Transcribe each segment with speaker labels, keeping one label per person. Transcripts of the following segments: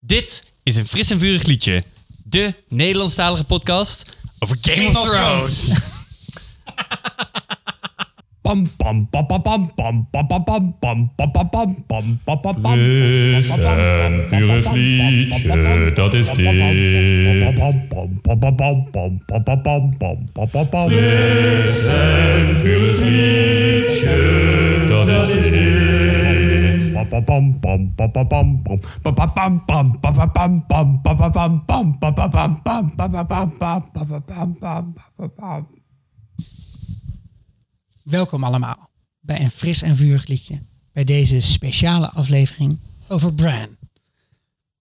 Speaker 1: Dit is een fris en vurig liedje. De Nederlandstalige podcast over Game, of Thrones.
Speaker 2: Pam pam pam pam pam pam pam pam pam pam pam pam pam pam pam pam pam.
Speaker 3: Fris en vurig liedje, dat is dit. Fris en vurig liedje, dat is dit.
Speaker 4: Welkom allemaal bij een fris en vurig liedje. Bij deze speciale aflevering over Bran.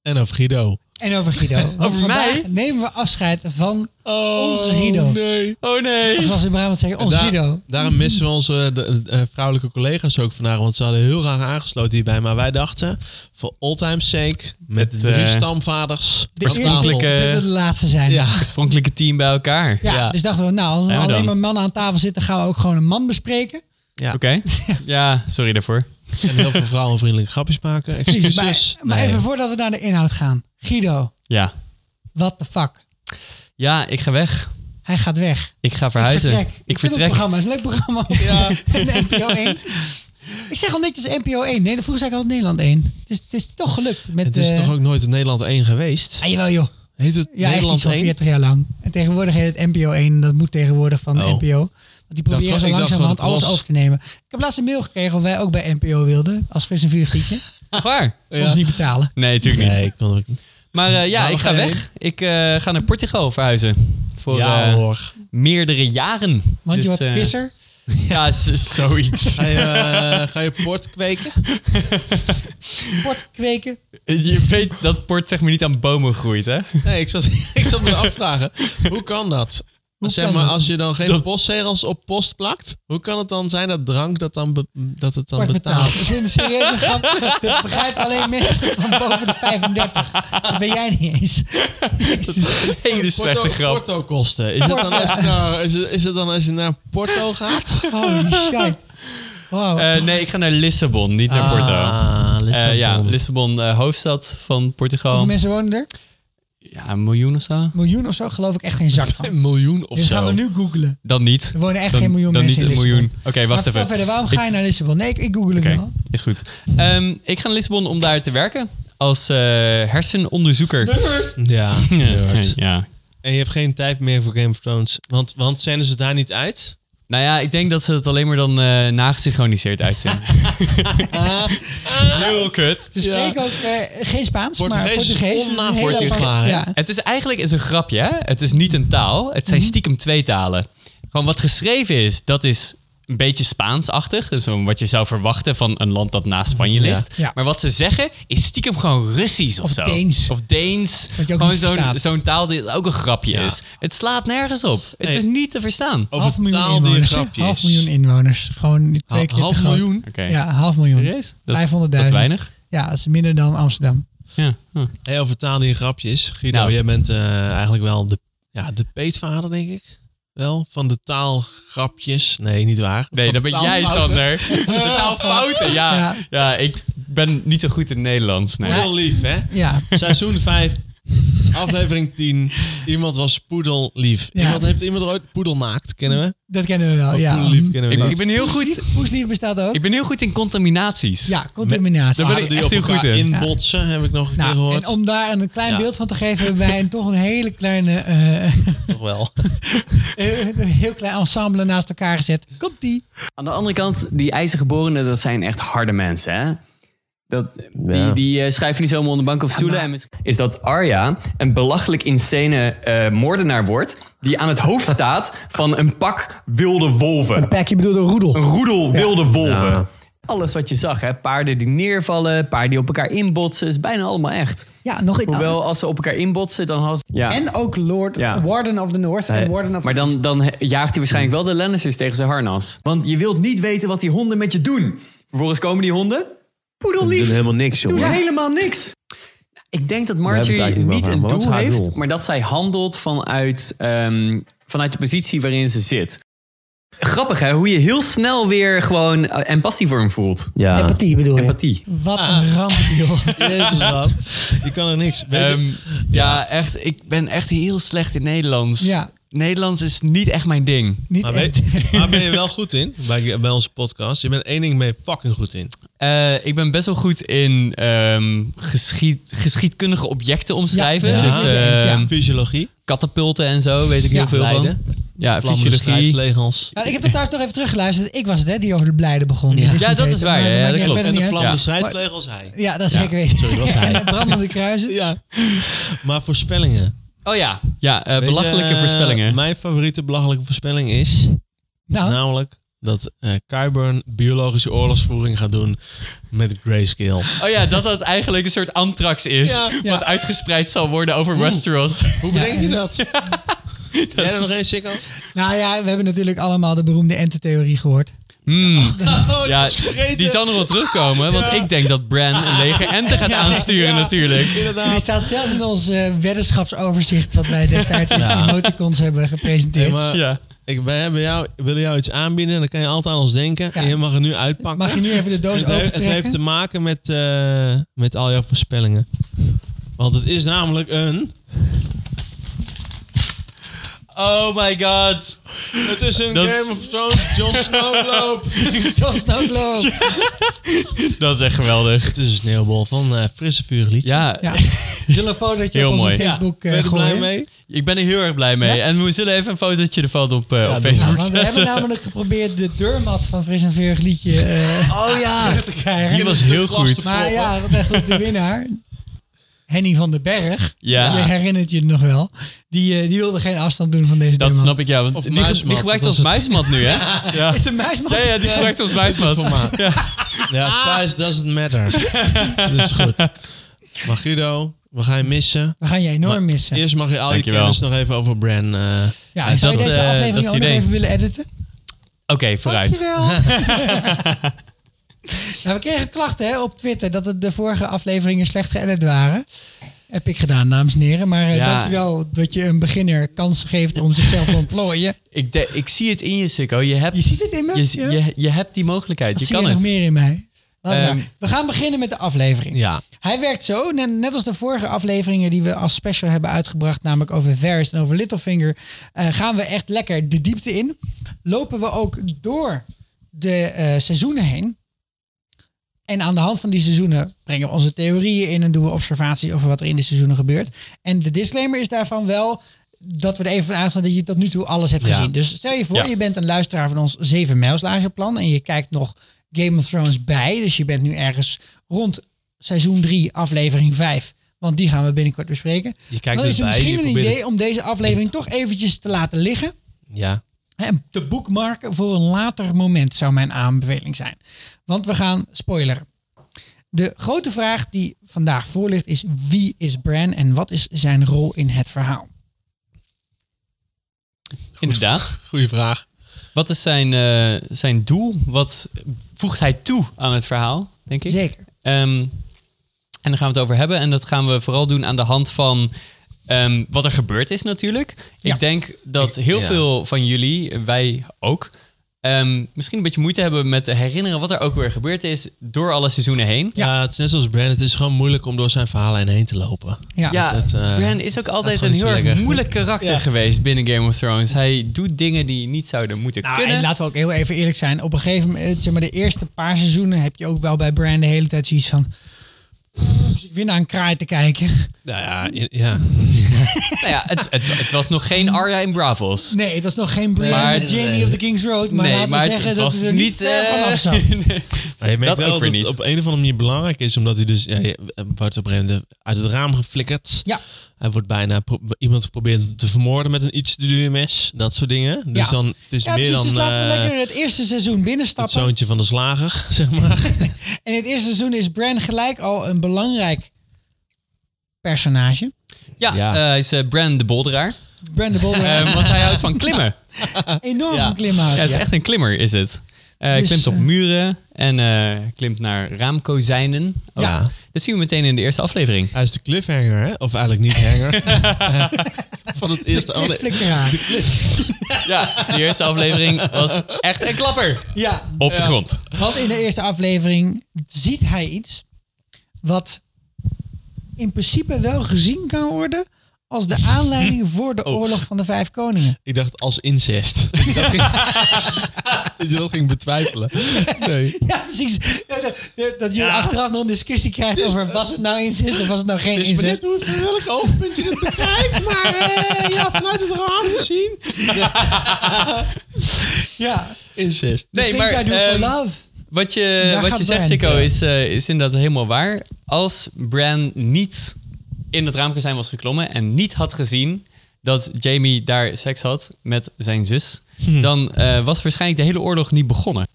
Speaker 5: En over Guido.
Speaker 4: En over Guido. Want
Speaker 1: Over mij?
Speaker 4: vandaag nemen we afscheid van onze Guido.
Speaker 5: Oh, Nee.
Speaker 1: Oh
Speaker 4: Of
Speaker 1: nee.
Speaker 4: zoals in Brabant zeggen, onze Guido.
Speaker 5: Daarom missen we onze eh, de- eh, vrouwelijke collega's ook vandaag. Want ze hadden heel graag aangesloten hierbij. Maar wij dachten, voor all time sake, met
Speaker 1: Het,
Speaker 5: drie
Speaker 1: eh,
Speaker 5: stamvaders.
Speaker 4: De
Speaker 5: aan tafel.
Speaker 4: eerste
Speaker 1: Oorspronkelijke-
Speaker 4: zullen de laatste zijn.
Speaker 5: Ja.
Speaker 1: Oorspronkelijke team bij elkaar.
Speaker 4: Ja,
Speaker 5: Ja.
Speaker 4: dus dachten we, nou, als er
Speaker 1: Ja,
Speaker 4: alleen
Speaker 1: dan.
Speaker 4: maar mannen aan tafel zitten, gaan we ook gewoon een man bespreken.
Speaker 5: ja.
Speaker 1: Oké. Ja, sorry daarvoor.
Speaker 5: En heel veel vrouwenvriendelijke grapjes maken. Excuses.
Speaker 4: Maar, maar
Speaker 5: Nee.
Speaker 4: even voordat we naar de inhoud gaan. Guido,
Speaker 1: Ja.
Speaker 4: what the fuck?
Speaker 1: Ja, ik ga weg.
Speaker 4: Hij gaat weg.
Speaker 1: Ik ga verhuizen.
Speaker 4: Ik vertrek. Ik, vind het programma. Het is een leuk programma. Ja. NPO 1. Ik zeg al netjes NPO 1. Nee, vroeger zei ik al Nederland 1. Het is, het is toch gelukt. Met,
Speaker 5: Het is
Speaker 4: eh,
Speaker 5: toch ook nooit in Nederland 1 geweest?
Speaker 4: Ah, jawel joh.
Speaker 5: Heet het
Speaker 4: Ja, echt iets
Speaker 5: Nederland
Speaker 4: van
Speaker 5: 1?
Speaker 4: 40 jaar lang. En tegenwoordig heet het NPO 1. Dat moet tegenwoordig van de
Speaker 5: Oh.
Speaker 4: NPO. Want die proberen
Speaker 5: was-
Speaker 4: zo
Speaker 5: ik dacht
Speaker 4: langzamerhand
Speaker 5: dat het
Speaker 4: alles
Speaker 5: was-
Speaker 4: over te nemen. Ik heb laatst een mail gekregen of wij ook bij NPO wilden. Als fris en vuurgietje.
Speaker 1: Waar?
Speaker 4: Ons niet betalen.
Speaker 1: Nee, natuurlijk niet.
Speaker 5: Nee, ik kan het ook niet.
Speaker 1: Maar eh, ja,
Speaker 5: Nou,
Speaker 1: ik
Speaker 5: we
Speaker 1: ga
Speaker 5: gaan
Speaker 1: weg. Ik eh, ga naar Portugal verhuizen. Voor
Speaker 5: ja
Speaker 1: eh,
Speaker 5: hoor.
Speaker 1: meerdere jaren.
Speaker 4: Want je
Speaker 1: Dus,
Speaker 4: wordt
Speaker 1: eh,
Speaker 4: visser.
Speaker 1: Ja, z- zoiets.
Speaker 5: Ga je, eh, ga je port kweken?
Speaker 4: Port kweken.
Speaker 1: je weet dat port zeg maar niet aan bomen groeit, hè?
Speaker 5: Nee, ik zat, ik zat me afvragen. Hoe kan dat? zeg
Speaker 4: kan
Speaker 5: maar,
Speaker 4: dat?
Speaker 5: als je dan geen
Speaker 1: Dat-
Speaker 5: postzegels op post plakt, hoe kan het dan zijn dat drank dat, dan be- dat het dan
Speaker 4: Wordt betaald.
Speaker 5: betaalt?
Speaker 4: Dat is een serieuze grap. Dat begrijpen alleen mensen van boven de 35. Dat ben jij niet eens. Jezus.
Speaker 1: Hele slechte
Speaker 5: Porto,
Speaker 1: grap.
Speaker 5: porto kosten. Is het, dan als je naar, is, het, is het dan als je naar Porto gaat?
Speaker 4: Holy shit. Wow.
Speaker 1: Eh, nee, ik ga naar Lissabon, niet naar Porto.
Speaker 5: Ah, Lissabon.
Speaker 1: Eh, ja, Lissabon, eh, hoofdstad van
Speaker 4: Hoeveel
Speaker 1: Portugal.
Speaker 4: mensen wonen er?
Speaker 1: Ja, een miljoen of zo?
Speaker 4: Miljoen of zo? Geloof ik echt geen zak van.
Speaker 5: Een miljoen of
Speaker 4: Dus
Speaker 5: zo.
Speaker 4: gaan we nu googlen.
Speaker 1: Dan niet.
Speaker 4: Er wonen echt
Speaker 1: Dan,
Speaker 4: geen miljoen
Speaker 1: dan
Speaker 4: mensen
Speaker 1: niet
Speaker 4: in
Speaker 1: een
Speaker 4: Lissabon.
Speaker 1: miljoen. Oké, wacht
Speaker 4: maar vertel
Speaker 1: even.
Speaker 4: verder, waarom ga je naar Lissabon? Nee, ik, ik google het
Speaker 1: Oké,
Speaker 4: wel.
Speaker 1: is goed. Ehm, ik ga naar Lissabon om daar te werken als eh, hersenonderzoeker.
Speaker 5: Ja. nerd.
Speaker 1: ja.
Speaker 5: En je hebt geen tijd meer voor Game of Thrones. Want, want zenden ze daar niet uit?
Speaker 1: Nou ja, ik denk dat ze het alleen maar dan eh nagesynchroniseerd uitzenden. Heel kut.
Speaker 4: Ze spreken ook eh, geen Spaans, maar
Speaker 5: Portugees is
Speaker 4: Portugees. Dat een hele
Speaker 5: onnavolgbaar,
Speaker 4: aparte-
Speaker 5: hè?
Speaker 4: Ja.
Speaker 1: Het is eigenlijk het is een grapje, hè? Het is niet een taal. Het zijn
Speaker 4: Mhm.
Speaker 1: stiekem twee talen. Gewoon wat geschreven is, dat is een beetje Spaansachtig. Dus om wat je zou verwachten van een land dat naast Spanje
Speaker 5: Ja.
Speaker 1: ligt.
Speaker 4: Mhm. Ja.
Speaker 1: Maar wat ze zeggen is stiekem gewoon Russisch of,
Speaker 4: Of
Speaker 1: zo.
Speaker 4: Deens.
Speaker 1: Of Deens.
Speaker 4: Wat je ook
Speaker 1: gewoon
Speaker 4: niet
Speaker 1: zo'n
Speaker 4: verstaat.
Speaker 1: zo'n taal die ook een grapje
Speaker 5: Ja.
Speaker 1: is. Het slaat nergens op. Het
Speaker 5: Nee.
Speaker 1: is niet te verstaan.
Speaker 5: Over
Speaker 4: half miljoen
Speaker 5: taal die een
Speaker 4: inwoners.
Speaker 5: grapje
Speaker 4: hè? half
Speaker 5: is.
Speaker 4: miljoen inwoners. Gewoon niet twee
Speaker 5: Half,
Speaker 4: keer te groot.
Speaker 5: miljoen?
Speaker 1: Oké.
Speaker 4: Ja, half miljoen.
Speaker 1: Serieus? Dat is,
Speaker 4: 500.000.
Speaker 1: dat is weinig.
Speaker 4: Ja, dat is minder dan Amsterdam.
Speaker 1: Ja. Huh.
Speaker 5: Hey, over taal die een grapje is. Guido,
Speaker 1: Nou.
Speaker 5: jij bent eh, eigenlijk wel de, ja, de peetvader, denk ik. Wel, van de taalgrapjes. Nee, niet waar.
Speaker 1: Nee,
Speaker 5: Van
Speaker 1: dat
Speaker 5: de
Speaker 1: ben jij,
Speaker 5: taalfouten.
Speaker 1: Sander. Taalfouten, ja. ja.
Speaker 4: Ja.
Speaker 1: ik ben niet zo goed in Nederlands. Nee.
Speaker 5: Heel lief, hè?
Speaker 4: Ja,
Speaker 5: Seizoen 5, aflevering 10. Iemand was poedellief.
Speaker 4: Ja.
Speaker 5: Iemand heeft iemand er ooit poedelmaakt, kennen we?
Speaker 4: dat kennen we wel.
Speaker 5: Oh,
Speaker 4: ja.
Speaker 5: poedellief kennen we
Speaker 1: Ik,
Speaker 5: niet.
Speaker 1: ik ben heel goed
Speaker 4: Poeslief bestaat ook.
Speaker 1: Ik ben heel goed in contaminaties.
Speaker 4: Ja, contaminatie. Ah,
Speaker 1: Daar ben
Speaker 5: Paarden
Speaker 1: ik
Speaker 5: die
Speaker 1: echt
Speaker 5: op
Speaker 1: heel
Speaker 5: elkaar
Speaker 1: goed in.
Speaker 5: inbotsen, heb ik nog een keer
Speaker 4: Nou,
Speaker 5: dus gehoord.
Speaker 4: en om daar een klein
Speaker 5: Ja.
Speaker 4: beeld van te geven, hebben wij een- toch een hele kleine, eh,
Speaker 5: Toch wel.
Speaker 4: een heel klein ensemble naast elkaar gezet. Komt die?
Speaker 1: Aan de andere kant, die ijzergeborenen, dat zijn echt harde mensen, hè? Dat, Die, die eh, schuiven niet zomaar onder bank of stoelen. en mis- Is dat Arya een belachelijk insane eh, moordenaar wordt... die aan het hoofd staat van een pak wilde wolven.
Speaker 4: Pak, je bedoelt een roedel.
Speaker 1: Een roedel wilde wolven. Alles wat je zag, hè? paarden die neervallen, paarden die op elkaar inbotsen... is bijna allemaal echt.
Speaker 4: Ja, nog iets.
Speaker 1: Hoewel, als ze op elkaar inbotsen, dan hadden ze... Ja.
Speaker 4: En ook Lord
Speaker 1: Ja.
Speaker 4: Warden of the North en Warden of
Speaker 1: Maar
Speaker 4: the
Speaker 1: dan, dan he- jaagt hij waarschijnlijk wel de Lannisters tegen zijn harnas. Want je wilt niet weten wat die honden met je doen. Vervolgens komen die honden. Poedellief. Doen helemaal niks, joh. Doen helemaal niks. Ik denk dat Marjorie niet een doel heeft, maar dat zij handelt vanuit, ehm, vanuit de positie waarin ze zit. grappig hè, hoe je heel snel weer gewoon eh, empathie voor hem voelt.
Speaker 6: Ja.
Speaker 4: Empathie bedoel je? Ah.
Speaker 1: Empathie.
Speaker 4: Wat een ramp, joh.
Speaker 5: Jezus, wat. Je kan er niks. Weet je-
Speaker 1: Ehm, ja, echt. Ik ben echt heel slecht in Nederlands.
Speaker 4: Ja.
Speaker 1: Nederlands is niet echt mijn ding.
Speaker 4: Niet
Speaker 5: maar,
Speaker 4: echt.
Speaker 5: weet, maar ben je wel goed in? Bij, bij onze podcast. Je bent één ding mee fucking goed in.
Speaker 1: Eh, ik ben best wel goed in ehm, geschied, geschiedkundige objecten omschrijven.
Speaker 4: Ja,
Speaker 1: Dus
Speaker 4: ja.
Speaker 1: ehm,
Speaker 5: Fysiologie.
Speaker 1: katapulten en zo weet ik
Speaker 4: Ja,
Speaker 1: heel veel
Speaker 5: Leiden.
Speaker 1: van. Ja,
Speaker 5: Vlammende
Speaker 1: fysiologie.
Speaker 5: strijdvlegels.
Speaker 4: Ja, Nou, ik heb dat thuis nog even teruggeluisterd. Ik was het, hè, die over de blijden begon. Die
Speaker 5: Ja.
Speaker 4: wist
Speaker 1: Ja,
Speaker 4: niet
Speaker 1: dat
Speaker 4: beter,
Speaker 1: is waar,
Speaker 4: maar
Speaker 1: ja,
Speaker 4: maakt
Speaker 1: dat
Speaker 4: niet-
Speaker 1: klopt.
Speaker 5: En
Speaker 4: verder
Speaker 5: de
Speaker 4: niet uit.
Speaker 5: vlammende
Speaker 1: Ja.
Speaker 5: strijdvlegels, hij.
Speaker 4: Ja, dat is zeker weten.
Speaker 5: Sorry, dat was hij.
Speaker 4: En de brandende kruisen.
Speaker 5: Ja. Maar voorspellingen.
Speaker 1: Oh ja, ja eh,
Speaker 5: Weet je,
Speaker 1: belachelijke
Speaker 5: eh,
Speaker 1: voorspellingen.
Speaker 5: Mijn favoriete belachelijke voorspelling is...
Speaker 4: Nou,
Speaker 5: Namelijk dat eh Kyburn biologische oorlogsvoering gaat doen met grayscale.
Speaker 1: Oh ja, dat dat eigenlijk een soort antrax is.
Speaker 5: Ja.
Speaker 1: Wat uitgespreid zal worden over Westeros.
Speaker 5: Hoe
Speaker 4: Ja,
Speaker 5: bedenk je dat? Jij er nog eens, Sikko?
Speaker 4: nou ja, we hebben natuurlijk allemaal de beroemde ententheorie gehoord.
Speaker 1: Hmm,
Speaker 5: Oh,
Speaker 1: ja, die zal nog wel terugkomen. Want ik denk dat Bran een leger ente gaat aansturen natuurlijk.
Speaker 4: Die
Speaker 5: inderdaad.
Speaker 4: staat zelfs in ons eh, weddenschapsoverzicht wat wij destijds in
Speaker 5: Ja.
Speaker 4: emoticons hebben
Speaker 5: Hey,
Speaker 4: gepresenteerd.
Speaker 5: maar
Speaker 1: Ja.
Speaker 5: ik, wij hebben jou, willen jou iets aanbieden en dan kan je altijd aan ons denken.
Speaker 4: Ja.
Speaker 5: En je mag het nu uitpakken.
Speaker 4: Mag je nu even de doos
Speaker 5: het, heeft, het heeft te
Speaker 4: opentrekken?
Speaker 5: maken met, eh, met al jouw voorspellingen. Want het is namelijk een...
Speaker 1: Oh my god.
Speaker 5: Het is een
Speaker 1: Dat-
Speaker 5: Game of Thrones Jon Snow loop.
Speaker 4: John Snowglow.
Speaker 1: Dat is echt geweldig.
Speaker 5: het is een sneeuwbol van eh frisse vuurliedje.
Speaker 1: Ja,
Speaker 4: Ja. We zullen een fotootje
Speaker 1: Heel
Speaker 4: op onze
Speaker 1: mooi.
Speaker 4: Facebook
Speaker 5: ben
Speaker 4: eh,
Speaker 5: je er
Speaker 4: gooien.
Speaker 5: blij mee?
Speaker 1: ik ben er heel erg blij mee.
Speaker 4: Ja.
Speaker 1: En we zullen even een fotootje ervan op, eh, op
Speaker 4: Ja,
Speaker 1: Facebook
Speaker 4: want we hebben
Speaker 1: zetten.
Speaker 4: namelijk geprobeerd de deurmat van Fris en Veurg liedje eh,
Speaker 1: Oh ja.
Speaker 4: te krijgen.
Speaker 1: Die was heel goed.
Speaker 4: Maar ja, de, goed, de winnaar, Henny van den Berg,
Speaker 1: Ja.
Speaker 4: je herinnert je het nog wel, die, eh, die wilde geen afstand doen van deze
Speaker 1: Dat
Speaker 4: deurmat.
Speaker 1: snap ik, ja. Want
Speaker 5: Of
Speaker 1: die, ge-
Speaker 5: muismat,
Speaker 1: die gebruikt
Speaker 5: dat
Speaker 1: als
Speaker 5: was
Speaker 1: muismat nu, hè? Ja, ja.
Speaker 4: Is de muismat?
Speaker 1: ja die gebruikt als muismat.
Speaker 5: Formaat. Ja, size doesn't matter. dus goed. Maar Guido, we gaan je missen.
Speaker 4: We gaan je enorm
Speaker 5: Maar
Speaker 4: missen.
Speaker 5: Eerst mag je al je
Speaker 1: Dankjewel.
Speaker 5: kennis nog even over Bran. eh,
Speaker 4: ja,
Speaker 5: eh,
Speaker 4: zou je
Speaker 1: dat,
Speaker 4: deze
Speaker 1: eh,
Speaker 4: aflevering
Speaker 1: dat is het
Speaker 4: ook nog
Speaker 1: idee.
Speaker 4: even willen editen?
Speaker 1: Oké, vooruit.
Speaker 4: Dankjewel. nou, we kregen klachten hè, op Twitter dat het de vorige afleveringen slecht geëdit waren. Heb ik gedaan, dames en heren. Maar eh,
Speaker 1: Ja.
Speaker 4: dankjewel dat je een beginner kans geeft om zichzelf te ontplooien.
Speaker 1: Ik, de- ik zie het in je, Sikko. Je, hebt,
Speaker 4: Je ziet het in me?
Speaker 1: Je, z-
Speaker 4: Ja.
Speaker 1: je, je hebt die mogelijkheid.
Speaker 4: Wat
Speaker 1: je
Speaker 4: zie
Speaker 1: kan
Speaker 4: je
Speaker 1: het.
Speaker 4: nog meer in mij? Laat
Speaker 1: Ehm,
Speaker 4: maar. We gaan beginnen met de aflevering.
Speaker 5: ja,
Speaker 4: Hij werkt zo, net, net als de vorige afleveringen die we als special hebben uitgebracht, namelijk over Varys en over Littlefinger, eh, gaan we echt lekker de diepte in. Lopen we ook door de eh, seizoenen heen. En aan de hand van die seizoenen brengen we onze theorieën in en doen we observaties over wat er in de seizoenen gebeurt. En de disclaimer is daarvan wel dat we er even van uitgaan dat je tot nu toe alles hebt
Speaker 5: Ja.
Speaker 4: gezien. Dus stel je voor,
Speaker 1: Ja.
Speaker 4: je bent een luisteraar van ons 7 mijlslagerplan en je kijkt nog Game of Thrones bij. Dus je bent nu ergens rond seizoen 3, aflevering 5. Want die gaan we binnenkort bespreken.
Speaker 5: je kijkt
Speaker 4: Dan
Speaker 5: dus
Speaker 4: Oh, is het
Speaker 5: bij. Je
Speaker 4: misschien een
Speaker 5: probeert
Speaker 4: idee
Speaker 5: het-
Speaker 4: om deze aflevering toch eventjes te laten liggen.
Speaker 5: ja,
Speaker 4: hè, En te boekmarken voor een later moment zou mijn aanbeveling zijn. Want we gaan spoileren. De grote vraag die vandaag voor ligt is wie is Bran en wat is zijn rol in het verhaal?
Speaker 1: Inderdaad.
Speaker 5: goede vraag.
Speaker 1: Wat is zijn, eh, zijn doel? Wat voegt hij toe aan het verhaal, denk ik?
Speaker 4: Zeker.
Speaker 1: Ehm, en daar gaan we het over hebben. En dat gaan we vooral doen aan de hand van ehm, wat er gebeurd is natuurlijk.
Speaker 4: Ja.
Speaker 1: Ik denk dat heel
Speaker 5: ja.
Speaker 1: veel van jullie, wij ook, ehm, misschien een beetje moeite hebben met te herinneren wat er ook weer gebeurd is door alle seizoenen heen.
Speaker 5: Ja. het is net zoals Bran. Het is gewoon moeilijk om door zijn verhalen heen te lopen.
Speaker 4: Ja.
Speaker 1: Ja,
Speaker 5: het, eh,
Speaker 1: Bran is ook altijd
Speaker 5: gewoon
Speaker 1: een
Speaker 5: niet
Speaker 1: heel
Speaker 5: zo
Speaker 1: erg
Speaker 5: lekker.
Speaker 1: moeilijk karakter geweest binnen Game of Thrones. Hij doet dingen die niet zouden moeten
Speaker 4: Nou,
Speaker 1: kunnen.
Speaker 4: en laten we ook heel even eerlijk zijn. Op een gegeven moment, eh, zeg maar, de eerste paar seizoenen heb je ook wel bij Brand de hele tijd zoiets van... "Pff, Ik weer naar een kraai te kijken.
Speaker 5: Nou ja, i- ja.
Speaker 1: Nou ja, het, het, het was nog geen Arya in Bravos.
Speaker 4: Nee, het was nog geen Brand
Speaker 1: Maar
Speaker 4: met
Speaker 1: het-
Speaker 4: Jamie op de King's Road. Maar
Speaker 1: nee,
Speaker 4: laten we
Speaker 1: maar het-
Speaker 4: zeggen
Speaker 1: het
Speaker 4: dat
Speaker 1: was
Speaker 4: ze er niet
Speaker 1: niet,
Speaker 4: ver
Speaker 1: eh,
Speaker 4: vanaf zat.
Speaker 5: Maar je merkt
Speaker 1: Dat
Speaker 5: wel
Speaker 1: ook
Speaker 5: dat
Speaker 1: weer
Speaker 5: het
Speaker 1: niet.
Speaker 5: op een of andere manier belangrijk is. Omdat hij dus... Ja, je- eh, wordt op een gegeven moment uit het raam geflikkerd.
Speaker 4: Ja.
Speaker 5: Hij wordt bijna... pro- Iemand probeert te vermoorden met een iets te duur mes. Dat soort dingen. Dus
Speaker 4: Ja.
Speaker 5: dan... Het is
Speaker 4: Ja,
Speaker 5: meer
Speaker 4: precies.
Speaker 5: dan...
Speaker 4: Dus laten we
Speaker 5: eh,
Speaker 4: lekker het eerste seizoen
Speaker 5: Het
Speaker 4: binnenstappen.
Speaker 5: zoontje van de slager, zeg maar.
Speaker 4: En in het eerste seizoen is Bran gelijk al een belangrijk personage.
Speaker 1: Ja,
Speaker 5: Ja.
Speaker 1: eh, hij is eh, Bran de Bolderaar.
Speaker 4: Bran de Bolder,
Speaker 1: Eh, want hij houdt van klimmen.
Speaker 4: enorm van klimhout.
Speaker 1: Ja, het is echt een klimmer, is het. Eh
Speaker 4: Dus,
Speaker 1: klimt op
Speaker 4: eh,
Speaker 1: muren en eh, klimt naar raamkozijnen. Oh,
Speaker 5: Ja.
Speaker 1: Dat zien we meteen in de eerste aflevering.
Speaker 5: Hij is de cliffhanger, hè? Of eigenlijk niet hanger. van het eerste...
Speaker 4: Cliff
Speaker 5: alle-
Speaker 4: flikkeraar.
Speaker 1: Ja, de eerste aflevering was echt een klapper.
Speaker 4: Ja,
Speaker 6: Op de grond.
Speaker 4: want in de eerste aflevering ziet hij iets wat in principe wel gezien kan worden als de aanleiding voor de oorlog van de vijf koningen.
Speaker 5: Ik dacht als incest. Ik dacht, ging, dat je dat ging betwijfelen. Nee.
Speaker 4: Ja, precies. Dat, dat- dat je achteraf nog een discussie krijgt over was het nou incest of was het nou geen incest.
Speaker 5: hoe welk oogpunt je dit bekijkt, maar eh, ja, vanuit het raam gezien.
Speaker 4: Ja,
Speaker 5: Incest.
Speaker 1: Nee, maar
Speaker 4: things I do for
Speaker 1: ehm,
Speaker 4: love.
Speaker 1: wat je,
Speaker 4: Daar
Speaker 1: wat
Speaker 4: gaat
Speaker 1: je zegt,
Speaker 4: Bran,
Speaker 1: Sikko,
Speaker 4: ja.
Speaker 1: is, eh, is inderdaad helemaal waar. Als Bran niet in het raamkozijn was geklommen en niet had gezien dat Jamie daar seks had met zijn zus,
Speaker 4: Hm.
Speaker 1: dan eh, was waarschijnlijk de hele oorlog niet begonnen.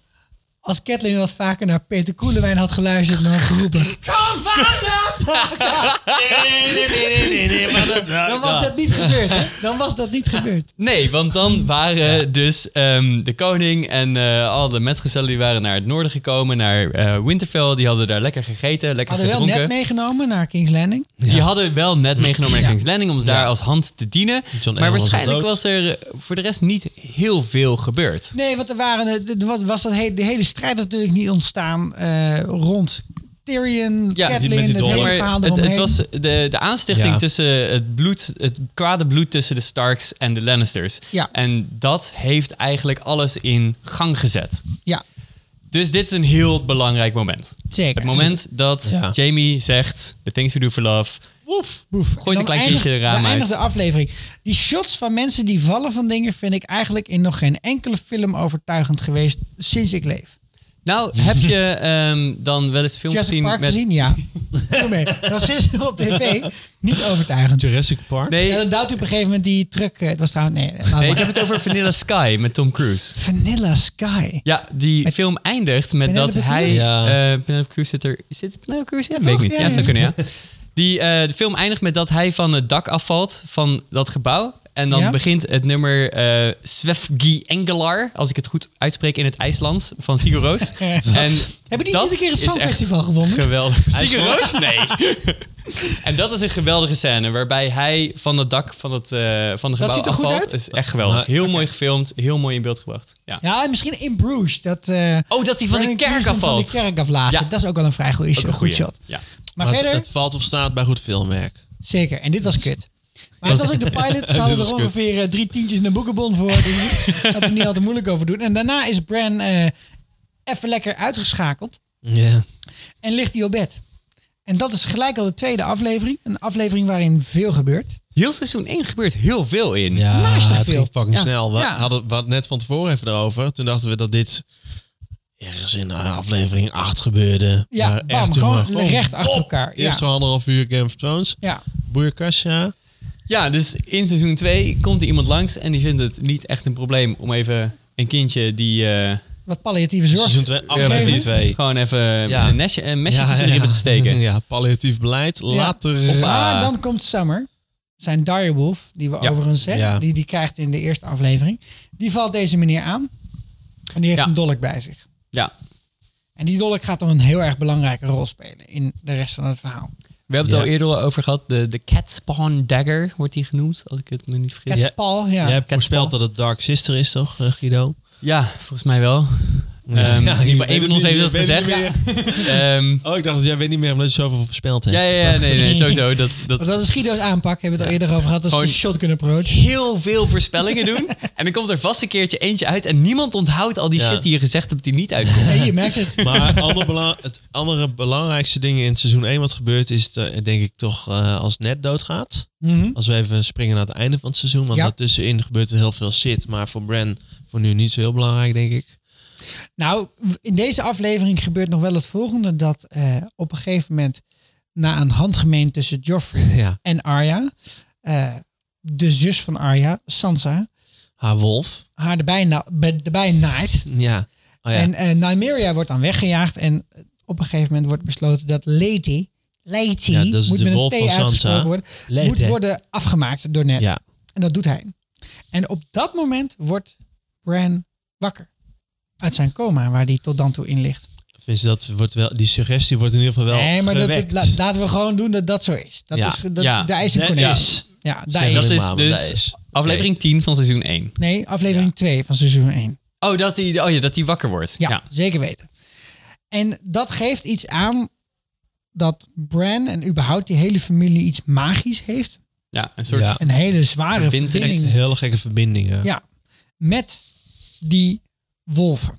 Speaker 4: Als Kathleen wat vaker naar Peter Koelewijn had geluisterd en had geroepen, dan was dat niet gebeurd. Hè? Dan was dat niet gebeurd.
Speaker 1: Nee, want dan waren dus ehm, de koning en eh, al de metgezellen die waren naar het noorden gekomen, naar eh, Winterfell. Die hadden daar lekker gegeten, lekker
Speaker 4: Hadden wel
Speaker 1: gedronken.
Speaker 4: net meegenomen naar King's Landing.
Speaker 1: Die hadden wel net meegenomen naar
Speaker 4: Ja.
Speaker 1: King's Landing om ze daar als hand te dienen. maar
Speaker 5: Arryn was
Speaker 1: waarschijnlijk
Speaker 5: al dood.
Speaker 1: was er eh, voor de rest niet heel veel gebeurd.
Speaker 4: Nee, want er waren, eh, er was, was dat he- de hele strijd natuurlijk niet ontstaan eh, rond Tyrion,
Speaker 1: Ja, die-
Speaker 4: Catelyn,
Speaker 5: met die
Speaker 4: het
Speaker 5: dollar.
Speaker 4: hele
Speaker 5: Ja,
Speaker 4: verhaal
Speaker 1: maar het, het
Speaker 4: eromheen.
Speaker 1: was de, de aanstichting
Speaker 5: Ja.
Speaker 1: tussen het bloed, het kwade bloed tussen de Starks en de Lannisters.
Speaker 4: Ja.
Speaker 1: En dat heeft eigenlijk alles in gang gezet.
Speaker 4: Ja,
Speaker 1: Dus dit is een heel belangrijk moment.
Speaker 4: zeker.
Speaker 1: Het
Speaker 4: dus-
Speaker 1: moment dat
Speaker 5: Ja.
Speaker 1: Jamie zegt, the things we do for love, woef, gooit een klein kindje
Speaker 4: de
Speaker 1: eraan uit.
Speaker 4: de aflevering. Die shots van mensen die vallen van dingen vind ik eigenlijk in nog geen enkele film overtuigend geweest sinds ik leef.
Speaker 1: Nou, heb je ehm, dan wel eens films
Speaker 4: Jurassic
Speaker 1: gezien
Speaker 4: Park
Speaker 1: met...
Speaker 4: gezien? Ja. Doe mee. Dat was gisteren op tv. Niet overtuigend.
Speaker 5: Jurassic Park.
Speaker 1: Nee,
Speaker 4: En dan duwt u op een gegeven moment die truck. eh, Het was trouwens... Nee, laat
Speaker 1: nee, ik heb
Speaker 4: maar.
Speaker 1: het over Vanilla Sky met Tom Cruise.
Speaker 4: Vanilla Sky.
Speaker 1: Ja, die film eindigt met
Speaker 4: Penelope
Speaker 1: dat hij...
Speaker 4: Cruz?
Speaker 5: Ja.
Speaker 1: eh, Penelope Cruz zit er... Is dit Penelope Cruz? Ja, weet ik
Speaker 4: toch?
Speaker 1: niet.
Speaker 4: Ja,
Speaker 1: Ja, zou
Speaker 4: ja.
Speaker 1: kunnen, ja. Die, eh, de film eindigt met dat hij van het dak afvalt van dat gebouw. En dan
Speaker 4: Ja.
Speaker 1: begint het nummer eh Svefgi Engelar, als ik het goed uitspreek in het IJslands, van Sigur Roos. en
Speaker 4: Hebben die
Speaker 1: dat
Speaker 4: niet een keer het
Speaker 1: is echt
Speaker 4: Songfestival gewonnen?
Speaker 1: Geweldig. Sigur Roos? Nee. en dat is een geweldige scène, waarbij hij van het dak van het, eh, van het gebouw
Speaker 4: ziet er goed
Speaker 1: afvalt.
Speaker 4: uit?
Speaker 1: is echt geweldig.
Speaker 5: Nou,
Speaker 1: Heel mooi gefilmd, heel mooi in beeld gebracht. Ja.
Speaker 4: Ja, en misschien in Bruges. Dat, eh,
Speaker 1: Oh, dat hij van de
Speaker 4: Frank
Speaker 1: kerk
Speaker 4: Wilson Van
Speaker 1: afvalt.
Speaker 4: de kerk afblazen.
Speaker 1: Ja.
Speaker 4: Dat is ook wel een vrij goede shot. Goed shot.
Speaker 1: Ja.
Speaker 4: Maar,
Speaker 5: Maar het,
Speaker 4: verder,
Speaker 5: het valt of staat bij goed filmwerk.
Speaker 4: zeker. En dit was kut. Maar het was ook de pilot. Ze hadden
Speaker 5: was
Speaker 4: er
Speaker 5: kut.
Speaker 4: ongeveer eh, drie tientjes in de boekenbon voor. Dus dat er niet al te moeilijk over doen. En daarna is Bran eh, even lekker uitgeschakeld.
Speaker 5: Ja.
Speaker 4: En ligt hij op bed. En dat is gelijk al de tweede aflevering. Een aflevering waarin veel gebeurt.
Speaker 1: Heel seizoen 1 gebeurt heel veel in.
Speaker 5: Ja,
Speaker 4: Naast de
Speaker 5: het
Speaker 4: film.
Speaker 5: ging fucking
Speaker 4: Ja.
Speaker 5: snel. We
Speaker 4: Ja.
Speaker 5: hadden wat net van tevoren even erover. Toen dachten we dat dit ergens in eh, aflevering 8 gebeurde.
Speaker 4: Ja,
Speaker 5: Maar
Speaker 4: bam,
Speaker 5: echt,
Speaker 4: gewoon
Speaker 5: jongen,
Speaker 4: recht achter
Speaker 5: bom.
Speaker 4: elkaar, ja.
Speaker 5: Eerst zo'n anderhalf uur Game of Thrones.
Speaker 4: Ja.
Speaker 5: Boeierkasja.
Speaker 1: Ja, dus in seizoen 2 komt er iemand langs en die vindt het niet echt een probleem om even een kindje die... eh,
Speaker 4: Wat palliatieve zorg.
Speaker 5: Seizoen 2, aflevering
Speaker 4: precies.
Speaker 5: 2.
Speaker 1: Gewoon even
Speaker 5: Ja.
Speaker 1: een, mesje, een mesje tussen de ribben te steken.
Speaker 5: Ja, palliatief beleid. Later. eh,
Speaker 1: Hoppa.
Speaker 4: Maar dan komt Summer. Zijn direwolf, die we
Speaker 1: Ja.
Speaker 4: overigens zeggen,
Speaker 5: Ja.
Speaker 4: die, die krijgt in de eerste aflevering. Die valt deze meneer aan. En die heeft
Speaker 1: Ja.
Speaker 4: een dolk bij zich.
Speaker 1: Ja.
Speaker 4: En die dolk gaat dan een heel erg belangrijke rol spelen in de rest van het verhaal.
Speaker 1: We hebben het
Speaker 5: Ja.
Speaker 1: al eerder over gehad. De, de Cat Spawn Dagger wordt die genoemd, als ik het me niet vergis.
Speaker 4: Het
Speaker 1: Ja,
Speaker 4: Paul, ja.
Speaker 5: Jij hebt voorspeld dat het Dark Sister is, toch, eh, Guido?
Speaker 1: volgens mij wel. Ehm, in ieder geval, één van ons heeft dat gezegd. Ehm,
Speaker 5: Oh, ik dacht dat jij weet niet meer omdat je zoveel voorspeld hebt.
Speaker 1: ja, ja, ja, nee, nee, sowieso. Dat, dat
Speaker 4: Want dat is Guido's aanpak, hebben we het al eerder over gehad. Dat is
Speaker 1: Gewoon-
Speaker 4: een shotgun approach.
Speaker 1: heel veel voorspellingen doen. En dan komt er vast een keertje eentje uit. En niemand onthoudt al die
Speaker 5: Ja.
Speaker 1: shit die je gezegd hebt die niet uitkomt.
Speaker 4: Nee, je merkt het.
Speaker 5: Maar ander bela- het andere belangrijkste dingen in seizoen 1 wat gebeurt is eh, denk ik toch eh, als net doodgaat.
Speaker 4: Mhm.
Speaker 5: Als we even springen naar het einde van het seizoen. Want
Speaker 4: Ja.
Speaker 5: daartussenin gebeurt er heel veel shit. Maar voor Bran voor nu niet zo heel belangrijk, denk ik.
Speaker 4: Nou, in deze aflevering gebeurt nog wel het volgende. Dat eh, op een gegeven moment, na een handgemeen tussen Joffrey
Speaker 5: Ja.
Speaker 4: en Arya. eh, de zus van Arya, Sansa,
Speaker 5: Haar wolf.
Speaker 4: haar erbij, na- be- erbij naait.
Speaker 5: Ja. Oh, ja.
Speaker 4: En eh Nymeria wordt dan weggejaagd. En op een gegeven moment wordt besloten dat Lady, Lady
Speaker 5: Ja, dat is
Speaker 4: moet
Speaker 5: de
Speaker 4: met een
Speaker 5: wolf
Speaker 4: T
Speaker 5: van Sansa.
Speaker 4: uitgesproken worden,
Speaker 5: Lady.
Speaker 4: moet worden afgemaakt door Ned.
Speaker 5: Ja.
Speaker 4: En dat doet hij. En op dat moment wordt Bran wakker. Uit zijn coma, waar hij tot dan toe in ligt.
Speaker 5: Tenminste, dat wordt wel, die suggestie wordt in ieder geval wel
Speaker 4: nee, maar dat,
Speaker 5: gewekt.
Speaker 4: dat- la- laten we gewoon doen dat dat zo is. Dat
Speaker 5: Ja.
Speaker 4: is dat,
Speaker 1: Ja.
Speaker 4: de ijzerconnex.
Speaker 5: Ja.
Speaker 4: Ja, daar
Speaker 5: Zeg
Speaker 1: dat
Speaker 4: is.
Speaker 1: is
Speaker 5: maar, want
Speaker 1: dus
Speaker 5: daar is.
Speaker 1: Aflevering 10 van seizoen 1.
Speaker 4: Nee, aflevering 2 van seizoen 1.
Speaker 1: Oh, dat die, oh ja, dat die wakker wordt.
Speaker 4: Ja, zeker weten. En dat geeft iets aan dat Bran en überhaupt die hele familie iets magisch heeft.
Speaker 1: Ja, een soort...
Speaker 5: Ja.
Speaker 4: Een hele zware
Speaker 1: Verbintenis.
Speaker 5: Het is
Speaker 4: verbinding
Speaker 5: een hele gekke verbinding, ja.
Speaker 4: Ja. met die wolven.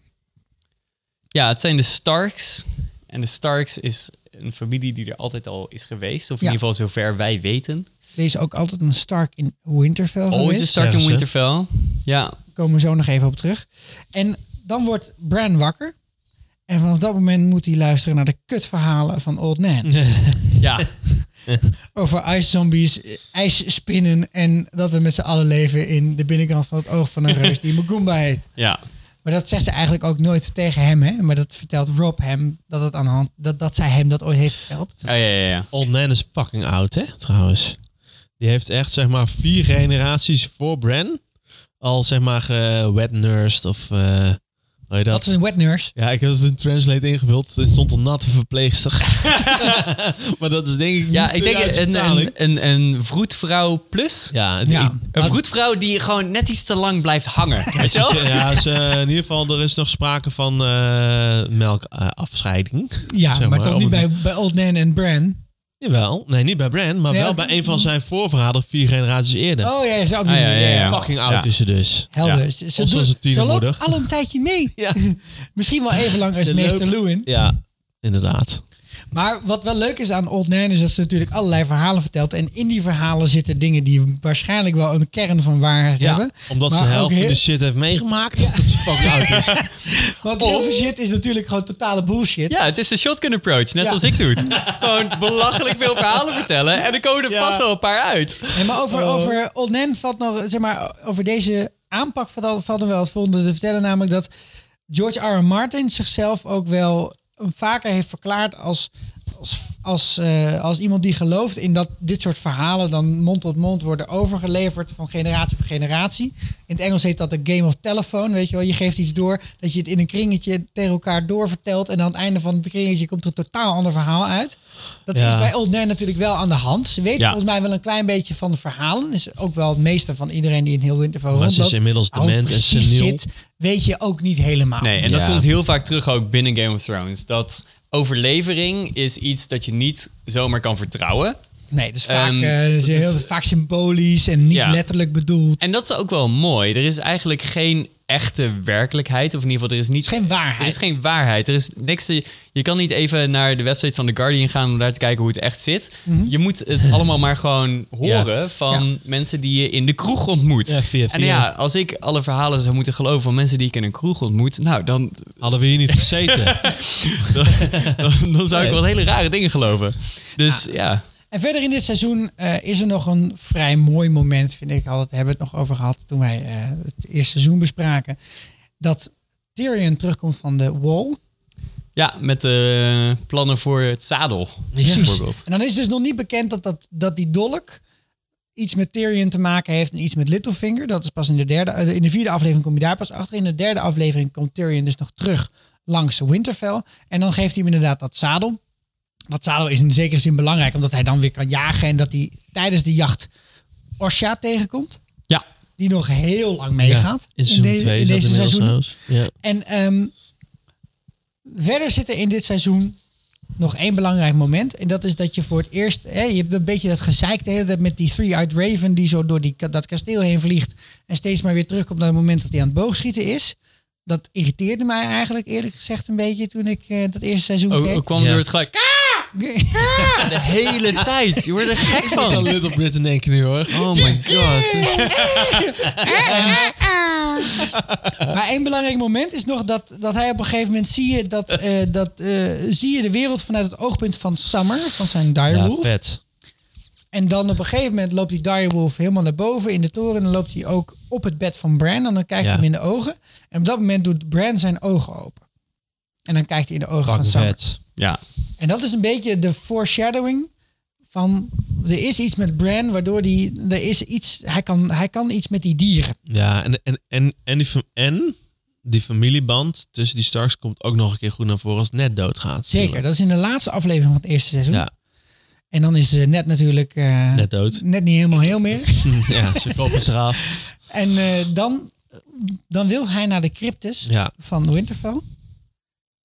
Speaker 1: Ja, het zijn de Starks. En de Starks is een familie die er altijd al is geweest. Of in
Speaker 4: Ja.
Speaker 1: ieder geval zover wij weten.
Speaker 4: Er is ook altijd een Stark in Winterfell
Speaker 1: Oh, is
Speaker 4: geweest.
Speaker 1: een Stark
Speaker 5: zeggen
Speaker 1: in
Speaker 5: ze.
Speaker 1: Winterfell. Ja,
Speaker 4: Daar komen we zo nog even op terug. En dan wordt Bran wakker. En vanaf dat moment moet hij luisteren naar de kutverhalen van Old Nan.
Speaker 1: ja.
Speaker 4: Over ijszombies, eh, ijsspinnen en dat we met z'n allen leven in de binnenkant van het oog van een reus die Magumba heet.
Speaker 1: ja.
Speaker 4: Maar dat zegt ze eigenlijk ook nooit tegen hem, hè? Maar dat vertelt Rob hem, dat, het aan de hand, dat, dat zij hem dat ooit heeft verteld.
Speaker 1: Oh, ja, ja, ja.
Speaker 5: Old Nan is fucking oud, hè, trouwens. Die heeft echt, zeg maar, vier generaties voor Bran al, zeg maar, wet nursed of... eh hoe heet
Speaker 4: Dat is
Speaker 5: dat?
Speaker 4: een wet nurse.
Speaker 5: Ja, ik heb het in Translate ingevuld. Het stond een natte verpleegster. maar dat is denk ik
Speaker 1: Ja,
Speaker 5: niet
Speaker 1: ik
Speaker 5: de
Speaker 1: denk
Speaker 5: juiste
Speaker 1: een,
Speaker 5: vertaling.
Speaker 1: een, een, een vroedvrouw plus.
Speaker 5: Ja, die-
Speaker 4: Ja.
Speaker 1: Een vroedvrouw die gewoon net iets te lang blijft hangen.
Speaker 5: Ja,
Speaker 1: Weet je
Speaker 5: ze-
Speaker 1: wel?
Speaker 5: ze- ja, ze- in ieder geval, er is nog sprake van eh, melkafscheiding.
Speaker 4: Ja,
Speaker 5: Zeg
Speaker 4: maar,
Speaker 5: maar,
Speaker 4: toch niet
Speaker 5: om-
Speaker 4: bij, bij Old Nan en Bran.
Speaker 5: Jawel. Nee, niet bij Bran, maar
Speaker 4: Nee,
Speaker 5: wel
Speaker 4: ook-
Speaker 5: bij een van zijn voorverhalen vier generaties eerder.
Speaker 4: Oh ja, zo op die
Speaker 1: Ah, ja,
Speaker 4: manier,
Speaker 1: ja, ja.
Speaker 5: Fucking oud
Speaker 1: Ja.
Speaker 5: is ze dus.
Speaker 4: Helder.
Speaker 1: Ja.
Speaker 4: Ze, ze,
Speaker 5: Of
Speaker 4: doet-
Speaker 5: zoals een
Speaker 4: ze loopt
Speaker 5: tienermoeder.
Speaker 4: al een tijdje mee.
Speaker 5: Ja.
Speaker 4: Misschien wel even lang als
Speaker 5: Ze
Speaker 4: meester
Speaker 5: loopt-
Speaker 4: Lewin.
Speaker 5: Ja, inderdaad.
Speaker 4: Maar wat wel leuk is aan Old Nan is dat ze natuurlijk allerlei verhalen vertelt. En in die verhalen zitten dingen die waarschijnlijk wel een kern van waarheid hebben.
Speaker 5: Omdat
Speaker 4: Maar
Speaker 5: ze dus de
Speaker 4: ook
Speaker 5: helft van
Speaker 4: heel-
Speaker 5: de shit heeft meegemaakt. Dat ze fucking oud is.
Speaker 4: Maar ook heel veel shit is natuurlijk gewoon totale bullshit.
Speaker 1: Ja, het is de shotgun approach, net
Speaker 4: Ja.
Speaker 1: als ik doe het. Gewoon belachelijk veel verhalen vertellen en er komen er vast wel een paar uit.
Speaker 4: En maar over, over Old Nan valt nog, zeg maar, over deze aanpak valt, al- valt er wel het volgende te vertellen. Namelijk dat George R. R. Martin zichzelf ook wel vaker heeft verklaard als, als, als, eh, als iemand die gelooft in dat dit soort verhalen dan mond tot mond worden overgeleverd van generatie op generatie. In het Engels heet dat de game of telephone. Weet je wel, je geeft iets door dat je het in een kringetje tegen elkaar doorvertelt. En aan het einde van het kringetje komt er een totaal ander verhaal uit. Dat
Speaker 5: Ja.
Speaker 4: is bij Old Nan Oh, natuurlijk wel aan de hand. Ze weet
Speaker 1: Ja.
Speaker 4: volgens mij wel een klein beetje van de verhalen. Is ook wel het meeste van iedereen die in heel Winterfell
Speaker 5: Maar
Speaker 4: rondloopt.
Speaker 5: ze is inmiddels
Speaker 4: Hoe het
Speaker 5: dement en
Speaker 4: precies
Speaker 5: seniel.
Speaker 4: zit, weet je ook niet helemaal.
Speaker 1: Nee, en dat
Speaker 5: Ja.
Speaker 1: komt heel vaak terug ook binnen Game of Thrones. Dat overlevering is iets dat je niet zomaar kan vertrouwen.
Speaker 4: Nee, dus vaak,
Speaker 1: Ehm,
Speaker 4: eh,
Speaker 1: dat
Speaker 4: ze heel,
Speaker 1: is-
Speaker 4: vaak symbolisch en niet
Speaker 1: Ja.
Speaker 4: letterlijk bedoeld.
Speaker 1: En dat is ook wel mooi. Er is eigenlijk geen echte werkelijkheid. Of in ieder geval, er is niet
Speaker 4: Het is geen waarheid.
Speaker 1: Er is geen waarheid. Er is niks. te- Je kan niet even naar de website van The Guardian gaan om daar te kijken hoe het echt zit.
Speaker 5: Mhm.
Speaker 1: Je moet het allemaal maar gewoon horen van mensen die je in de kroeg ontmoet.
Speaker 5: Ja, via-
Speaker 1: En nou
Speaker 5: via.
Speaker 1: ja, als ik alle verhalen zou moeten geloven van mensen die ik in een kroeg ontmoet, nou dan,
Speaker 5: Hadden we hier niet gezeten.
Speaker 1: dan, dan zou ik wel hele rare dingen geloven. Dus ja.
Speaker 4: En verder in dit seizoen eh, is er nog een vrij mooi moment, vind ik. Al dat hebben we het nog over gehad toen wij eh, het eerste seizoen bespraken. Dat Tyrion terugkomt van de Wall.
Speaker 1: Ja, met de plannen voor het zadel. Bijvoorbeeld.
Speaker 4: En dan is dus nog niet bekend dat, dat, dat die dolk iets met Tyrion te maken heeft en iets met Littlefinger. Dat is pas in de derde, eh, in de vierde aflevering kom je daar pas achter. In de derde aflevering komt Tyrion dus nog terug langs Winterfell. En dan geeft hij hem inderdaad dat zadel. Dat zadel is in zekere zin belangrijk, omdat hij dan weer kan jagen en dat hij tijdens de jacht Osha tegenkomt.
Speaker 1: Ja.
Speaker 4: Die nog heel lang meegaat.
Speaker 5: In seizoen
Speaker 4: deze-
Speaker 5: 2 is dat
Speaker 4: deze
Speaker 5: inmiddels eh,
Speaker 4: seizoenen.
Speaker 5: trouwens. Ja.
Speaker 4: En ehm, verder zit er in dit seizoen nog één belangrijk moment. En dat is dat je voor het eerst... Hè, je hebt een beetje dat gezeik de hele tijd met die three-eyed raven... die zo door die, ka- dat kasteel heen vliegt... en steeds maar weer terugkomt naar het moment dat hij aan het boogschieten is. Dat irriteerde mij eigenlijk eerlijk gezegd een beetje... toen ik eh, dat eerste seizoen
Speaker 1: Ook
Speaker 4: keek.
Speaker 1: ook Oh, kwam
Speaker 5: Ja.
Speaker 1: door het geluid. Ah, de hele tijd. Je wordt er gek
Speaker 5: Ik
Speaker 1: van.
Speaker 5: aan Little Britain denken nu hoor.
Speaker 1: Oh my god.
Speaker 4: Maar één belangrijk moment is nog dat, dat hij op een gegeven moment... zie je, dat, eh, dat, eh, zie je de wereld vanuit het oogpunt van Summer... van zijn direwolf.
Speaker 5: Ja, vet.
Speaker 4: En dan op een gegeven moment loopt die direwolf helemaal naar boven in de toren. En dan loopt hij ook op het bed van Bran. En dan kijkt
Speaker 5: Ja.
Speaker 4: hij hem in de ogen. En op dat moment doet Bran zijn ogen open. En dan kijkt hij in de ogen van
Speaker 5: Fucking
Speaker 4: Sam.
Speaker 5: vet.
Speaker 1: Ja,
Speaker 4: En dat is een beetje de foreshadowing van... Er is iets met Bran, waardoor die, er is iets, hij, kan, hij kan iets met die dieren.
Speaker 5: Ja, en, en, en, en, die, fam- en die familieband tussen die Starks komt ook nog een keer goed naar voren als het net doodgaat.
Speaker 4: Zeker, dat is in de laatste aflevering van het eerste seizoen.
Speaker 5: Ja.
Speaker 4: En dan is ze net natuurlijk eh,
Speaker 5: Net dood.
Speaker 4: net niet helemaal heel meer.
Speaker 5: ja, ze koppen ze eraf.
Speaker 4: En eh, dan, dan wil hij naar de cryptus
Speaker 5: Ja,
Speaker 4: van Winterfell.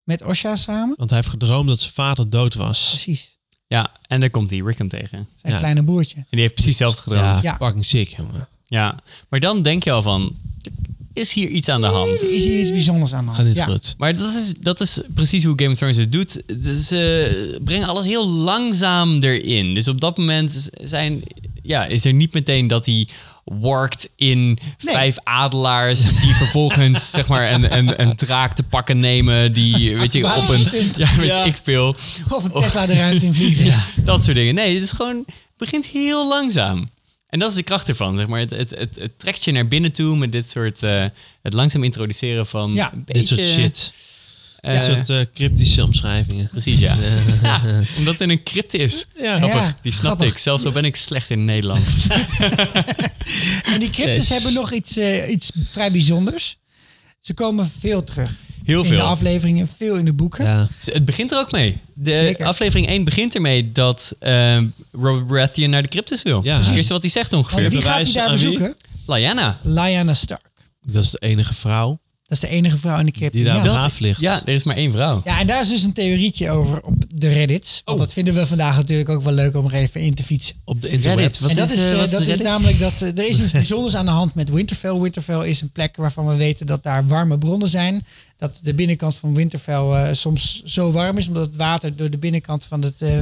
Speaker 4: Met Osha samen.
Speaker 5: want hij heeft gedroomd dat zijn vader dood was.
Speaker 4: Precies.
Speaker 1: Ja, en daar komt die Rick hem tegen. En
Speaker 4: Zijn
Speaker 5: Ja.
Speaker 4: kleine broertje.
Speaker 1: die heeft precies hetzelfde gedaan.
Speaker 5: Ja,
Speaker 1: Ja.
Speaker 4: Ja.
Speaker 5: fucking sick, jongen.
Speaker 1: maar dan denk je al van, is hier iets aan de hand?
Speaker 4: Is hier iets bijzonders aan de hand?
Speaker 5: Gaat niet
Speaker 4: ja.
Speaker 5: goed.
Speaker 1: Maar dat is, dat is precies hoe Game of Thrones het doet. Ze brengen alles heel langzaam erin. Dus op dat moment zijn, ja, is er niet meteen dat hij warkt in vijf adelaars... die vervolgens zeg maar, een, een, een draak te pakken nemen... die weet je, op een...
Speaker 4: Basisstint.
Speaker 1: Ja, weet
Speaker 4: Ja.
Speaker 1: ik veel.
Speaker 4: Of een Tesla de ruimte in vliegen.
Speaker 1: Dat soort dingen. Nee, het is gewoon, het begint heel langzaam. En dat is de kracht ervan, zeg maar. Het, het, het, het trekt je naar binnen toe met dit soort... eh, het langzaam introduceren van...
Speaker 4: Ja,
Speaker 1: een
Speaker 5: Dit soort
Speaker 1: beetje,
Speaker 5: shit.
Speaker 1: eh,
Speaker 5: Dit soort eh, cryptische omschrijvingen.
Speaker 1: Precies, ja. ja. Omdat het in een crypte is.
Speaker 5: Ja.
Speaker 1: Grappig,
Speaker 4: Ja,
Speaker 1: die snapte
Speaker 4: grappig.
Speaker 1: ik. Zelfs al ben ik slecht in Nederlands.
Speaker 4: En die cryptus
Speaker 5: Jezus.
Speaker 4: hebben nog iets, eh, iets vrij bijzonders. Ze komen veel terug.
Speaker 1: Heel
Speaker 4: In de
Speaker 1: veel.
Speaker 4: afleveringen, veel in de boeken.
Speaker 5: Ja.
Speaker 1: Dus Het begint er ook mee. De
Speaker 4: Zeker.
Speaker 1: aflevering 1 begint ermee dat ehm, Robert Baratheon naar de cryptes wil. Dat
Speaker 5: Ja.
Speaker 1: is het
Speaker 5: Precies.
Speaker 1: eerste wat hij zegt ongeveer.
Speaker 4: Want wie gaat hij
Speaker 5: bewijzen
Speaker 4: daar
Speaker 5: aan wie?
Speaker 4: bezoeken?
Speaker 1: Lyanna.
Speaker 4: Lyanna Stark.
Speaker 5: Dat is de enige vrouw
Speaker 4: Dat is de enige vrouw in de cryptus.
Speaker 5: die daar
Speaker 4: ja.
Speaker 5: op haaf ligt.
Speaker 1: Ja, er is maar één vrouw.
Speaker 4: Ja, en daar is dus een theorietje over op de Reddits. Want
Speaker 1: Oh.
Speaker 4: dat vinden we vandaag natuurlijk ook wel leuk om er even in te fietsen.
Speaker 5: Op de internet.
Speaker 1: Reddit, wat-
Speaker 4: en dat
Speaker 1: is,
Speaker 4: is,
Speaker 1: eh,
Speaker 4: eh,
Speaker 1: wat is
Speaker 4: dat is
Speaker 1: Reddit?
Speaker 4: namelijk dat eh, er is iets bijzonders aan de hand met Winterfell. Winterfell is een plek waarvan we weten dat daar warme bronnen zijn. Dat de binnenkant van Winterfell eh, soms zo warm is, omdat het water door de binnenkant van het eh,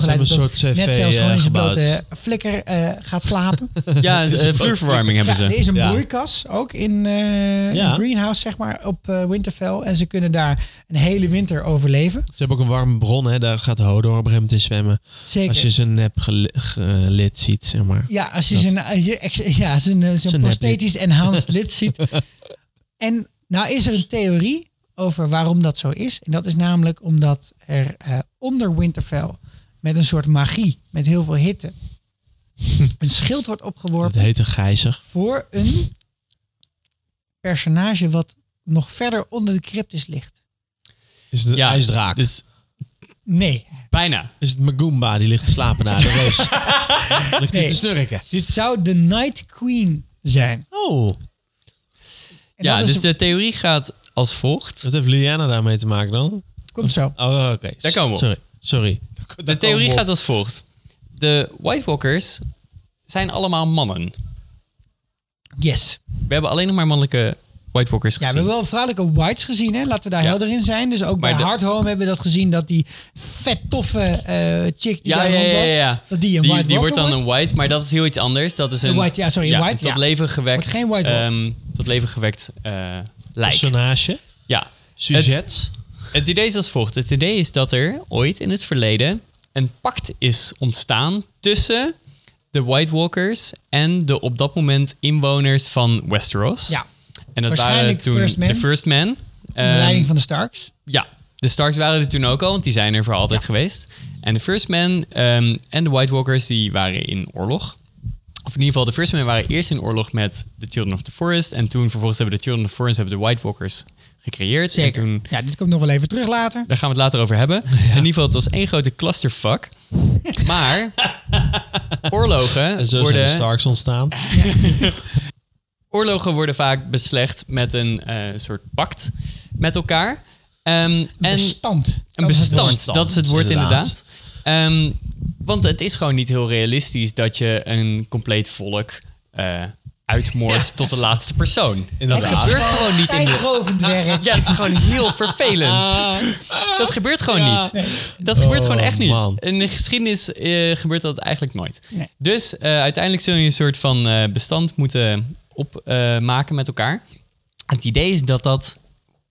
Speaker 5: Ze hebben
Speaker 4: geleid is.
Speaker 5: een
Speaker 4: dat
Speaker 5: soort CV
Speaker 4: Net zelfs gewoon
Speaker 5: eh,
Speaker 4: in zijn
Speaker 5: gebouwd.
Speaker 4: blote flikker eh, gaat slapen.
Speaker 1: Ja, eh,
Speaker 5: Dus-
Speaker 1: vloerverwarming hebben
Speaker 4: Ja, er
Speaker 1: ze.
Speaker 4: is een
Speaker 5: Ja.
Speaker 4: broeikas ook in eh,
Speaker 5: Ja.
Speaker 4: een greenhouse, zeg maar, op eh, Winterfell. En ze kunnen daar een hele winter overleven.
Speaker 5: Ze hebben ook een warme bron, hè. Daar gaat Hodor op een gegeven moment in zwemmen.
Speaker 4: Zeker.
Speaker 5: Als je zijn nep geli- gelid ziet, zeg maar.
Speaker 4: Ja, als je
Speaker 5: Dat-
Speaker 4: zijn, als je ex- ja, zijn, eh, zijn
Speaker 5: Zijn
Speaker 4: prosthetisch enhanced lid ziet. En nou is er een theorie over waarom dat zo is. En dat is namelijk omdat er eh, onder Winterfell met een soort magie, met heel veel hitte, een schild wordt
Speaker 5: Dat
Speaker 4: opgeworpen
Speaker 5: heet een gijzer.
Speaker 4: voor een personage wat nog verder onder de cryptis ligt.
Speaker 5: Is het een
Speaker 1: Ja,
Speaker 5: ijsdraak?
Speaker 1: Dus
Speaker 4: Nee,
Speaker 1: bijna.
Speaker 5: Is het Magumba die ligt te slapen daar, de reus? ligt hij
Speaker 4: Nee.
Speaker 5: te snurken?
Speaker 4: dit zou de Night Queen zijn.
Speaker 5: Oh,
Speaker 4: En
Speaker 1: ja,
Speaker 4: dat
Speaker 1: dus
Speaker 4: is,
Speaker 1: de theorie gaat als volgt.
Speaker 5: wat heeft Liliana daarmee te maken dan?
Speaker 4: komt zo.
Speaker 5: Oh, oké.
Speaker 1: Daar komen we op.
Speaker 5: Sorry, sorry.
Speaker 1: De theorie gaat als volgt. De White Walkers zijn allemaal mannen.
Speaker 4: Yes.
Speaker 1: We hebben alleen nog maar mannelijke White Walkers
Speaker 4: Ja,
Speaker 1: gezien.
Speaker 4: we hebben wel vrouwelijke whites gezien, hè? Laten we daar
Speaker 1: Ja.
Speaker 4: helder in zijn. Dus ook
Speaker 1: Maar
Speaker 4: bij
Speaker 1: de-
Speaker 4: Hard Home hebben we dat gezien, dat die vet toffe eh, chick die
Speaker 1: Ja,
Speaker 4: daar
Speaker 1: ja, ja,
Speaker 4: rondloopt,
Speaker 1: ja, ja.
Speaker 4: dat die een
Speaker 1: die,
Speaker 4: white
Speaker 1: die wordt
Speaker 4: Walker
Speaker 1: dan een white, maar dat is heel iets anders. Dat is
Speaker 4: Een
Speaker 1: een,
Speaker 4: white, ja, sorry, een white,
Speaker 1: tot
Speaker 4: ja.
Speaker 1: leven gewekt,
Speaker 4: Wordt geen white walker.
Speaker 1: ehm, tot leven gewekt eh lijk.
Speaker 5: Personage,
Speaker 1: Ja.
Speaker 5: sujet.
Speaker 1: Het idee is als volgt. Het idee is dat er ooit in het verleden een pact is ontstaan tussen de White Walkers en de op dat moment inwoners van Westeros.
Speaker 4: Ja,
Speaker 1: En dat waren
Speaker 4: Waarschijnlijk
Speaker 1: toen
Speaker 4: First Man.
Speaker 1: de First Man.
Speaker 4: onder
Speaker 1: Ehm,
Speaker 4: leiding van de Starks.
Speaker 1: ja, de Starks waren er toen ook al, want die zijn er voor altijd geweest. En de First Men ehm, en de White Walkers, die waren in oorlog. Of in ieder geval, de First Men waren eerst in oorlog met de Children of the Forest. En toen vervolgens hebben de Children of the Forest hebben de White Walkers gecreëerd.
Speaker 4: Zeker.
Speaker 1: En toen,
Speaker 4: Ja, dit komt nog wel even terug later.
Speaker 1: daar gaan we het later over hebben. In ieder geval, het was één grote clusterfuck. maar
Speaker 5: En
Speaker 1: oorlogen
Speaker 5: zo zijn de
Speaker 1: worden,
Speaker 5: Starks ontstaan.
Speaker 1: oorlogen worden vaak beslecht met een eh, soort pact met elkaar. Ehm,
Speaker 4: Een
Speaker 1: en
Speaker 4: bestand.
Speaker 1: Een
Speaker 4: Dat is het
Speaker 1: bestand,
Speaker 4: woord.
Speaker 5: bestand,
Speaker 1: dat is het woord inderdaad.
Speaker 5: inderdaad.
Speaker 1: Ehm, want het is gewoon niet heel realistisch dat je een compleet volk eh uitmoordt tot de laatste persoon.
Speaker 5: Inderdaad.
Speaker 1: Dat gebeurt gewoon niet in de...
Speaker 4: Tijdrovend werk.
Speaker 1: Ja, het is gewoon heel vervelend. Dat gebeurt gewoon niet. Dat gebeurt gewoon echt niet.
Speaker 5: man.
Speaker 1: In de geschiedenis eh, gebeurt dat eigenlijk nooit.
Speaker 4: Nee.
Speaker 1: Dus eh, uiteindelijk zul je een soort van eh, bestand moeten opmaken met elkaar. Het idee is dat dat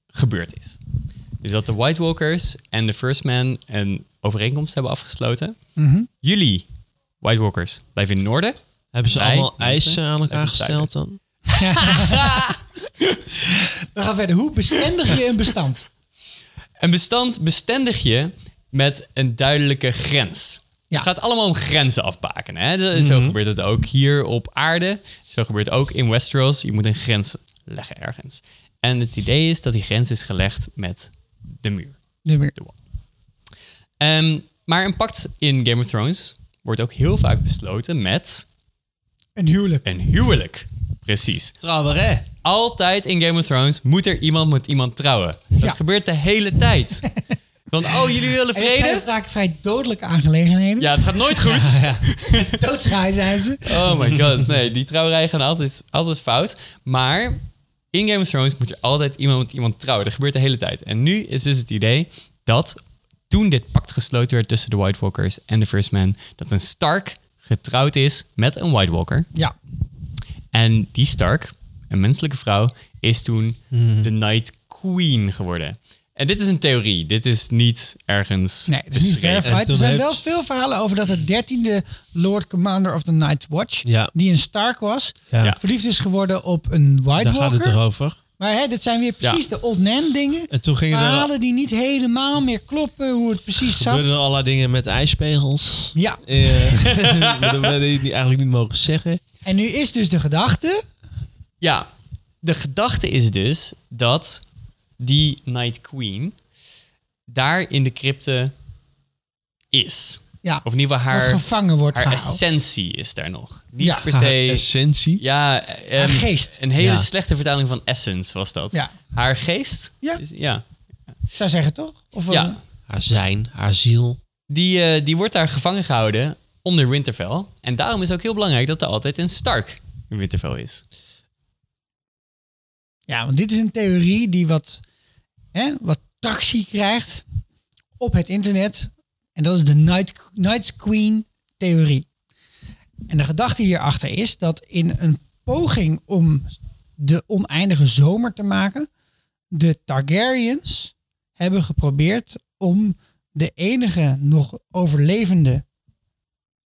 Speaker 1: gebeurd is. Dus dat de White Walkers en de First Man een overeenkomst hebben afgesloten. Jullie, White Walkers, blijven in het noorden.
Speaker 5: Hebben ze
Speaker 1: Wij,
Speaker 5: allemaal
Speaker 1: mensen,
Speaker 5: eisen aan elkaar
Speaker 1: even
Speaker 5: gesteld dan?
Speaker 4: We gaan verder. Hoe bestendig je een bestand?
Speaker 1: Een bestand bestendig je met een duidelijke grens.
Speaker 4: Ja. Mhm.
Speaker 1: Het gaat allemaal om grenzen afbakenen. Hè? De- Zo gebeurt het ook hier op aarde. Zo gebeurt het ook in Westeros. Je moet een grens leggen ergens. En het idee is dat die grens is gelegd met de muur.
Speaker 4: Nummer.
Speaker 1: Ehm, Maar een pact in Game of Thrones wordt ook heel vaak besloten met
Speaker 4: Een huwelijk.
Speaker 1: een huwelijk. Precies.
Speaker 5: Trouwerij.
Speaker 1: Altijd in Game of Thrones moet er iemand met iemand trouwen. Dat
Speaker 4: Ja.
Speaker 1: gebeurt de hele tijd. Want oh, jullie willen
Speaker 4: En het zijn
Speaker 1: vrede?
Speaker 4: vaak vrij dodelijke aangelegenheden.
Speaker 1: Ja, het gaat nooit goed.
Speaker 4: Doodzaai zijn ze.
Speaker 1: Oh my god, nee, die trouwerijen gaan altijd, altijd fout. Maar in Game of Thrones moet er altijd iemand met iemand trouwen. Dat gebeurt de hele tijd. En nu is dus het idee dat toen dit pact gesloten werd tussen de White Walkers en de First Man, dat een Stark getrouwd is met een White Walker.
Speaker 4: Ja.
Speaker 1: En die Stark, een menselijke vrouw, is toen de Night Queen geworden. En dit is een theorie. Dit is niet ergens
Speaker 4: Nee, het is Dus niet
Speaker 1: beschreven.
Speaker 5: En
Speaker 4: verified. Er
Speaker 5: toen
Speaker 4: zijn
Speaker 5: heeft-
Speaker 4: wel veel verhalen over dat de dertiende Lord Commander of the Night Watch,
Speaker 5: Ja.
Speaker 4: die een Stark was,
Speaker 5: Ja.
Speaker 1: Ja.
Speaker 4: verliefd is geworden op een White
Speaker 5: Daar gaat
Speaker 4: Walker.
Speaker 5: het erover.
Speaker 4: Maar hè, dit zijn weer precies de old man dingen.
Speaker 5: En toen gingen er,
Speaker 4: Verhalen die niet helemaal meer kloppen, hoe het precies zat.
Speaker 5: gebeurden er allerlei dingen met ijspegels.
Speaker 4: Ja,
Speaker 5: Eh, dat we die die eigenlijk niet mogen zeggen.
Speaker 4: en nu is dus de gedachte,
Speaker 1: Ja, de gedachte is dus dat die Night Queen daar in de crypte is.
Speaker 4: ja,
Speaker 1: Of in ieder geval
Speaker 4: dat
Speaker 1: haar,
Speaker 4: gevangen wordt
Speaker 1: haar
Speaker 4: gehouden.
Speaker 1: essentie is daar nog. Niet
Speaker 4: Ja.
Speaker 1: per
Speaker 5: Haar
Speaker 1: se...
Speaker 5: essentie.
Speaker 1: Ja, ehm,
Speaker 4: Haar geest.
Speaker 1: Een hele
Speaker 5: Ja.
Speaker 1: slechte vertaling van essence was dat.
Speaker 4: Ja.
Speaker 1: Haar geest?
Speaker 4: Ja.
Speaker 1: Is- ja.
Speaker 4: Zou zeggen toch? Of,
Speaker 1: Ja.
Speaker 4: eh,
Speaker 5: Haar zijn, haar ziel.
Speaker 1: Die, eh, die wordt daar gevangen gehouden onder Winterfell. En daarom is het ook heel belangrijk dat er altijd een Stark in Winterfell is.
Speaker 4: ja, want dit is een theorie die wat, hè, wat tractie krijgt op het internet. En dat is de Night, Night's Queen theorie. En de gedachte hierachter is dat in een poging om de oneindige zomer te maken, de Targaryens hebben geprobeerd om de enige nog overlevende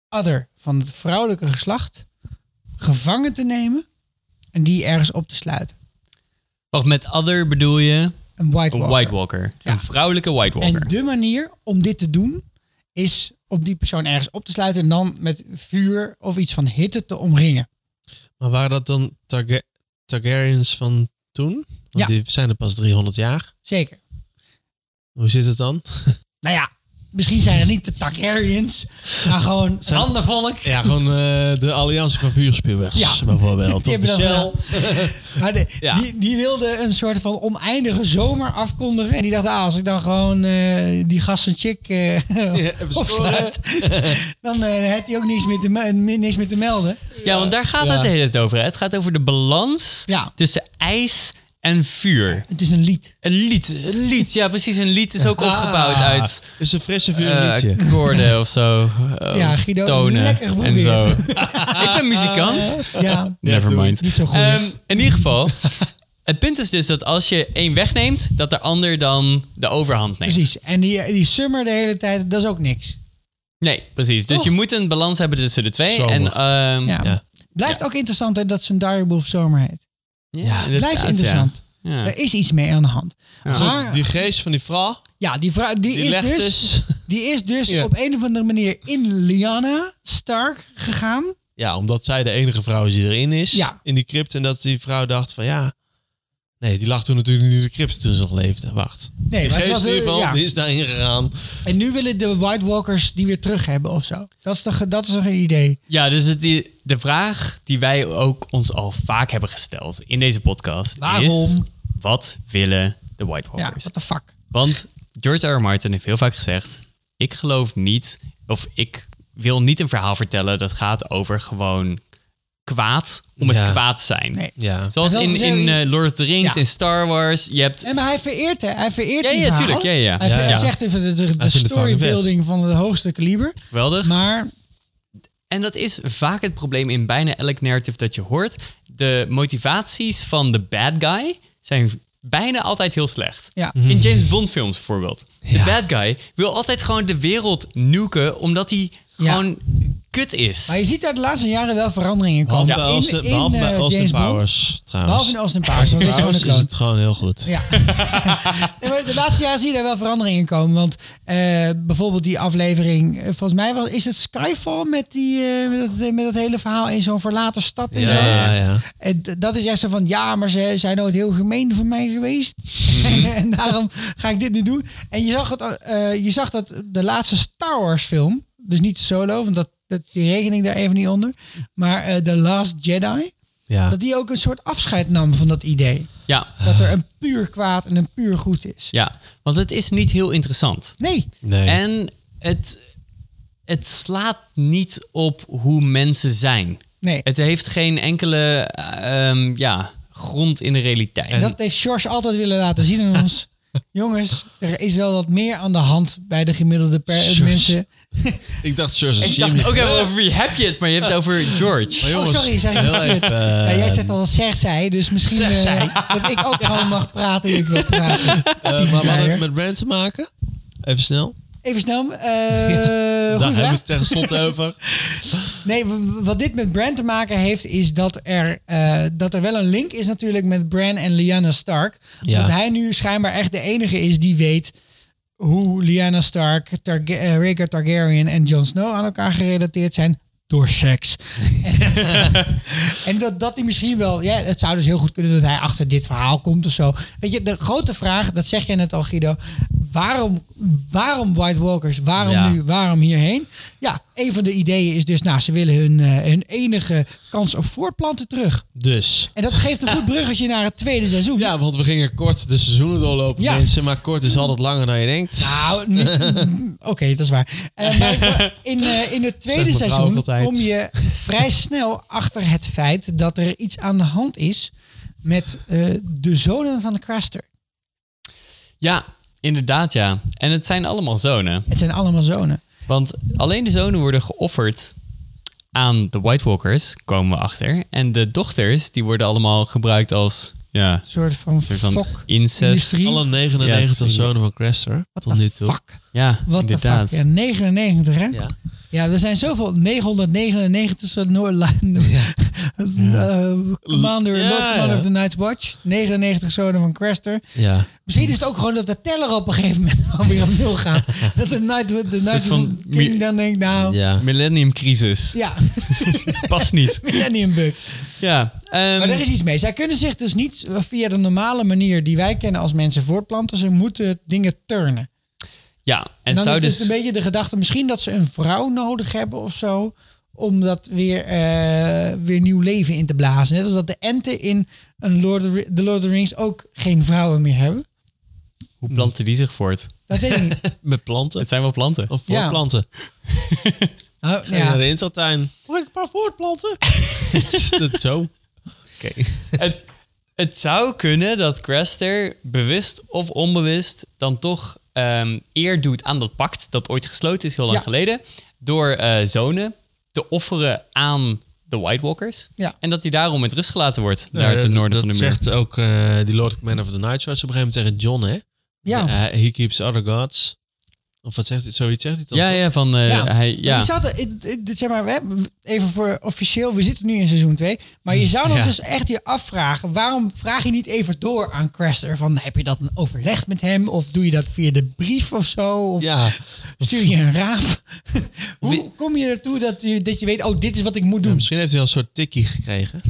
Speaker 4: adder van het vrouwelijke geslacht gevangen te nemen en die ergens op te sluiten.
Speaker 1: Wacht, met other bedoel je
Speaker 4: Een White
Speaker 1: een
Speaker 4: Walker.
Speaker 1: White Walker.
Speaker 4: Ja.
Speaker 1: Een vrouwelijke White Walker.
Speaker 4: En de manier om dit te doen is om die persoon ergens op te sluiten en dan met vuur of iets van hitte te omringen.
Speaker 5: Maar waren dat dan Targa- Targaryens van toen? Want
Speaker 4: Ja.
Speaker 5: die zijn er pas 300 jaar.
Speaker 4: Zeker.
Speaker 5: Hoe zit het dan?
Speaker 4: Nou ja, misschien zijn het niet de Targaryens, maar gewoon
Speaker 5: Zijn-
Speaker 4: handenvolk.
Speaker 5: Ja, gewoon eh, de alliantie van vuurspuwers
Speaker 4: Ja.
Speaker 5: bijvoorbeeld.
Speaker 4: Die
Speaker 5: Of de
Speaker 4: hebben dat
Speaker 5: Shell.
Speaker 4: gedaan. Maar de-
Speaker 5: Ja.
Speaker 4: die, die wilde een soort van oneindige zomer afkondigen. En die dacht, ah, als ik dan gewoon eh, die gast en chick eh,
Speaker 5: even
Speaker 4: opsluit, dan eh had hij ook niks meer, te me- mi- niks meer te melden.
Speaker 1: Ja, want daar gaat het de hele tijd over. hè. Het gaat over de balans
Speaker 4: Ja.
Speaker 1: tussen ijs en vuur.
Speaker 4: Het is een lied.
Speaker 1: Een lied, een lied. Ja, precies. Een lied is ook opgebouwd
Speaker 5: Ah,
Speaker 1: uit
Speaker 5: Is een frisse
Speaker 1: eh,
Speaker 5: vuurliedje.
Speaker 1: akkoorden of zo. eh,
Speaker 4: Ja,
Speaker 1: of
Speaker 4: Guido,
Speaker 1: tonen
Speaker 4: lekker
Speaker 1: en
Speaker 4: geprobeerd.
Speaker 1: zo. Ik ben muzikant.
Speaker 4: Ja,
Speaker 1: Never mind.
Speaker 4: niet zo goed.
Speaker 1: Ehm, in ieder geval, het punt is dus dat als je één wegneemt, dat de ander dan de overhand neemt.
Speaker 4: Precies. En die, die summer de hele tijd, dat is ook niks.
Speaker 1: Nee, precies. Dus
Speaker 4: Toch?
Speaker 1: je moet een balans hebben tussen de twee.
Speaker 5: Zo.
Speaker 1: En, ehm,
Speaker 4: Oh. Ja.
Speaker 5: Ja.
Speaker 4: Blijft ook interessant hè, dat ze een Direwolf Zomer heet.
Speaker 1: ja,
Speaker 4: Blijft
Speaker 1: inderdaad,
Speaker 4: interessant.
Speaker 1: Ja. Ja.
Speaker 4: Er is iets mee aan de hand.
Speaker 1: Ja.
Speaker 4: Maar,
Speaker 5: Die geest van die vrouw,
Speaker 4: ja, die vrouw, Ah. die,
Speaker 5: die
Speaker 4: is
Speaker 5: legt
Speaker 4: dus...
Speaker 5: dus...
Speaker 4: Die is dus
Speaker 5: Ja.
Speaker 4: op een of andere manier in Liana Stark gegaan.
Speaker 5: Ja, omdat zij de enige vrouw is die erin is.
Speaker 4: Ja.
Speaker 5: In die crypt. En dat die vrouw dacht van ja... Nee, die lag toen natuurlijk niet in de crypt toen ze nog leefde. Wacht.
Speaker 4: Nee,
Speaker 5: Die
Speaker 4: maar ze
Speaker 5: geest
Speaker 4: was,
Speaker 5: in ieder geval,
Speaker 4: ja.
Speaker 5: die is daarin gegaan.
Speaker 4: En nu willen de White Walkers die weer terug hebben of zo. Dat is, toch dat is toch een idee.
Speaker 1: Ja, dus het, die, de vraag die wij ook ons al vaak hebben gesteld in deze podcast is...
Speaker 4: Waarom?
Speaker 1: Wat willen de White
Speaker 4: Ja,
Speaker 1: Walkers?
Speaker 4: what the fuck.
Speaker 1: Want George R. R. Martin heeft heel vaak gezegd... ik geloof niet, of ik wil niet een verhaal vertellen... dat gaat over gewoon kwaad om het
Speaker 5: Ja.
Speaker 1: kwaad zijn.
Speaker 4: Nee.
Speaker 5: Ja.
Speaker 1: Zoals
Speaker 4: Hij
Speaker 1: in,
Speaker 4: wil
Speaker 1: in
Speaker 4: zeggen-
Speaker 1: eh, Lord of the Rings,
Speaker 4: Ja.
Speaker 1: in Star Wars. Je hebt...
Speaker 4: En maar hij vereert hè. Hij vereert
Speaker 1: Ja,
Speaker 4: die
Speaker 1: ja,
Speaker 4: verhaal.
Speaker 1: tuurlijk, ja, ja.
Speaker 4: Hij
Speaker 5: Ja,
Speaker 4: ver-
Speaker 5: ja.
Speaker 4: zegt even de, de, de
Speaker 5: Hij is in de
Speaker 4: storybuilding van het hoogste kaliber.
Speaker 1: Geweldig.
Speaker 4: Maar
Speaker 1: En dat is vaak het probleem in bijna elk narrative dat je hoort. De motivaties van de bad guy zijn bijna altijd heel slecht.
Speaker 4: ja,
Speaker 1: In James Bond films bijvoorbeeld. De
Speaker 5: Mhm. Ja.
Speaker 1: bad guy wil altijd gewoon de wereld nuken, omdat hij
Speaker 4: Ja.
Speaker 1: gewoon kut is.
Speaker 4: Maar je ziet daar de laatste jaren wel veranderingen komen.
Speaker 5: Behalve bij
Speaker 4: In-
Speaker 5: Austin,
Speaker 4: in,
Speaker 5: behalve bij
Speaker 4: eh,
Speaker 5: Austin
Speaker 4: James Bond.
Speaker 5: Powers, trouwens.
Speaker 4: Behalve in Austin Powers. want dat is gewoon
Speaker 5: Trouwens
Speaker 4: een
Speaker 5: is
Speaker 4: kloon.
Speaker 5: het gewoon heel goed.
Speaker 4: Ja. Nee, maar de laatste jaren zie je daar wel veranderingen komen. Want eh, bijvoorbeeld die aflevering, eh, volgens mij was, is het Skyfall met, die, eh, met, dat, met dat hele verhaal in zo'n verlaten stad. En zo.
Speaker 5: Ja, ja.
Speaker 4: En d- dat is echt zo van, ja, maar ze zijn nooit heel gemeen van mij geweest.
Speaker 5: Mhm.
Speaker 4: en daarom ga ik dit nu doen. En je zag, het, eh, je zag dat de laatste Star Wars film, dus niet solo, want dat, dat, die regening daar even niet onder. Maar eh The Last Jedi,
Speaker 5: ja.
Speaker 4: dat die ook een soort afscheid nam van dat idee.
Speaker 1: Ja,
Speaker 4: Dat er een puur kwaad en een puur goed is.
Speaker 1: ja, want het is niet heel interessant.
Speaker 4: Nee,
Speaker 5: Nee.
Speaker 1: En het, het slaat niet op hoe mensen zijn.
Speaker 4: nee.
Speaker 1: Het heeft geen enkele eh, ehm, ja, grond in de realiteit.
Speaker 4: dat heeft George altijd willen laten zien aan ons. Jongens, er is wel wat meer aan de hand bij de gemiddelde per-
Speaker 5: George.
Speaker 4: mensen.
Speaker 5: ik dacht, George,
Speaker 1: ik
Speaker 5: zie je
Speaker 1: dacht
Speaker 5: niet.
Speaker 1: ook even over wie heb je het, maar je hebt het over George.
Speaker 5: Maar jongens,
Speaker 4: Oh, sorry, zeg ik
Speaker 5: heel
Speaker 4: het
Speaker 5: even,
Speaker 4: verkeerd.
Speaker 5: eh,
Speaker 4: Ja, jij zegt al dat Cersei, dus misschien eh, dat ik ook gewoon mag praten hoe ik wil praten.
Speaker 5: eh, maar wat had het met brand te maken? Even snel.
Speaker 4: Even snel. eh
Speaker 5: Daar
Speaker 4: goeie
Speaker 5: hebben we
Speaker 4: vraag.
Speaker 5: het eh, tenslotte over.
Speaker 4: Nee, w- w- wat dit met Bran te maken heeft, is dat er, eh, dat er wel een link is natuurlijk met Bran en Lyanna Stark.
Speaker 5: Ja.
Speaker 4: Dat hij nu schijnbaar echt de enige is die weet hoe Lyanna Stark, Targa eh, Rhaegar Targaryen en Jon Snow aan elkaar gerelateerd zijn door seks. en dat, dat hij misschien wel... Ja, het zou dus heel goed kunnen dat hij achter dit verhaal komt of zo. Weet je, de grote vraag, dat zeg jij net al Guido... waarom, waarom White Walkers? Waarom
Speaker 5: Ja.
Speaker 4: nu? Waarom hierheen? Ja, een van de ideeën is dus... nou, ze willen hun, eh, hun enige kans op voortplanten terug.
Speaker 5: Dus.
Speaker 4: En dat geeft een goed bruggetje naar het tweede seizoen.
Speaker 5: Ja, want we gingen kort de seizoenen doorlopen,
Speaker 4: Ja.
Speaker 5: mensen. Maar kort is altijd langer dan je denkt.
Speaker 4: Nou, niet- mm, oké, dat is waar. Eh, maar ik wil- in, eh, in het tweede
Speaker 5: mevrouw ook
Speaker 4: seizoen
Speaker 5: altijd.
Speaker 4: kom je vrij snel achter het feit dat er iets aan de hand is met eh, de zonen van de Craster.
Speaker 1: Ja, inderdaad ja. En het zijn allemaal zonen.
Speaker 4: Het zijn allemaal zonen.
Speaker 1: Want alleen de zonen worden geofferd aan de White Walkers, komen we achter. En de dochters, die worden allemaal gebruikt als ja,
Speaker 4: Een soort van
Speaker 1: soort van
Speaker 4: fok.
Speaker 1: incest.
Speaker 4: industrie.
Speaker 5: Alle
Speaker 1: Ja, het
Speaker 5: 99
Speaker 1: is-
Speaker 5: zonen van Craster tot nu toe.
Speaker 4: Fuck.
Speaker 1: Ja,
Speaker 4: Wat de fuck.
Speaker 1: inderdaad.
Speaker 4: Ja, 99, hè? Ja.
Speaker 5: Ja.
Speaker 4: er zijn zoveel 999 Noordlanden. Eh, Commander,
Speaker 5: Ja,
Speaker 4: Lord Commander
Speaker 5: ja.
Speaker 4: of the Night's Watch. 99 zonen van Craster.
Speaker 5: Ja.
Speaker 4: Misschien is het ook gewoon dat de teller op een gegeven moment weer op nul gaat. Dat de Night, de night
Speaker 1: van
Speaker 4: van King
Speaker 1: mi-
Speaker 4: dan denkt, nou... Ja,
Speaker 5: Ja.
Speaker 1: Millennium Crisis. Past niet.
Speaker 4: Millennium Bug.
Speaker 1: Ja. ehm,
Speaker 4: Maar er is iets mee. Zij kunnen zich dus niet via de normale manier die wij kennen als mensen voortplanten. Ze moeten dingen turnen.
Speaker 1: ja, en het
Speaker 4: En dan
Speaker 1: zou
Speaker 4: is dus
Speaker 1: dus...
Speaker 4: een beetje de gedachte misschien dat ze een vrouw nodig hebben of zo. Om dat weer, eh, weer nieuw leven in te blazen. Net als dat de enten in een Lord of, The Lord of the Rings ook geen vrouwen meer hebben.
Speaker 1: Hoe planten die zich voort?
Speaker 4: Dat weet ik niet.
Speaker 5: Met planten.
Speaker 1: Het zijn wel planten.
Speaker 5: Of
Speaker 4: Ja.
Speaker 5: voorplanten.
Speaker 4: Oh,
Speaker 5: Ja. Naar
Speaker 4: ja.
Speaker 5: de Intratuin. Mag ik een paar voortplanten? dat zo. Oké.
Speaker 1: het, het zou kunnen dat Craster bewust of onbewust dan toch ehm, eer doet aan dat pact dat ooit gesloten is heel lang
Speaker 4: Ja.
Speaker 1: geleden. Door eh, zonen te offeren aan de White Walkers.
Speaker 4: Ja.
Speaker 1: En dat hij daarom met rust gelaten wordt daar ten noorden van de muur.
Speaker 5: Eh, zegt ook eh, die Lord Commander of the Night's Watch op een gegeven moment tegen John, hè?
Speaker 4: Ja.
Speaker 5: Eh, he keeps other gods. Of wat zegt hij? Zoiets zegt hij toch?
Speaker 1: Ja,
Speaker 5: toch?
Speaker 1: ja, van eh,
Speaker 4: Ja.
Speaker 1: hij...
Speaker 4: Nou, Maar
Speaker 1: Ja.
Speaker 4: Je zou er- ik- ik- dit zeg maar, we hebben- even voor officieel, we zitten nu in seizoen 2. Maar
Speaker 5: Mm,
Speaker 4: je zou dan
Speaker 1: Ja.
Speaker 4: dus echt je afvragen, waarom vraag je niet even door aan Craster? Van, heb je dat een overlegd met hem? Of doe je dat via de brief of zo? Of
Speaker 5: Ja,
Speaker 4: stuur je een raaf?
Speaker 1: Wie-
Speaker 4: Hoe kom je ertoe dat je, dat je weet, oh, dit is wat ik moet
Speaker 5: Ja,
Speaker 4: doen?
Speaker 5: misschien heeft hij wel een soort tikkie gekregen.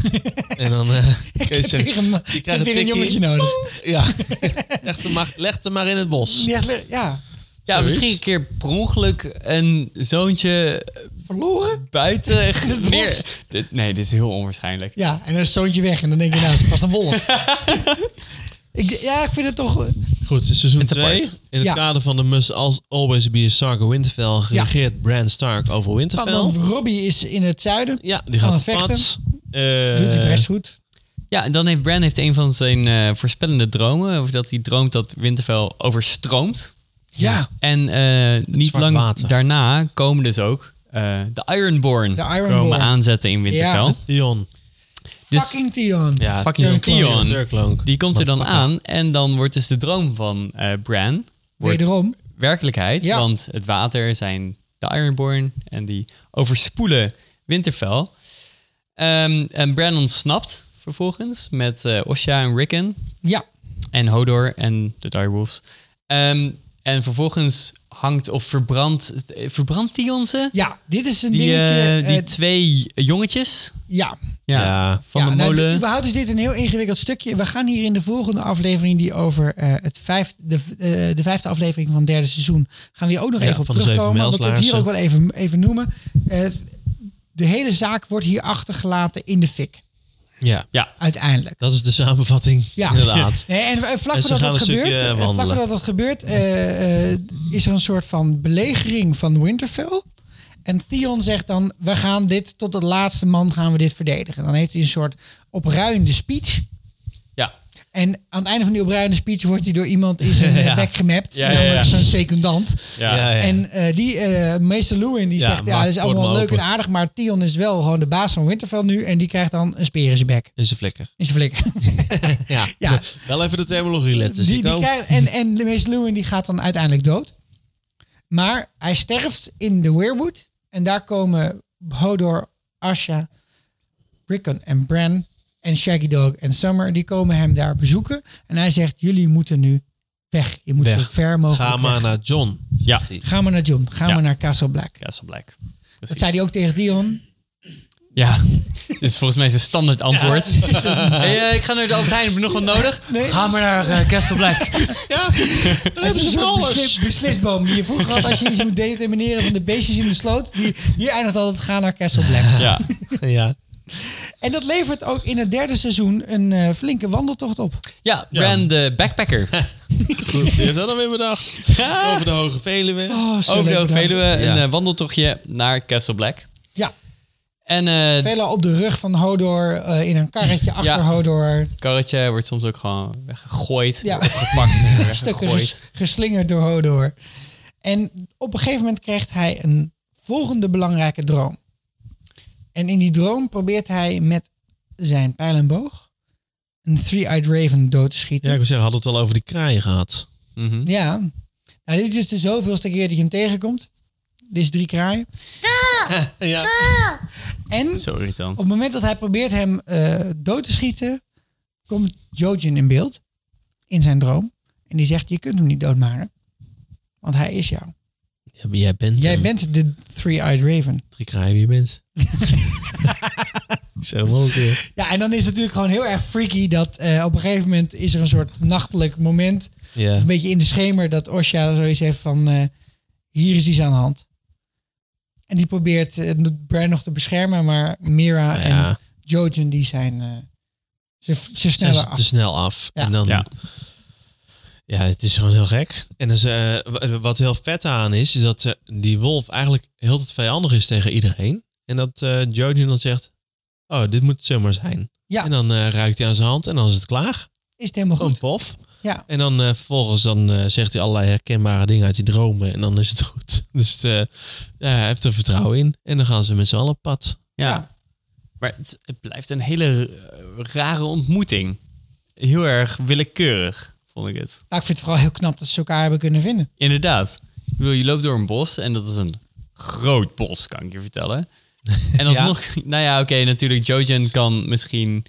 Speaker 5: en dan eh kun je
Speaker 4: Ik heb weer
Speaker 5: zeggen,
Speaker 4: een,
Speaker 5: je
Speaker 4: ik heb
Speaker 5: krijgt een
Speaker 4: weer een
Speaker 5: tikkie.
Speaker 4: jongetje nodig.
Speaker 5: ja, leg hem, maar, leg hem maar in het bos.
Speaker 4: Ja, ja,
Speaker 1: ja,
Speaker 5: zoiets.
Speaker 1: misschien een keer per ongeluk een zoontje
Speaker 4: verloren?
Speaker 1: buiten...
Speaker 4: bos.
Speaker 1: neer- Dit- Nee, dit is heel onwaarschijnlijk.
Speaker 4: Ja, en dan is het zoontje weg. En dan denk je, nou, het is vast een wolf. ik, ja, ik vind het toch... eh,
Speaker 5: Goed, seizoen
Speaker 1: Het
Speaker 5: 2.
Speaker 1: apart.
Speaker 5: In het
Speaker 4: Ja.
Speaker 5: kader van de must als- always be a Stark of Winterfell regeert Bran Stark over Winterfell.
Speaker 4: Want Robbie is in het zuiden.
Speaker 5: Ja, die
Speaker 4: Kan
Speaker 5: gaat
Speaker 4: het
Speaker 5: op pad. Eh,
Speaker 4: Doet hij best goed.
Speaker 1: Ja, en dan heeft Bran heeft een van zijn eh, voorspellende dromen. Of dat hij droomt dat Winterfell overstroomt.
Speaker 4: Ja,
Speaker 1: En eh, niet
Speaker 5: zwart
Speaker 1: lang
Speaker 5: water.
Speaker 1: daarna komen dus ook eh, de Ironborn,
Speaker 4: De Ironborn.
Speaker 1: komen aanzetten in Winterfell.
Speaker 4: Ja.
Speaker 5: Theon.
Speaker 1: Dus
Speaker 4: fucking Tion.
Speaker 5: Ja,
Speaker 1: Fucking Theon.
Speaker 5: Turklonk.
Speaker 1: die komt er dan
Speaker 5: Motherfucker.
Speaker 1: aan en dan wordt dus de droom van eh Bran wordt
Speaker 4: Wederom.
Speaker 1: werkelijkheid.
Speaker 4: Ja.
Speaker 1: Want het water, zijn de Ironborn. En die overspoelen Winterfell. Ehm, en Bran ontsnapt vervolgens met eh, Osha en Rickon.
Speaker 4: Ja,
Speaker 1: En Hodor en de Dire Wolves. Ehm, en vervolgens hangt of verbrandt... Verbrandt die onze?
Speaker 4: ja, dit is een
Speaker 1: Die, eh,
Speaker 4: dingetje.
Speaker 1: die
Speaker 4: eh,
Speaker 1: twee jongetjes?
Speaker 4: ja,
Speaker 1: Ja.
Speaker 5: Ja.
Speaker 1: Van
Speaker 4: ja,
Speaker 1: de
Speaker 4: nou,
Speaker 1: molen.
Speaker 4: d- überhaupt is dit een heel ingewikkeld stukje. We gaan hier in de volgende aflevering, die over eh, het vijfde, de, v- eh, de vijfde aflevering van het derde seizoen, gaan we hier ook nog
Speaker 5: Ja,
Speaker 4: even op
Speaker 5: van de
Speaker 4: terugkomen.
Speaker 5: zeven
Speaker 4: Maar we kunnen het hier ook wel
Speaker 5: mijlslaarzen.
Speaker 4: even, even noemen. Eh, de hele zaak wordt hier achtergelaten in de fik,
Speaker 5: ja,
Speaker 4: uiteindelijk.
Speaker 5: dat is de samenvatting.
Speaker 4: Ja.
Speaker 5: inderdaad.
Speaker 4: Nee, en eh, vlak
Speaker 5: Dus we
Speaker 4: voordat
Speaker 5: gaan
Speaker 4: dat
Speaker 5: een stukje,
Speaker 4: gebeurt,
Speaker 5: eh,
Speaker 4: eh, vlak
Speaker 5: wandelen.
Speaker 4: voordat dat gebeurt eh, eh, is er een soort van belegering van Winterfell. En Theon zegt dan, we gaan dit tot de laatste man gaan we dit verdedigen. Dan heeft hij een soort opruiende speech.
Speaker 1: Ja.
Speaker 4: En aan het einde van die opruiende speech wordt hij door iemand in zijn eh,
Speaker 5: Ja.
Speaker 4: bek gemapt.
Speaker 1: Ja, ja,
Speaker 4: namelijk
Speaker 1: ja.
Speaker 4: Zo'n secundant.
Speaker 1: Ja.
Speaker 4: En eh, die eh, meester Lewin die
Speaker 5: Ja,
Speaker 4: zegt, ja,
Speaker 5: maak
Speaker 4: dat is
Speaker 5: het woord
Speaker 4: allemaal
Speaker 5: maar
Speaker 4: leuk en
Speaker 5: open.
Speaker 4: aardig. Maar Theon is wel gewoon de baas van Winterfell nu. En die krijgt dan een speer in zijn bek.
Speaker 5: is een flikker.
Speaker 4: In zijn flikker.
Speaker 5: Ja.
Speaker 4: Ja.
Speaker 5: Wel even de terminologie letten.
Speaker 4: die,
Speaker 5: Die,
Speaker 4: die krijgt- en, en de meester Lewin die gaat dan uiteindelijk dood. Maar hij sterft in de Weirwood. En daar komen Hodor, Asha, Rickon en Bran en Shaggy Dog en Summer. Die komen hem daar bezoeken. En hij zegt, jullie moeten nu weg. Je moet
Speaker 5: Weg.
Speaker 4: zo ver mogelijk
Speaker 5: Ga maar
Speaker 4: weg.
Speaker 5: naar John.
Speaker 1: Ja.
Speaker 5: zegt hij.
Speaker 4: Ga maar naar John. Ga
Speaker 1: Ja.
Speaker 4: maar naar Castle Black.
Speaker 1: Castle Black.
Speaker 4: Dat zei hij ook tegen Dion.
Speaker 1: Ja, dit is volgens mij zijn standaard antwoord. hey, eh, ik ga naar de Albert Heijn, heb je nog wat nodig? Ga maar naar eh, Castle Black.
Speaker 4: Het is een soort beslis, beslisboom die je vroeger had als je iets moet determineren van de beestjes in de sloot. Die, hier eindigt altijd, ga naar Castle Black.
Speaker 1: ja.
Speaker 5: ja.
Speaker 4: En dat levert ook in het derde seizoen een eh, flinke wandeltocht op.
Speaker 1: ja, Bran de backpacker.
Speaker 5: Goed, die heeft dat alweer bedacht. Over de Hoge Veluwe.
Speaker 4: Oh,
Speaker 1: Over de Hoge Veluwe, een
Speaker 5: Ja.
Speaker 1: eh, wandeltochtje naar Castle Black.
Speaker 4: Ja,
Speaker 1: En eh,
Speaker 4: Vela op de rug van Hodor, eh, in een karretje achter
Speaker 1: Ja.
Speaker 4: Hodor.
Speaker 1: het karretje wordt soms ook gewoon weggegooid,
Speaker 4: Ja.
Speaker 1: opgepakt en
Speaker 4: Stukken
Speaker 1: weggegooid.
Speaker 4: ges- geslingerd door Hodor. En op een gegeven moment krijgt hij een volgende belangrijke droom. En in die droom probeert hij met zijn pijl en boog een Three-Eyed Raven dood te schieten.
Speaker 5: Ja, ik wil zeggen, hadden we het al over die kraaien gehad.
Speaker 1: Mhm.
Speaker 4: Ja. Nou, dit is dus de zoveelste keer dat je hem tegenkomt. Dit is drie kraaien.
Speaker 5: Ja.
Speaker 4: En
Speaker 1: Zo irritant.
Speaker 4: op het moment dat hij probeert hem eh, dood te schieten, komt Jojen in beeld. In zijn droom. En die zegt, je kunt hem niet doodmaken. Want hij is jou.
Speaker 5: Ja, maar jij bent
Speaker 4: Jij
Speaker 5: hem.
Speaker 4: bent de Three-Eyed Raven.
Speaker 5: Drie kraaien wie je bent. Zo mogelijk weer.
Speaker 4: Ja, en dan is het natuurlijk gewoon heel erg freaky dat eh, op een gegeven moment is er een soort nachtelijk moment.
Speaker 5: Ja.
Speaker 4: Een beetje in de schemer dat Osha zoiets heeft van... eh, hier is iets aan de hand. En die probeert eh, Bran nog te beschermen, maar Mira en
Speaker 5: Ja,
Speaker 4: Jojen die zijn eh, ze,
Speaker 5: dat
Speaker 4: ze sneller
Speaker 5: is
Speaker 4: af.
Speaker 5: te snel af.
Speaker 4: Ja.
Speaker 5: En dan...
Speaker 1: Ja.
Speaker 5: Ja. het is gewoon heel gek. En dus, eh, wa- wat heel vet aan is, is dat eh, die wolf eigenlijk heel het vijandig is tegen iedereen. En dat eh Jojen dan zegt, oh, dit moet zomaar zijn.
Speaker 4: Ja.
Speaker 5: En dan eh, ruikt hij aan zijn hand en dan is het klaar.
Speaker 4: Is het helemaal
Speaker 5: Gewoon
Speaker 4: goed?
Speaker 5: pof.
Speaker 4: Ja.
Speaker 5: En dan eh, vervolgens dan, eh, zegt hij allerlei herkenbare dingen uit die dromen. En dan is het goed. Dus eh, ja, hij heeft er vertrouwen in. En dan gaan ze met z'n allen op pad.
Speaker 1: Ja.
Speaker 4: Ja.
Speaker 1: Maar het, het blijft een hele eh, rare ontmoeting. Heel erg willekeurig, vond ik het.
Speaker 4: Nou, ik vind het vooral heel knap dat ze elkaar hebben kunnen vinden.
Speaker 1: Inderdaad. Ik bedoel, je loopt door een bos en dat is een groot bos, kan ik je vertellen. En alsnog, nou ja, oké, natuurlijk, Jojen kan misschien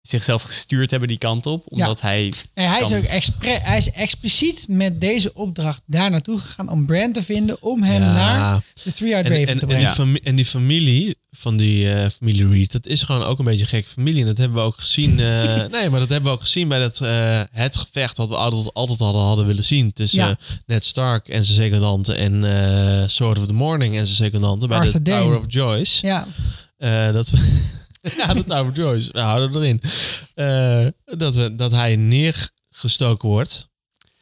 Speaker 1: zichzelf gestuurd hebben die kant op, omdat hij...
Speaker 4: Nee, hij, is
Speaker 1: Kan.
Speaker 4: ook expre- hij is expliciet met deze opdracht daar naartoe gegaan om Brand te vinden, om hem
Speaker 5: Ja.
Speaker 4: naar de Three-Eyed
Speaker 5: En,
Speaker 4: Raven
Speaker 5: en,
Speaker 4: te
Speaker 5: en,
Speaker 4: brengen.
Speaker 5: die fami- en die familie van die eh, familie Reed, dat is gewoon ook een beetje een gekke familie. En dat hebben we ook gezien. eh, nee, maar dat hebben we ook gezien bij dat, eh, het gevecht wat we altijd, altijd hadden, hadden willen zien. Tussen
Speaker 4: Ja.
Speaker 5: eh, Ned Stark en zijn secondante en eh Sword of the Morning en zijn secondante bij
Speaker 4: Arthur
Speaker 5: de
Speaker 4: Dane.
Speaker 5: Tower of Joyce.
Speaker 4: ja,
Speaker 5: Eh, dat we, ja, de Tower of Joyce, we houden erin. Eh, dat, we, dat hij neergestoken wordt.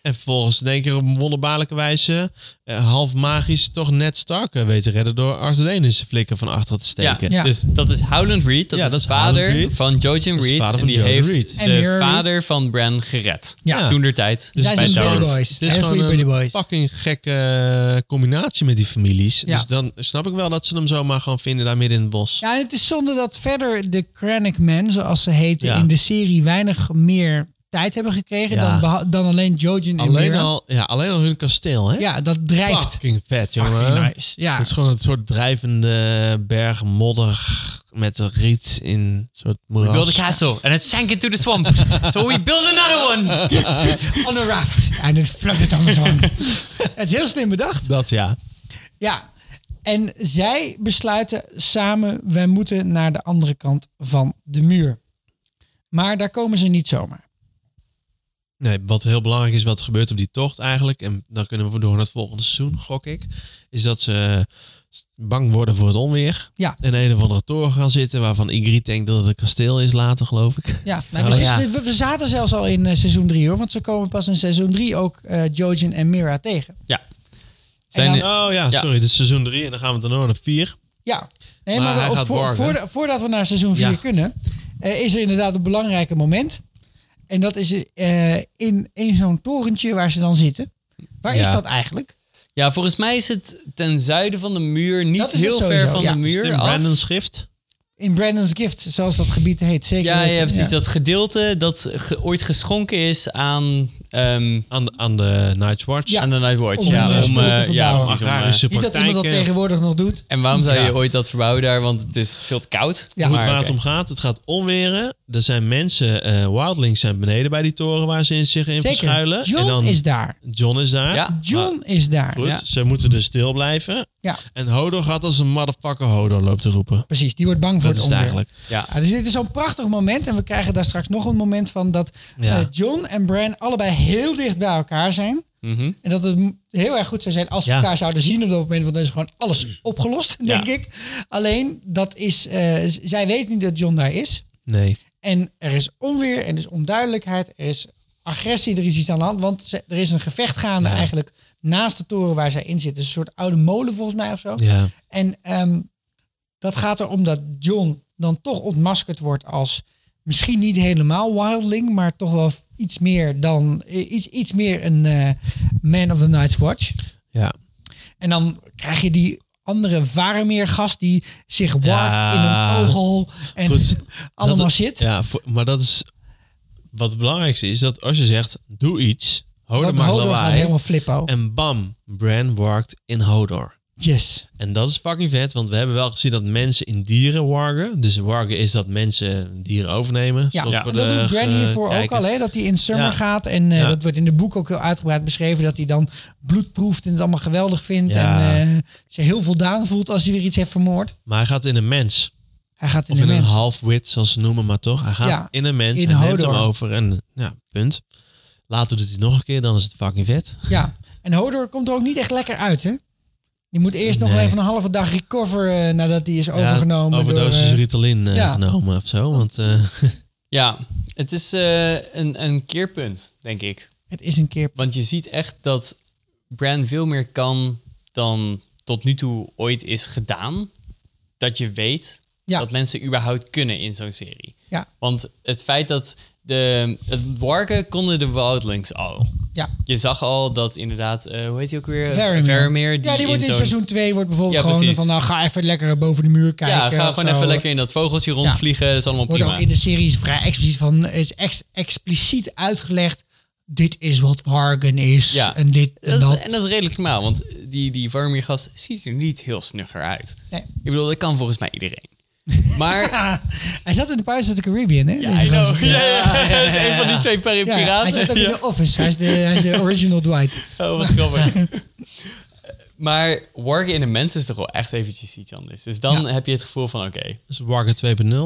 Speaker 5: En vervolgens in één keer op een wonderbaarlijke wijze, eh, half magisch, toch net Stark eh, weet te redden door Arthur Dane in zijn flikken van achter te
Speaker 1: Ja,
Speaker 5: steken.
Speaker 4: Ja.
Speaker 1: dus dat is Howland Reed, dat
Speaker 5: Ja,
Speaker 1: is de
Speaker 5: dat is
Speaker 1: vader
Speaker 5: Howland Reed.
Speaker 1: van Jojen
Speaker 5: Dat is de
Speaker 1: Reed.
Speaker 5: vader
Speaker 1: en
Speaker 5: van
Speaker 1: die
Speaker 5: Jojen
Speaker 1: heeft
Speaker 5: Reed.
Speaker 4: En
Speaker 1: de
Speaker 4: Mira
Speaker 1: vader van Bran gered.
Speaker 5: Ja.
Speaker 1: Toen der tijd. Dus
Speaker 4: zij
Speaker 1: bij
Speaker 4: zijn
Speaker 1: Tower
Speaker 4: Pretty
Speaker 1: of-
Speaker 4: Boys.
Speaker 5: Het is
Speaker 4: Heel
Speaker 5: gewoon
Speaker 4: goede
Speaker 5: een
Speaker 4: Pretty Boys.
Speaker 5: fucking gekke eh, combinatie met die families.
Speaker 4: Ja.
Speaker 5: Dus dan snap ik wel dat ze hem zomaar gewoon vinden daar midden in het bos.
Speaker 4: Ja, en het is zonde dat verder de Krennic Man, zoals ze heten
Speaker 5: Ja.
Speaker 4: in de serie, weinig meer tijd hebben gekregen
Speaker 5: Ja.
Speaker 4: dan, beha- dan alleen Jojen en
Speaker 5: Alleen
Speaker 4: Mira.
Speaker 5: al, ja, alleen al hun kasteel, hè?
Speaker 4: Ja, dat drijft.
Speaker 5: Fucking vet, jongen.
Speaker 4: Fucking nice. Ja.
Speaker 5: Het is gewoon een soort drijvende berg modder met een riet in een soort moeras.
Speaker 1: Build a castle and it sank into the swamp. so we build another one.
Speaker 4: on a raft. En het flooded on the swamp. het is heel slim bedacht.
Speaker 5: Dat ja.
Speaker 4: Ja. En zij besluiten samen, wij moeten naar de andere kant van de muur. Maar daar komen ze niet zomaar.
Speaker 5: Nee, wat heel belangrijk is, wat er gebeurt op die tocht eigenlijk, en dan kunnen we door naar het volgende seizoen, gok ik, is dat ze bang worden voor het onweer.
Speaker 4: Ja.
Speaker 5: In een of andere toren gaan zitten, waarvan Igrit denkt dat het een kasteel is later, geloof ik.
Speaker 4: Ja, nou, we,
Speaker 5: Oh,
Speaker 4: zi-
Speaker 5: ja.
Speaker 4: we- we zaten zelfs al in eh, seizoen 3 hoor. Want ze komen pas in seizoen 3 ook eh Jojen en Mira tegen.
Speaker 1: Zijn, eh,
Speaker 4: En
Speaker 5: Oh ja,
Speaker 1: Ja.
Speaker 5: sorry, dit is seizoen 3 en dan gaan we dan door naar 4.
Speaker 4: Ja, nee,
Speaker 5: Maar
Speaker 4: maar,
Speaker 5: hij
Speaker 4: op-
Speaker 5: gaat
Speaker 4: voor-
Speaker 5: borgen.
Speaker 4: voordat- voordat we naar seizoen 4
Speaker 5: Ja.
Speaker 4: kunnen, eh, is er inderdaad een belangrijk moment. En dat is eh, in, in zo'n torentje waar ze dan zitten. Waar is
Speaker 5: Ja.
Speaker 4: dat eigenlijk?
Speaker 1: ja, volgens mij is het ten zuiden van de muur, niet
Speaker 4: Dat is het
Speaker 1: heel ver
Speaker 4: sowieso,
Speaker 1: van
Speaker 4: ja.
Speaker 1: de
Speaker 5: Is Dus het
Speaker 1: muur
Speaker 5: in
Speaker 1: af.
Speaker 5: Brandon's schrift?
Speaker 4: In Brandon's Gift, zoals dat gebied heet. Zeker
Speaker 1: Ja,
Speaker 4: weten.
Speaker 1: ja, precies. Dat gedeelte dat ge- ooit geschonken is aan, ehm,
Speaker 5: Aan de, aan de Night's Watch.
Speaker 4: Ja.
Speaker 1: aan de Nightwatch.
Speaker 4: Om, eh,
Speaker 1: Ja, om,
Speaker 4: spullen te
Speaker 1: eh, ja,
Speaker 4: verbouwen.
Speaker 1: precies. om, eh,
Speaker 5: Agrarische
Speaker 4: Niet dat iemand dat
Speaker 5: praktijken.
Speaker 4: tegenwoordig nog doet.
Speaker 1: en waarom zou je
Speaker 5: Ja.
Speaker 1: ooit dat verbouwen daar? Want het is veel te koud.
Speaker 4: Ja.
Speaker 5: Goed
Speaker 1: Maar,
Speaker 5: waar
Speaker 1: Ah, oké.
Speaker 5: het om gaat. Het gaat onweren. Er zijn mensen, eh, wildlings zijn beneden bij die toren waar ze in zich in
Speaker 4: Zeker.
Speaker 5: verschuilen.
Speaker 4: John
Speaker 5: en dan
Speaker 4: is daar.
Speaker 5: John is daar.
Speaker 1: Ja.
Speaker 4: John is daar.
Speaker 5: Goed,
Speaker 1: Ja.
Speaker 5: ze moeten dus stil blijven.
Speaker 4: Ja.
Speaker 5: En Hodor gaat als een motherfucker Hodor loopt te roepen.
Speaker 4: Precies, die wordt bang voor
Speaker 5: Dat is
Speaker 4: het
Speaker 5: het
Speaker 4: onweer.
Speaker 5: eigenlijk.
Speaker 1: Ja.
Speaker 4: Ja, dus dit is zo'n prachtig moment. En we krijgen daar straks nog een moment van dat
Speaker 5: Ja.
Speaker 4: eh, John en Bran allebei heel dicht bij elkaar zijn.
Speaker 1: Mhm.
Speaker 4: En dat het m- heel erg goed zou zijn als we
Speaker 5: Ja.
Speaker 4: elkaar zouden zien op dat moment. Want dan is gewoon alles opgelost, denk ik. Alleen, dat is, eh, z- zij weet niet dat John daar is.
Speaker 5: Nee.
Speaker 4: En er is onweer, er is onduidelijkheid, er is agressie, er is iets aan de hand. Want ze- er is een gevecht gaande
Speaker 5: Ja.
Speaker 4: eigenlijk naast de toren waar zij in zit. Dus een soort oude molen volgens mij of zo.
Speaker 5: Ja.
Speaker 4: En ehm, dat gaat erom dat John dan toch ontmaskerd wordt als misschien niet helemaal wildling, maar toch wel iets meer dan eh, iets, iets meer een eh, man of the Night's Watch.
Speaker 5: Ja.
Speaker 4: En dan krijg je die andere Varemeer gast die zich waakt
Speaker 5: Ja.
Speaker 4: in een ooghol en
Speaker 5: Goed.
Speaker 4: allemaal
Speaker 5: Dat-
Speaker 4: shit.
Speaker 5: ja voor- maar dat is... Wat het belangrijkste is dat als je zegt, doe iets. Hodor
Speaker 4: Want
Speaker 5: maakt
Speaker 4: Hodor gaat
Speaker 5: lawaai.
Speaker 4: helemaal flippo.
Speaker 5: En bam, Bran warkt in Hodor.
Speaker 4: Yes.
Speaker 5: En dat is fucking vet, want we hebben wel gezien dat mensen in dieren wargen. Dus wargen is dat mensen dieren overnemen.
Speaker 4: Ja,
Speaker 5: Zoals
Speaker 4: ja.
Speaker 5: voor
Speaker 4: dat
Speaker 5: de
Speaker 4: doet Bran
Speaker 5: ge-
Speaker 4: hiervoor ook
Speaker 5: kijker.
Speaker 4: al, hè? dat hij in Summer
Speaker 5: Ja.
Speaker 4: gaat. En eh,
Speaker 5: Ja.
Speaker 4: dat wordt in de boek ook heel uitgebreid beschreven. Dat hij dan bloed proeft en het allemaal geweldig vindt.
Speaker 5: Ja.
Speaker 4: En eh, zich heel voldaan voelt als hij weer iets heeft vermoord.
Speaker 5: Maar hij gaat in een mens.
Speaker 4: Hij gaat in
Speaker 5: Of
Speaker 4: de
Speaker 5: in een
Speaker 4: mens.
Speaker 5: half-wit, zoals ze noemen, maar toch. Hij gaat
Speaker 4: Ja,
Speaker 5: in een mens
Speaker 4: in
Speaker 5: en neemt hem
Speaker 4: Hodor.
Speaker 5: over. En ja, punt. Later doet hij het nog een keer, dan is het fucking vet.
Speaker 4: Ja. En Hodor komt er ook niet echt lekker uit, hè? Die moet eerst nog
Speaker 5: Nee.
Speaker 4: wel even een halve dag recoveren eh, nadat hij is overgenomen.
Speaker 5: Ja,
Speaker 4: door,
Speaker 5: overdosis
Speaker 4: eh,
Speaker 5: Ritalin eh,
Speaker 4: ja.
Speaker 5: genomen of zo. Want eh,
Speaker 1: ja, het is eh, een, een keerpunt, denk ik.
Speaker 4: het is een keer.
Speaker 1: Want je ziet echt dat Bran veel meer kan dan tot nu toe ooit is gedaan. Dat je weet
Speaker 4: Ja.
Speaker 1: dat mensen überhaupt kunnen in zo'n serie.
Speaker 4: Ja.
Speaker 1: Want het feit dat de het warken konden de Wildlings al.
Speaker 4: Ja.
Speaker 1: Je zag al dat inderdaad, eh, hoe heet hij ook weer?
Speaker 4: Vermeer.
Speaker 1: Vermeer,
Speaker 4: ja, die wordt in
Speaker 1: zo'n-
Speaker 4: seizoen 2 wordt bijvoorbeeld
Speaker 1: Ja,
Speaker 4: gewoon
Speaker 1: precies.
Speaker 4: van nou ga even lekker boven de muur kijken.
Speaker 1: Ja, ga
Speaker 4: eh, of
Speaker 1: gewoon
Speaker 4: zo.
Speaker 1: even lekker in dat vogeltje rondvliegen. Dat is allemaal
Speaker 4: Wordt
Speaker 1: prima.
Speaker 4: ook in de series vrij expliciet van is ex- expliciet uitgelegd. Dit is wat Wargen is.
Speaker 1: Ja.
Speaker 4: En dit en
Speaker 1: Dat is,
Speaker 4: dat.
Speaker 1: en dat is redelijk normaal, want die, die Varmir-gast ziet er niet heel snugger uit.
Speaker 4: Nee.
Speaker 1: Ik bedoel, dat kan volgens mij iedereen. Maar
Speaker 4: Ah, hij zat in de Pirates of the Caribbean, hè?
Speaker 1: Ja,
Speaker 4: deze
Speaker 1: I know.
Speaker 4: gozer.
Speaker 1: Ja, ja, ja. Het is een van die twee pari-
Speaker 4: Ja, hij
Speaker 1: piraten.
Speaker 4: zit ook in
Speaker 1: Ja.
Speaker 4: de Office. Hij is de, hij is de original Dwight.
Speaker 1: Oh, wat grappig. maar wargen in een mens is toch wel echt eventjes iets anders. Dus dan heb je het gevoel van, oké,
Speaker 5: dat is Wargen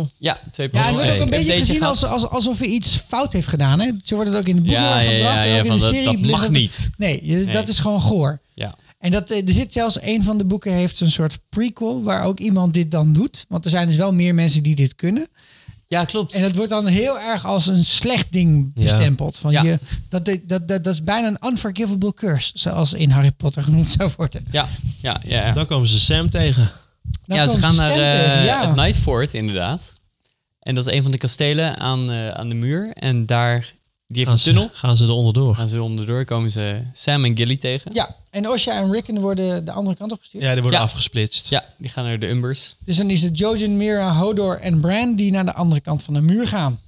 Speaker 5: 2.0.
Speaker 1: ja, twee
Speaker 4: Ja, het wordt ook een beetje
Speaker 1: updateje
Speaker 4: gezien
Speaker 1: gehad.
Speaker 4: als, als, alsof hij iets fout heeft gedaan, hè? Zo wordt het ook in de boeken
Speaker 1: Ja, ja,
Speaker 4: gebracht.
Speaker 1: ja,
Speaker 4: en ook
Speaker 1: ja,
Speaker 4: in
Speaker 1: van
Speaker 4: de
Speaker 1: dat-
Speaker 4: serie
Speaker 1: dat
Speaker 4: blijft
Speaker 1: mag
Speaker 4: het-
Speaker 1: niet.
Speaker 4: Nee, je- dat is gewoon goor.
Speaker 1: Ja.
Speaker 4: En dat, eh, er zit zelfs een van de boeken heeft een soort prequel waar ook iemand dit dan doet. Want er zijn dus wel meer mensen die dit kunnen.
Speaker 1: ja, klopt.
Speaker 4: En dat wordt dan heel erg als een slecht ding
Speaker 5: Ja.
Speaker 4: bestempeld. Van
Speaker 1: Ja.
Speaker 4: je, dat, dat, dat, dat is bijna een unforgivable curse, zoals in Harry Potter genoemd zou worden.
Speaker 1: ja, ja, ja. ja.
Speaker 5: Dan komen ze Sam tegen.
Speaker 4: Dan
Speaker 1: ja ze
Speaker 4: komen
Speaker 1: gaan naar
Speaker 4: Sam
Speaker 1: eh,
Speaker 4: tegen, ja.
Speaker 1: het Nightfort, inderdaad. En dat is een van de kastelen aan, eh, aan de muur. En daar, die heeft
Speaker 5: Gaan
Speaker 1: een
Speaker 5: ze,
Speaker 1: tunnel.
Speaker 5: gaan ze er onderdoor.
Speaker 1: Gaan ze onderdoor, komen ze Sam en Gilly tegen.
Speaker 4: Ja, en Osha en Rickon worden de andere kant opgestuurd.
Speaker 5: Ja, die worden
Speaker 1: Ja.
Speaker 5: afgesplitst.
Speaker 1: Ja, die gaan naar de Umbers.
Speaker 4: Dus dan is het Jojen, Mira, Hodor en Bran die naar de andere kant van de muur gaan.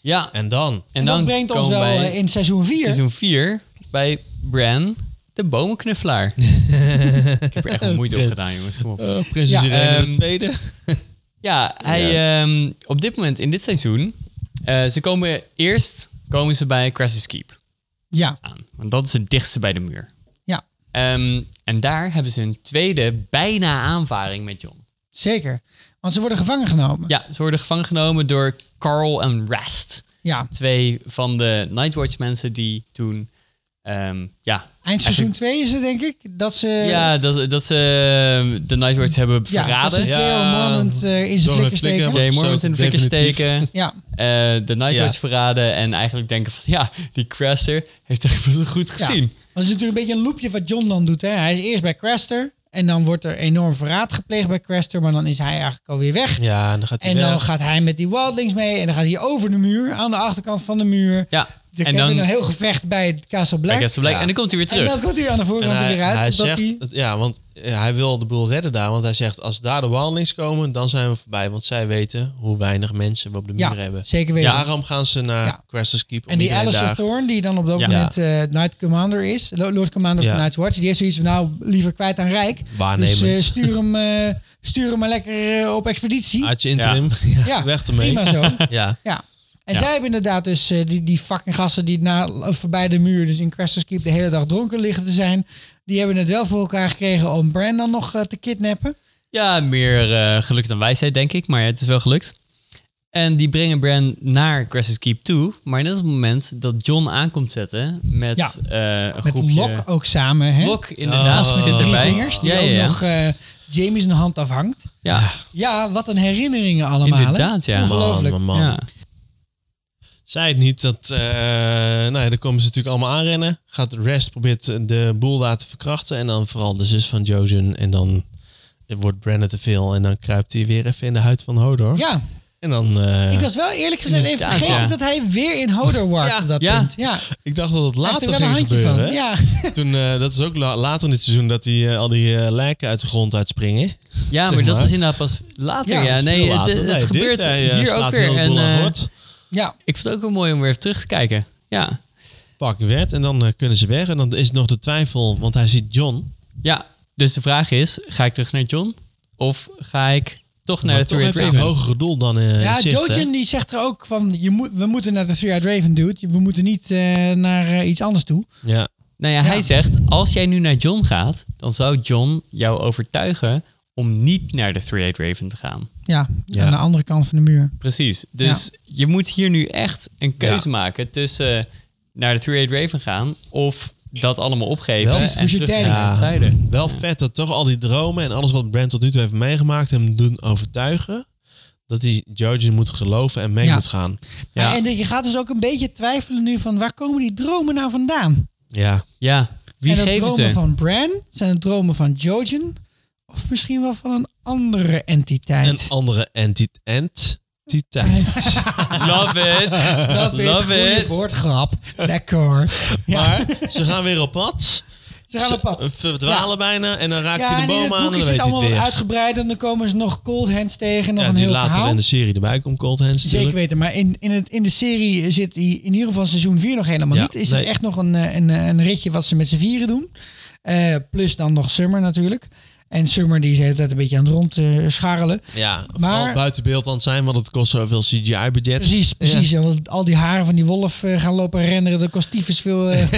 Speaker 1: Ja, en,
Speaker 5: En dan?
Speaker 1: dan
Speaker 4: dat brengt ons
Speaker 1: komen
Speaker 4: wel
Speaker 1: wij
Speaker 4: eh, in seizoen 4.
Speaker 1: seizoen 4 bij Bran, de bomenknuffelaar. Ik heb er echt wel moeite op gedaan, jongens. Kom op.
Speaker 5: Eh, Prinses
Speaker 4: Ja,
Speaker 5: Irene
Speaker 1: ehm,
Speaker 5: de Tweede.
Speaker 1: Ja, hij, ehm, op dit moment, in dit seizoen, eh, ze komen eerst komen ze bij Crassus Keep
Speaker 4: Ja,
Speaker 1: aan. Want dat is het dichtste bij de muur.
Speaker 4: ja,
Speaker 1: Ehm, en daar hebben ze een tweede bijna aanvaring met John.
Speaker 4: zeker. Want ze worden gevangen genomen.
Speaker 1: Ja, ze worden gevangen genomen door Carl en Rast.
Speaker 4: Ja,
Speaker 1: Twee van de Nightwatch mensen die toen... ehm, ja,
Speaker 4: eind seizoen 2 is het denk ik. Dat ze...
Speaker 1: ja dat, dat ze ehm, de Nightwatch hebben
Speaker 4: Eh. Ja, dat
Speaker 1: verraden.
Speaker 4: ze
Speaker 1: Ja,
Speaker 5: Ja,
Speaker 4: J.O. Mormont eh, in zijn
Speaker 5: door
Speaker 4: flikker
Speaker 5: een flikker.
Speaker 4: steken.
Speaker 5: Ja.
Speaker 1: Mormont in de flikken
Speaker 5: Definitief.
Speaker 1: steken.
Speaker 4: Ja,
Speaker 1: eh, de Nightwatch
Speaker 5: Ja.
Speaker 1: verraden en eigenlijk denken van ja, die Craster heeft echt wel zo goed
Speaker 4: ja.
Speaker 1: gezien.
Speaker 4: Dat is natuurlijk een beetje een loopje wat John dan doet. Hè. Hij is eerst bij Craster en dan wordt er enorm verraad gepleegd bij Craster. Maar dan is hij eigenlijk alweer weg.
Speaker 5: Ja, en dan gaat hij
Speaker 4: En dan
Speaker 5: weg.
Speaker 4: gaat hij met die wildlings mee en dan gaat hij over de muur, aan de achterkant van de muur.
Speaker 1: Ja,
Speaker 4: Dan
Speaker 1: en
Speaker 4: hebben we
Speaker 1: dan
Speaker 4: een heel gevecht bij het Castle Black.
Speaker 1: Black is Black.
Speaker 5: Ja.
Speaker 1: en dan komt hij weer
Speaker 4: en
Speaker 1: terug.
Speaker 4: dan komt hij aan de
Speaker 5: En
Speaker 4: voorkant er
Speaker 5: hij,
Speaker 4: weer uit.
Speaker 5: hij zegt,
Speaker 4: omdat hij-
Speaker 5: ja, want eh, hij wil de boel redden daar. Want hij zegt, als daar de Wildlings komen, dan zijn we voorbij. Want zij weten hoe weinig mensen we op de muur
Speaker 4: ja,
Speaker 5: hebben.
Speaker 4: zeker weten.
Speaker 5: Daarom gaan ze naar
Speaker 4: Ja.
Speaker 5: Craster's Keep. om
Speaker 4: En die
Speaker 5: iedereen
Speaker 4: Alistair
Speaker 5: daar-
Speaker 4: Thorne, die dan op dat
Speaker 1: Ja.
Speaker 4: moment eh, Night Commander is, Lo- Lord Commander
Speaker 5: Ja.
Speaker 4: van Night's Watch, die heeft zoiets van, nou, liever kwijt dan rijk.
Speaker 5: Waarnemend.
Speaker 4: Dus eh, stuur, hem, eh, stuur hem maar lekker eh, op expeditie.
Speaker 5: Uit je interim. Ja.
Speaker 4: ja,
Speaker 5: weg ermee.
Speaker 4: prima zo.
Speaker 5: Ja.
Speaker 4: Ja. En
Speaker 1: Ja.
Speaker 4: zij hebben inderdaad dus eh, die, die fucking gasten die na, eh, voorbij de muur, dus in Craster's Keep, de hele dag dronken liggen te zijn. Die hebben het wel voor elkaar gekregen om Brandon nog eh, te kidnappen.
Speaker 1: Ja, meer eh, geluk dan wijsheid, denk ik. Maar het is wel gelukt. En die brengen Bran naar Crescent Keep toe. Maar net op het moment dat John aankomt zetten met
Speaker 4: Ja.
Speaker 1: eh, een
Speaker 4: Met
Speaker 1: groepje...
Speaker 4: Lok ook samen. Hè?
Speaker 1: Lok, inderdaad,
Speaker 5: Oh.
Speaker 1: zit
Speaker 4: Drie
Speaker 1: erbij.
Speaker 4: vingers, die
Speaker 1: ja,
Speaker 4: ook
Speaker 1: ja, ja.
Speaker 4: nog eh Jamie zijn hand afhangt.
Speaker 1: ja,
Speaker 4: Ja, wat een herinneringen allemaal. hè?
Speaker 1: inderdaad, ja.
Speaker 4: Ongelooflijk.
Speaker 5: Oh, Man, man, man.
Speaker 1: ja.
Speaker 5: Zij het niet dat... eh nou ja, dan komen ze natuurlijk allemaal aanrennen. Gaat Rest probeert de boel daar te verkrachten. En dan vooral de zus van Jojen. En dan wordt Brennan te veel. En dan kruipt hij weer even in de huid van Hodor.
Speaker 4: Ja,
Speaker 5: En dan... eh,
Speaker 4: ik was wel eerlijk gezegd even
Speaker 1: Inderdaad,
Speaker 4: vergeten
Speaker 1: ja.
Speaker 4: dat hij weer in Hodor warpt
Speaker 5: Ja,
Speaker 4: op dat
Speaker 1: ja.
Speaker 4: punt. Ja,
Speaker 5: ik dacht dat het
Speaker 4: hij heeft
Speaker 5: later
Speaker 4: er wel een
Speaker 5: ging
Speaker 4: handje
Speaker 5: gebeuren.
Speaker 4: van.
Speaker 5: hè?
Speaker 4: Ja,
Speaker 5: Toen, eh, dat is ook la- later in dit seizoen dat die, eh, al die eh, lijken uit de grond
Speaker 4: Ah,
Speaker 5: uitspringen.
Speaker 1: Ja, maar
Speaker 5: Zeg
Speaker 1: dat
Speaker 5: maar.
Speaker 1: is inderdaad pas later.
Speaker 4: Ja,
Speaker 1: Ja,
Speaker 4: dat is
Speaker 1: nee,
Speaker 5: Veel
Speaker 1: het,
Speaker 5: later.
Speaker 1: het
Speaker 5: Nee, dit,
Speaker 1: gebeurt
Speaker 5: hij, eh,
Speaker 1: hier
Speaker 5: slaat
Speaker 1: ook weer.
Speaker 5: heel de
Speaker 1: En,
Speaker 5: boel aan
Speaker 1: eh,
Speaker 5: gort.
Speaker 4: ja.
Speaker 1: ik vind het ook wel mooi om weer even terug te kijken. Ja,
Speaker 5: Pak werd en dan eh, kunnen ze weg. En dan is nog de twijfel, want hij ziet John.
Speaker 1: ja. Dus de vraag is, ga ik terug naar John? Of ga ik toch naar
Speaker 5: maar
Speaker 1: de
Speaker 5: toch
Speaker 1: Three
Speaker 5: heeft hij
Speaker 1: Eyed
Speaker 5: een
Speaker 1: Raven?
Speaker 5: hoger doel dan eh
Speaker 4: Ja,
Speaker 5: in zicht, hè?
Speaker 4: Jojen die zegt er ook van, je moet, we moeten naar de Three-Eyed Raven, dude. We moeten niet eh, naar eh, iets anders toe.
Speaker 5: Ja.
Speaker 1: Nou ja, hij zegt, als jij nu naar John gaat, dan zou John jou overtuigen om niet naar de Three Eyed Raven te gaan.
Speaker 4: Ja,
Speaker 5: Ja.
Speaker 4: aan de andere kant van de muur.
Speaker 1: Precies. Dus je moet hier nu echt een keuze
Speaker 5: Ja.
Speaker 1: maken tussen naar de Three Eyed Raven gaan of dat allemaal opgeven
Speaker 5: Precies,
Speaker 1: en
Speaker 4: moet je
Speaker 1: terug gaan
Speaker 4: daddy.
Speaker 1: naar het
Speaker 5: Ja.
Speaker 1: zuiden.
Speaker 5: Wel vet dat toch al die dromen en alles wat Brand tot nu toe heeft meegemaakt hem doen overtuigen. Dat hij Jojen moet geloven en mee
Speaker 4: Ja.
Speaker 5: moet gaan.
Speaker 1: Ja.
Speaker 4: En je gaat dus ook een beetje twijfelen nu van, waar komen die dromen nou vandaan?
Speaker 5: Ja.
Speaker 1: Ja, wie
Speaker 4: Zijn het
Speaker 1: geven
Speaker 4: dromen
Speaker 1: ze?
Speaker 4: van Bran? Zijn het dromen van Jojen? Of misschien wel van een andere entiteit?
Speaker 5: Een andere enti- entiteit.
Speaker 1: Love it.
Speaker 4: Dat weer het
Speaker 1: Love
Speaker 4: goede
Speaker 1: it.
Speaker 4: woordgrap. Lekker hoor. Ja,
Speaker 5: maar ze gaan weer op pad.
Speaker 4: ze gaan op pad.
Speaker 5: Ze eh, verdwalen bijna en dan raakt
Speaker 4: Ja,
Speaker 5: hij de
Speaker 4: en in
Speaker 5: boom
Speaker 4: het
Speaker 5: aan en
Speaker 4: boek
Speaker 5: dan
Speaker 4: is het
Speaker 5: weet hij het
Speaker 4: allemaal wat
Speaker 5: weer.
Speaker 4: uitgebreid. En dan komen ze nog cold hands tegen. Nog
Speaker 5: Ja,
Speaker 4: een
Speaker 5: die
Speaker 4: heel
Speaker 5: later
Speaker 4: verhaal.
Speaker 5: in de serie erbij komt, Cold Hands
Speaker 4: Zeker
Speaker 5: natuurlijk.
Speaker 4: weten. Maar in, in, het, in de serie zit hij in ieder geval seizoen 4 nog helemaal
Speaker 5: Ja,
Speaker 4: niet. Is
Speaker 5: nee.
Speaker 4: er echt nog een, eh, een, eh, een ritje wat ze met z'n vieren doen. Eh, plus dan nog Summer natuurlijk. En Summer die is de hele tijd een beetje aan het eh, rondscharrelen.
Speaker 5: Ja,
Speaker 4: Maar-
Speaker 5: vooral buiten beeld aan het zijn, want het kost zoveel CGI-budget.
Speaker 4: Precies, precies. En dat al Dus die haren van die wolf eh, gaan lopen renderen. Dat kost tyfus veel eh,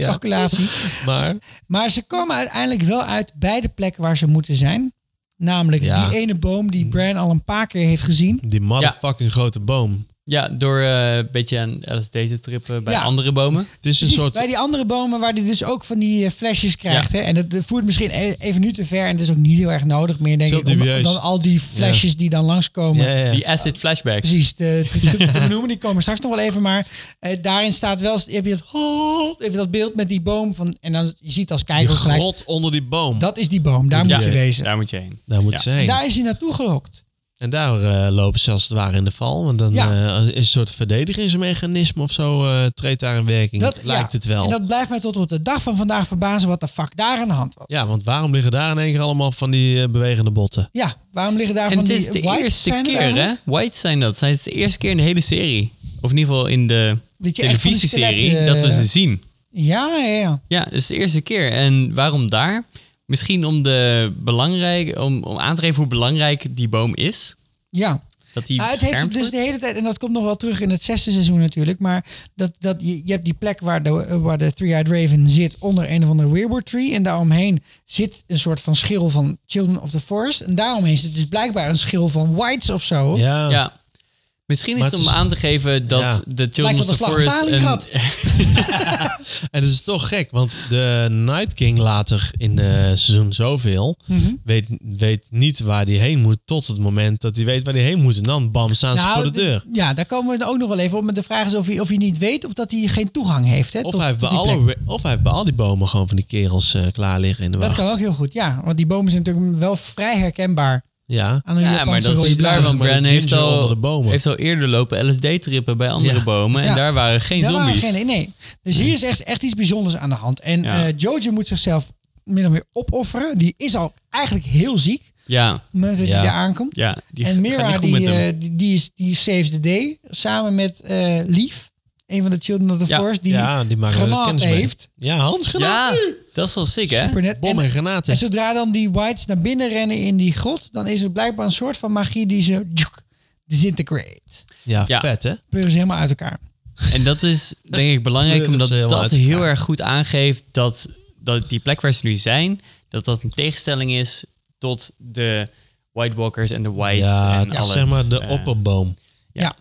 Speaker 5: ja.
Speaker 4: calculatie.
Speaker 5: Maar
Speaker 4: Maar ze komen uiteindelijk wel uit bij de plek waar ze moeten zijn. Namelijk
Speaker 5: Ja. Mm.
Speaker 4: die ene boom die Bran al een paar keer heeft gezien.
Speaker 5: die motherfucking grote boom.
Speaker 1: Ja, door eh, een beetje aan LSD te trippen bij
Speaker 4: Ja.
Speaker 1: andere bomen.
Speaker 5: Het is een
Speaker 4: Precies,
Speaker 5: soort...
Speaker 4: bij die andere bomen waar hij dus ook van die eh, flesjes krijgt. Hè? En dat eh, voert misschien e- even nu te ver. En dat is ook niet heel erg nodig meer, denk
Speaker 5: Heel
Speaker 4: ik. om-
Speaker 5: dubieus.
Speaker 4: dan al die flesjes die dan langskomen.
Speaker 5: Ja, ja, ja.
Speaker 1: Die acid flashbacks.
Speaker 4: Precies, de, de, de- de benoemen die komen straks nog wel even. Maar eh, daarin staat wel, heb je dat, oh, even dat beeld met die boom. Van, en dan je ziet als
Speaker 5: Die
Speaker 4: kijker gelijk,
Speaker 5: grot onder die boom.
Speaker 4: dat is die boom. Daar
Speaker 1: Ja,
Speaker 4: moet je wezen.
Speaker 1: daar moet je heen.
Speaker 5: Daar moet
Speaker 1: Ja.
Speaker 5: ze heen.
Speaker 4: Daar is hij naartoe gelokt.
Speaker 5: En daar eh, lopen ze als het ware in de val. Want dan
Speaker 4: Ja.
Speaker 5: eh, is een soort verdedigingsmechanisme of zo eh, treedt daar in werking.
Speaker 4: Dat-
Speaker 5: lijkt
Speaker 4: ja.
Speaker 5: het wel.
Speaker 4: En dat blijft mij tot op de dag van vandaag verbazen wat de fuck daar aan de hand was.
Speaker 5: Ja, want waarom liggen daar in één keer allemaal van die eh, bewegende botten?
Speaker 4: Ja, waarom liggen daar
Speaker 1: En
Speaker 4: van
Speaker 1: het
Speaker 4: die
Speaker 1: is de
Speaker 4: whites
Speaker 1: eerste
Speaker 4: zijn er
Speaker 1: keer,
Speaker 4: eigenlijk?
Speaker 1: hè? Whites zijn dat. Zijn het de eerste keer in de hele serie. Of in ieder geval in de
Speaker 4: Dat je echt van die
Speaker 1: televisieserie
Speaker 4: skeletten,
Speaker 1: dat we ze
Speaker 4: eh,
Speaker 1: zien.
Speaker 4: Ja, ja, ja.
Speaker 1: Ja, dat is de eerste keer. En waarom daar? Misschien om, de belangrijk, om, om aan te geven hoe belangrijk die boom is.
Speaker 4: ja.
Speaker 1: Dat die
Speaker 4: Ah, het heeft
Speaker 1: beschermd
Speaker 4: dus de
Speaker 1: wordt.
Speaker 4: hele tijd, en dat komt nog wel terug in het zesde seizoen natuurlijk, maar dat, dat, je, je hebt die plek waar de, waar de Three-Eyed Raven zit onder een of andere Weirwood Tree en daaromheen zit een soort van schil van Children of the Forest en daaromheen zit dus blijkbaar een schil van Whites of zo.
Speaker 5: Ja.
Speaker 1: Ja. Misschien is
Speaker 5: Maar
Speaker 1: het om
Speaker 5: het is-
Speaker 1: aan te geven dat
Speaker 5: Ja.
Speaker 1: de Children of
Speaker 4: Lijkt
Speaker 1: the
Speaker 4: wel de slag om
Speaker 1: Forest...
Speaker 4: Stalingrad.
Speaker 5: En het is toch gek, want de Night King later in eh, seizoen zoveel
Speaker 4: Mhm.
Speaker 5: weet, weet niet waar die heen moet tot het moment dat hij weet waar die heen moet. En dan bam, staan ze voor de
Speaker 4: d-
Speaker 5: deur.
Speaker 4: Nou, Ja, daar komen we ook nog wel even op. Maar de vraag is of hij, of hij niet weet of dat hij geen toegang heeft. Hè,
Speaker 5: Of,
Speaker 4: tot-
Speaker 5: hij heeft bij
Speaker 4: tot die plek.
Speaker 5: alle, of hij heeft bij al die bomen gewoon van die kerels eh, klaar liggen in de wacht.
Speaker 4: Dat kan ook heel goed, ja. Want die bomen zijn natuurlijk wel vrij herkenbaar
Speaker 5: Ja.
Speaker 4: aan een
Speaker 1: Ja, maar
Speaker 4: Japanse
Speaker 1: dat is
Speaker 4: rode
Speaker 1: daar,
Speaker 4: bladen.
Speaker 1: want
Speaker 5: Maar de
Speaker 1: Bran
Speaker 5: ginger
Speaker 1: heeft al,
Speaker 5: onder de bomen.
Speaker 1: heeft al eerder lopen LSD-trippen bij andere
Speaker 5: Ja.
Speaker 1: bomen. En
Speaker 4: Ja.
Speaker 1: daar waren geen
Speaker 4: Daar waren
Speaker 1: zombies.
Speaker 4: geen- nee. Dus hier is echt, echt iets bijzonders aan de hand. En
Speaker 1: Ja.
Speaker 4: eh, Jojo moet zichzelf min of meer opofferen. Die is al eigenlijk heel ziek. Op
Speaker 1: Ja,
Speaker 4: het moment dat
Speaker 5: Ja.
Speaker 4: hij daar aankomt.
Speaker 1: ja. Die
Speaker 4: en
Speaker 1: gaat niet
Speaker 4: Mira,
Speaker 1: goed met
Speaker 4: die,
Speaker 1: hem.
Speaker 4: eh, die, die, is, die saves the day. Samen met eh Lief. Een van de Children of the
Speaker 1: Ja.
Speaker 4: Forest. Die
Speaker 5: ja, die maken wel
Speaker 4: granaat
Speaker 5: kennis mee.
Speaker 4: heeft.
Speaker 5: Ja, Hans
Speaker 1: ja, dat is wel sick, hè?
Speaker 4: super net.
Speaker 5: Bom
Speaker 4: en-
Speaker 5: en granaten.
Speaker 4: En zodra dan die whites naar binnen rennen in die grot, dan is er blijkbaar een soort van magie die ze tjoek, disintegrate.
Speaker 5: Ja,
Speaker 1: Ja.
Speaker 5: vet hè?
Speaker 4: Pleuren ze helemaal uit elkaar.
Speaker 1: En dat is denk ik belangrijk,
Speaker 5: Dat is
Speaker 1: omdat
Speaker 5: helemaal
Speaker 1: dat
Speaker 5: uit elkaar.
Speaker 1: heel erg goed aangeeft dat, dat die plek waar ze nu zijn, dat dat een tegenstelling is tot de White Walkers en de Whites.
Speaker 5: Ja,
Speaker 1: en
Speaker 5: het
Speaker 1: al
Speaker 5: is zeg maar de
Speaker 1: eh,
Speaker 5: opperboom.
Speaker 4: Ja.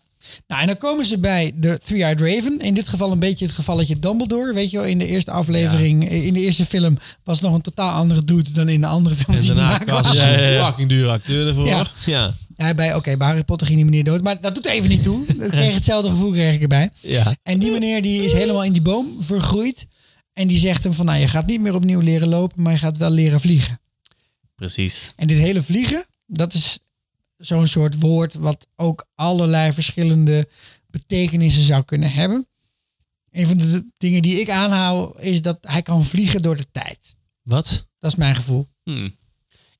Speaker 4: Nou, en dan komen ze bij de Three-Eyed Raven. In dit geval een beetje het gevalletje Dumbledore. Weet je wel, in de eerste aflevering, eh, in de eerste film was nog een totaal andere dude dan in de andere film.
Speaker 5: En
Speaker 4: die
Speaker 5: daarna
Speaker 4: gemaakt was.
Speaker 5: kast
Speaker 1: Ja, ja, ja.
Speaker 5: fucking dure acteur ervoor.
Speaker 4: Ja.
Speaker 5: Ja.
Speaker 4: Ja, bij, oké, bij Harry Potter ging die meneer dood, maar dat doet even niet toe. Dat kreeg hetzelfde gevoel kreeg ik erbij.
Speaker 5: Ja.
Speaker 4: En die meneer die is helemaal in die boom vergroeid. En die zegt hem van, nou, je gaat niet meer opnieuw leren lopen, maar je gaat wel leren vliegen.
Speaker 1: Precies.
Speaker 4: En dit hele vliegen, dat is zo'n soort woord wat ook allerlei verschillende betekenissen zou kunnen hebben. Een van de dingen die ik aanhoud is dat hij kan vliegen door de tijd.
Speaker 5: Wat?
Speaker 4: Dat is mijn gevoel.
Speaker 1: Hm.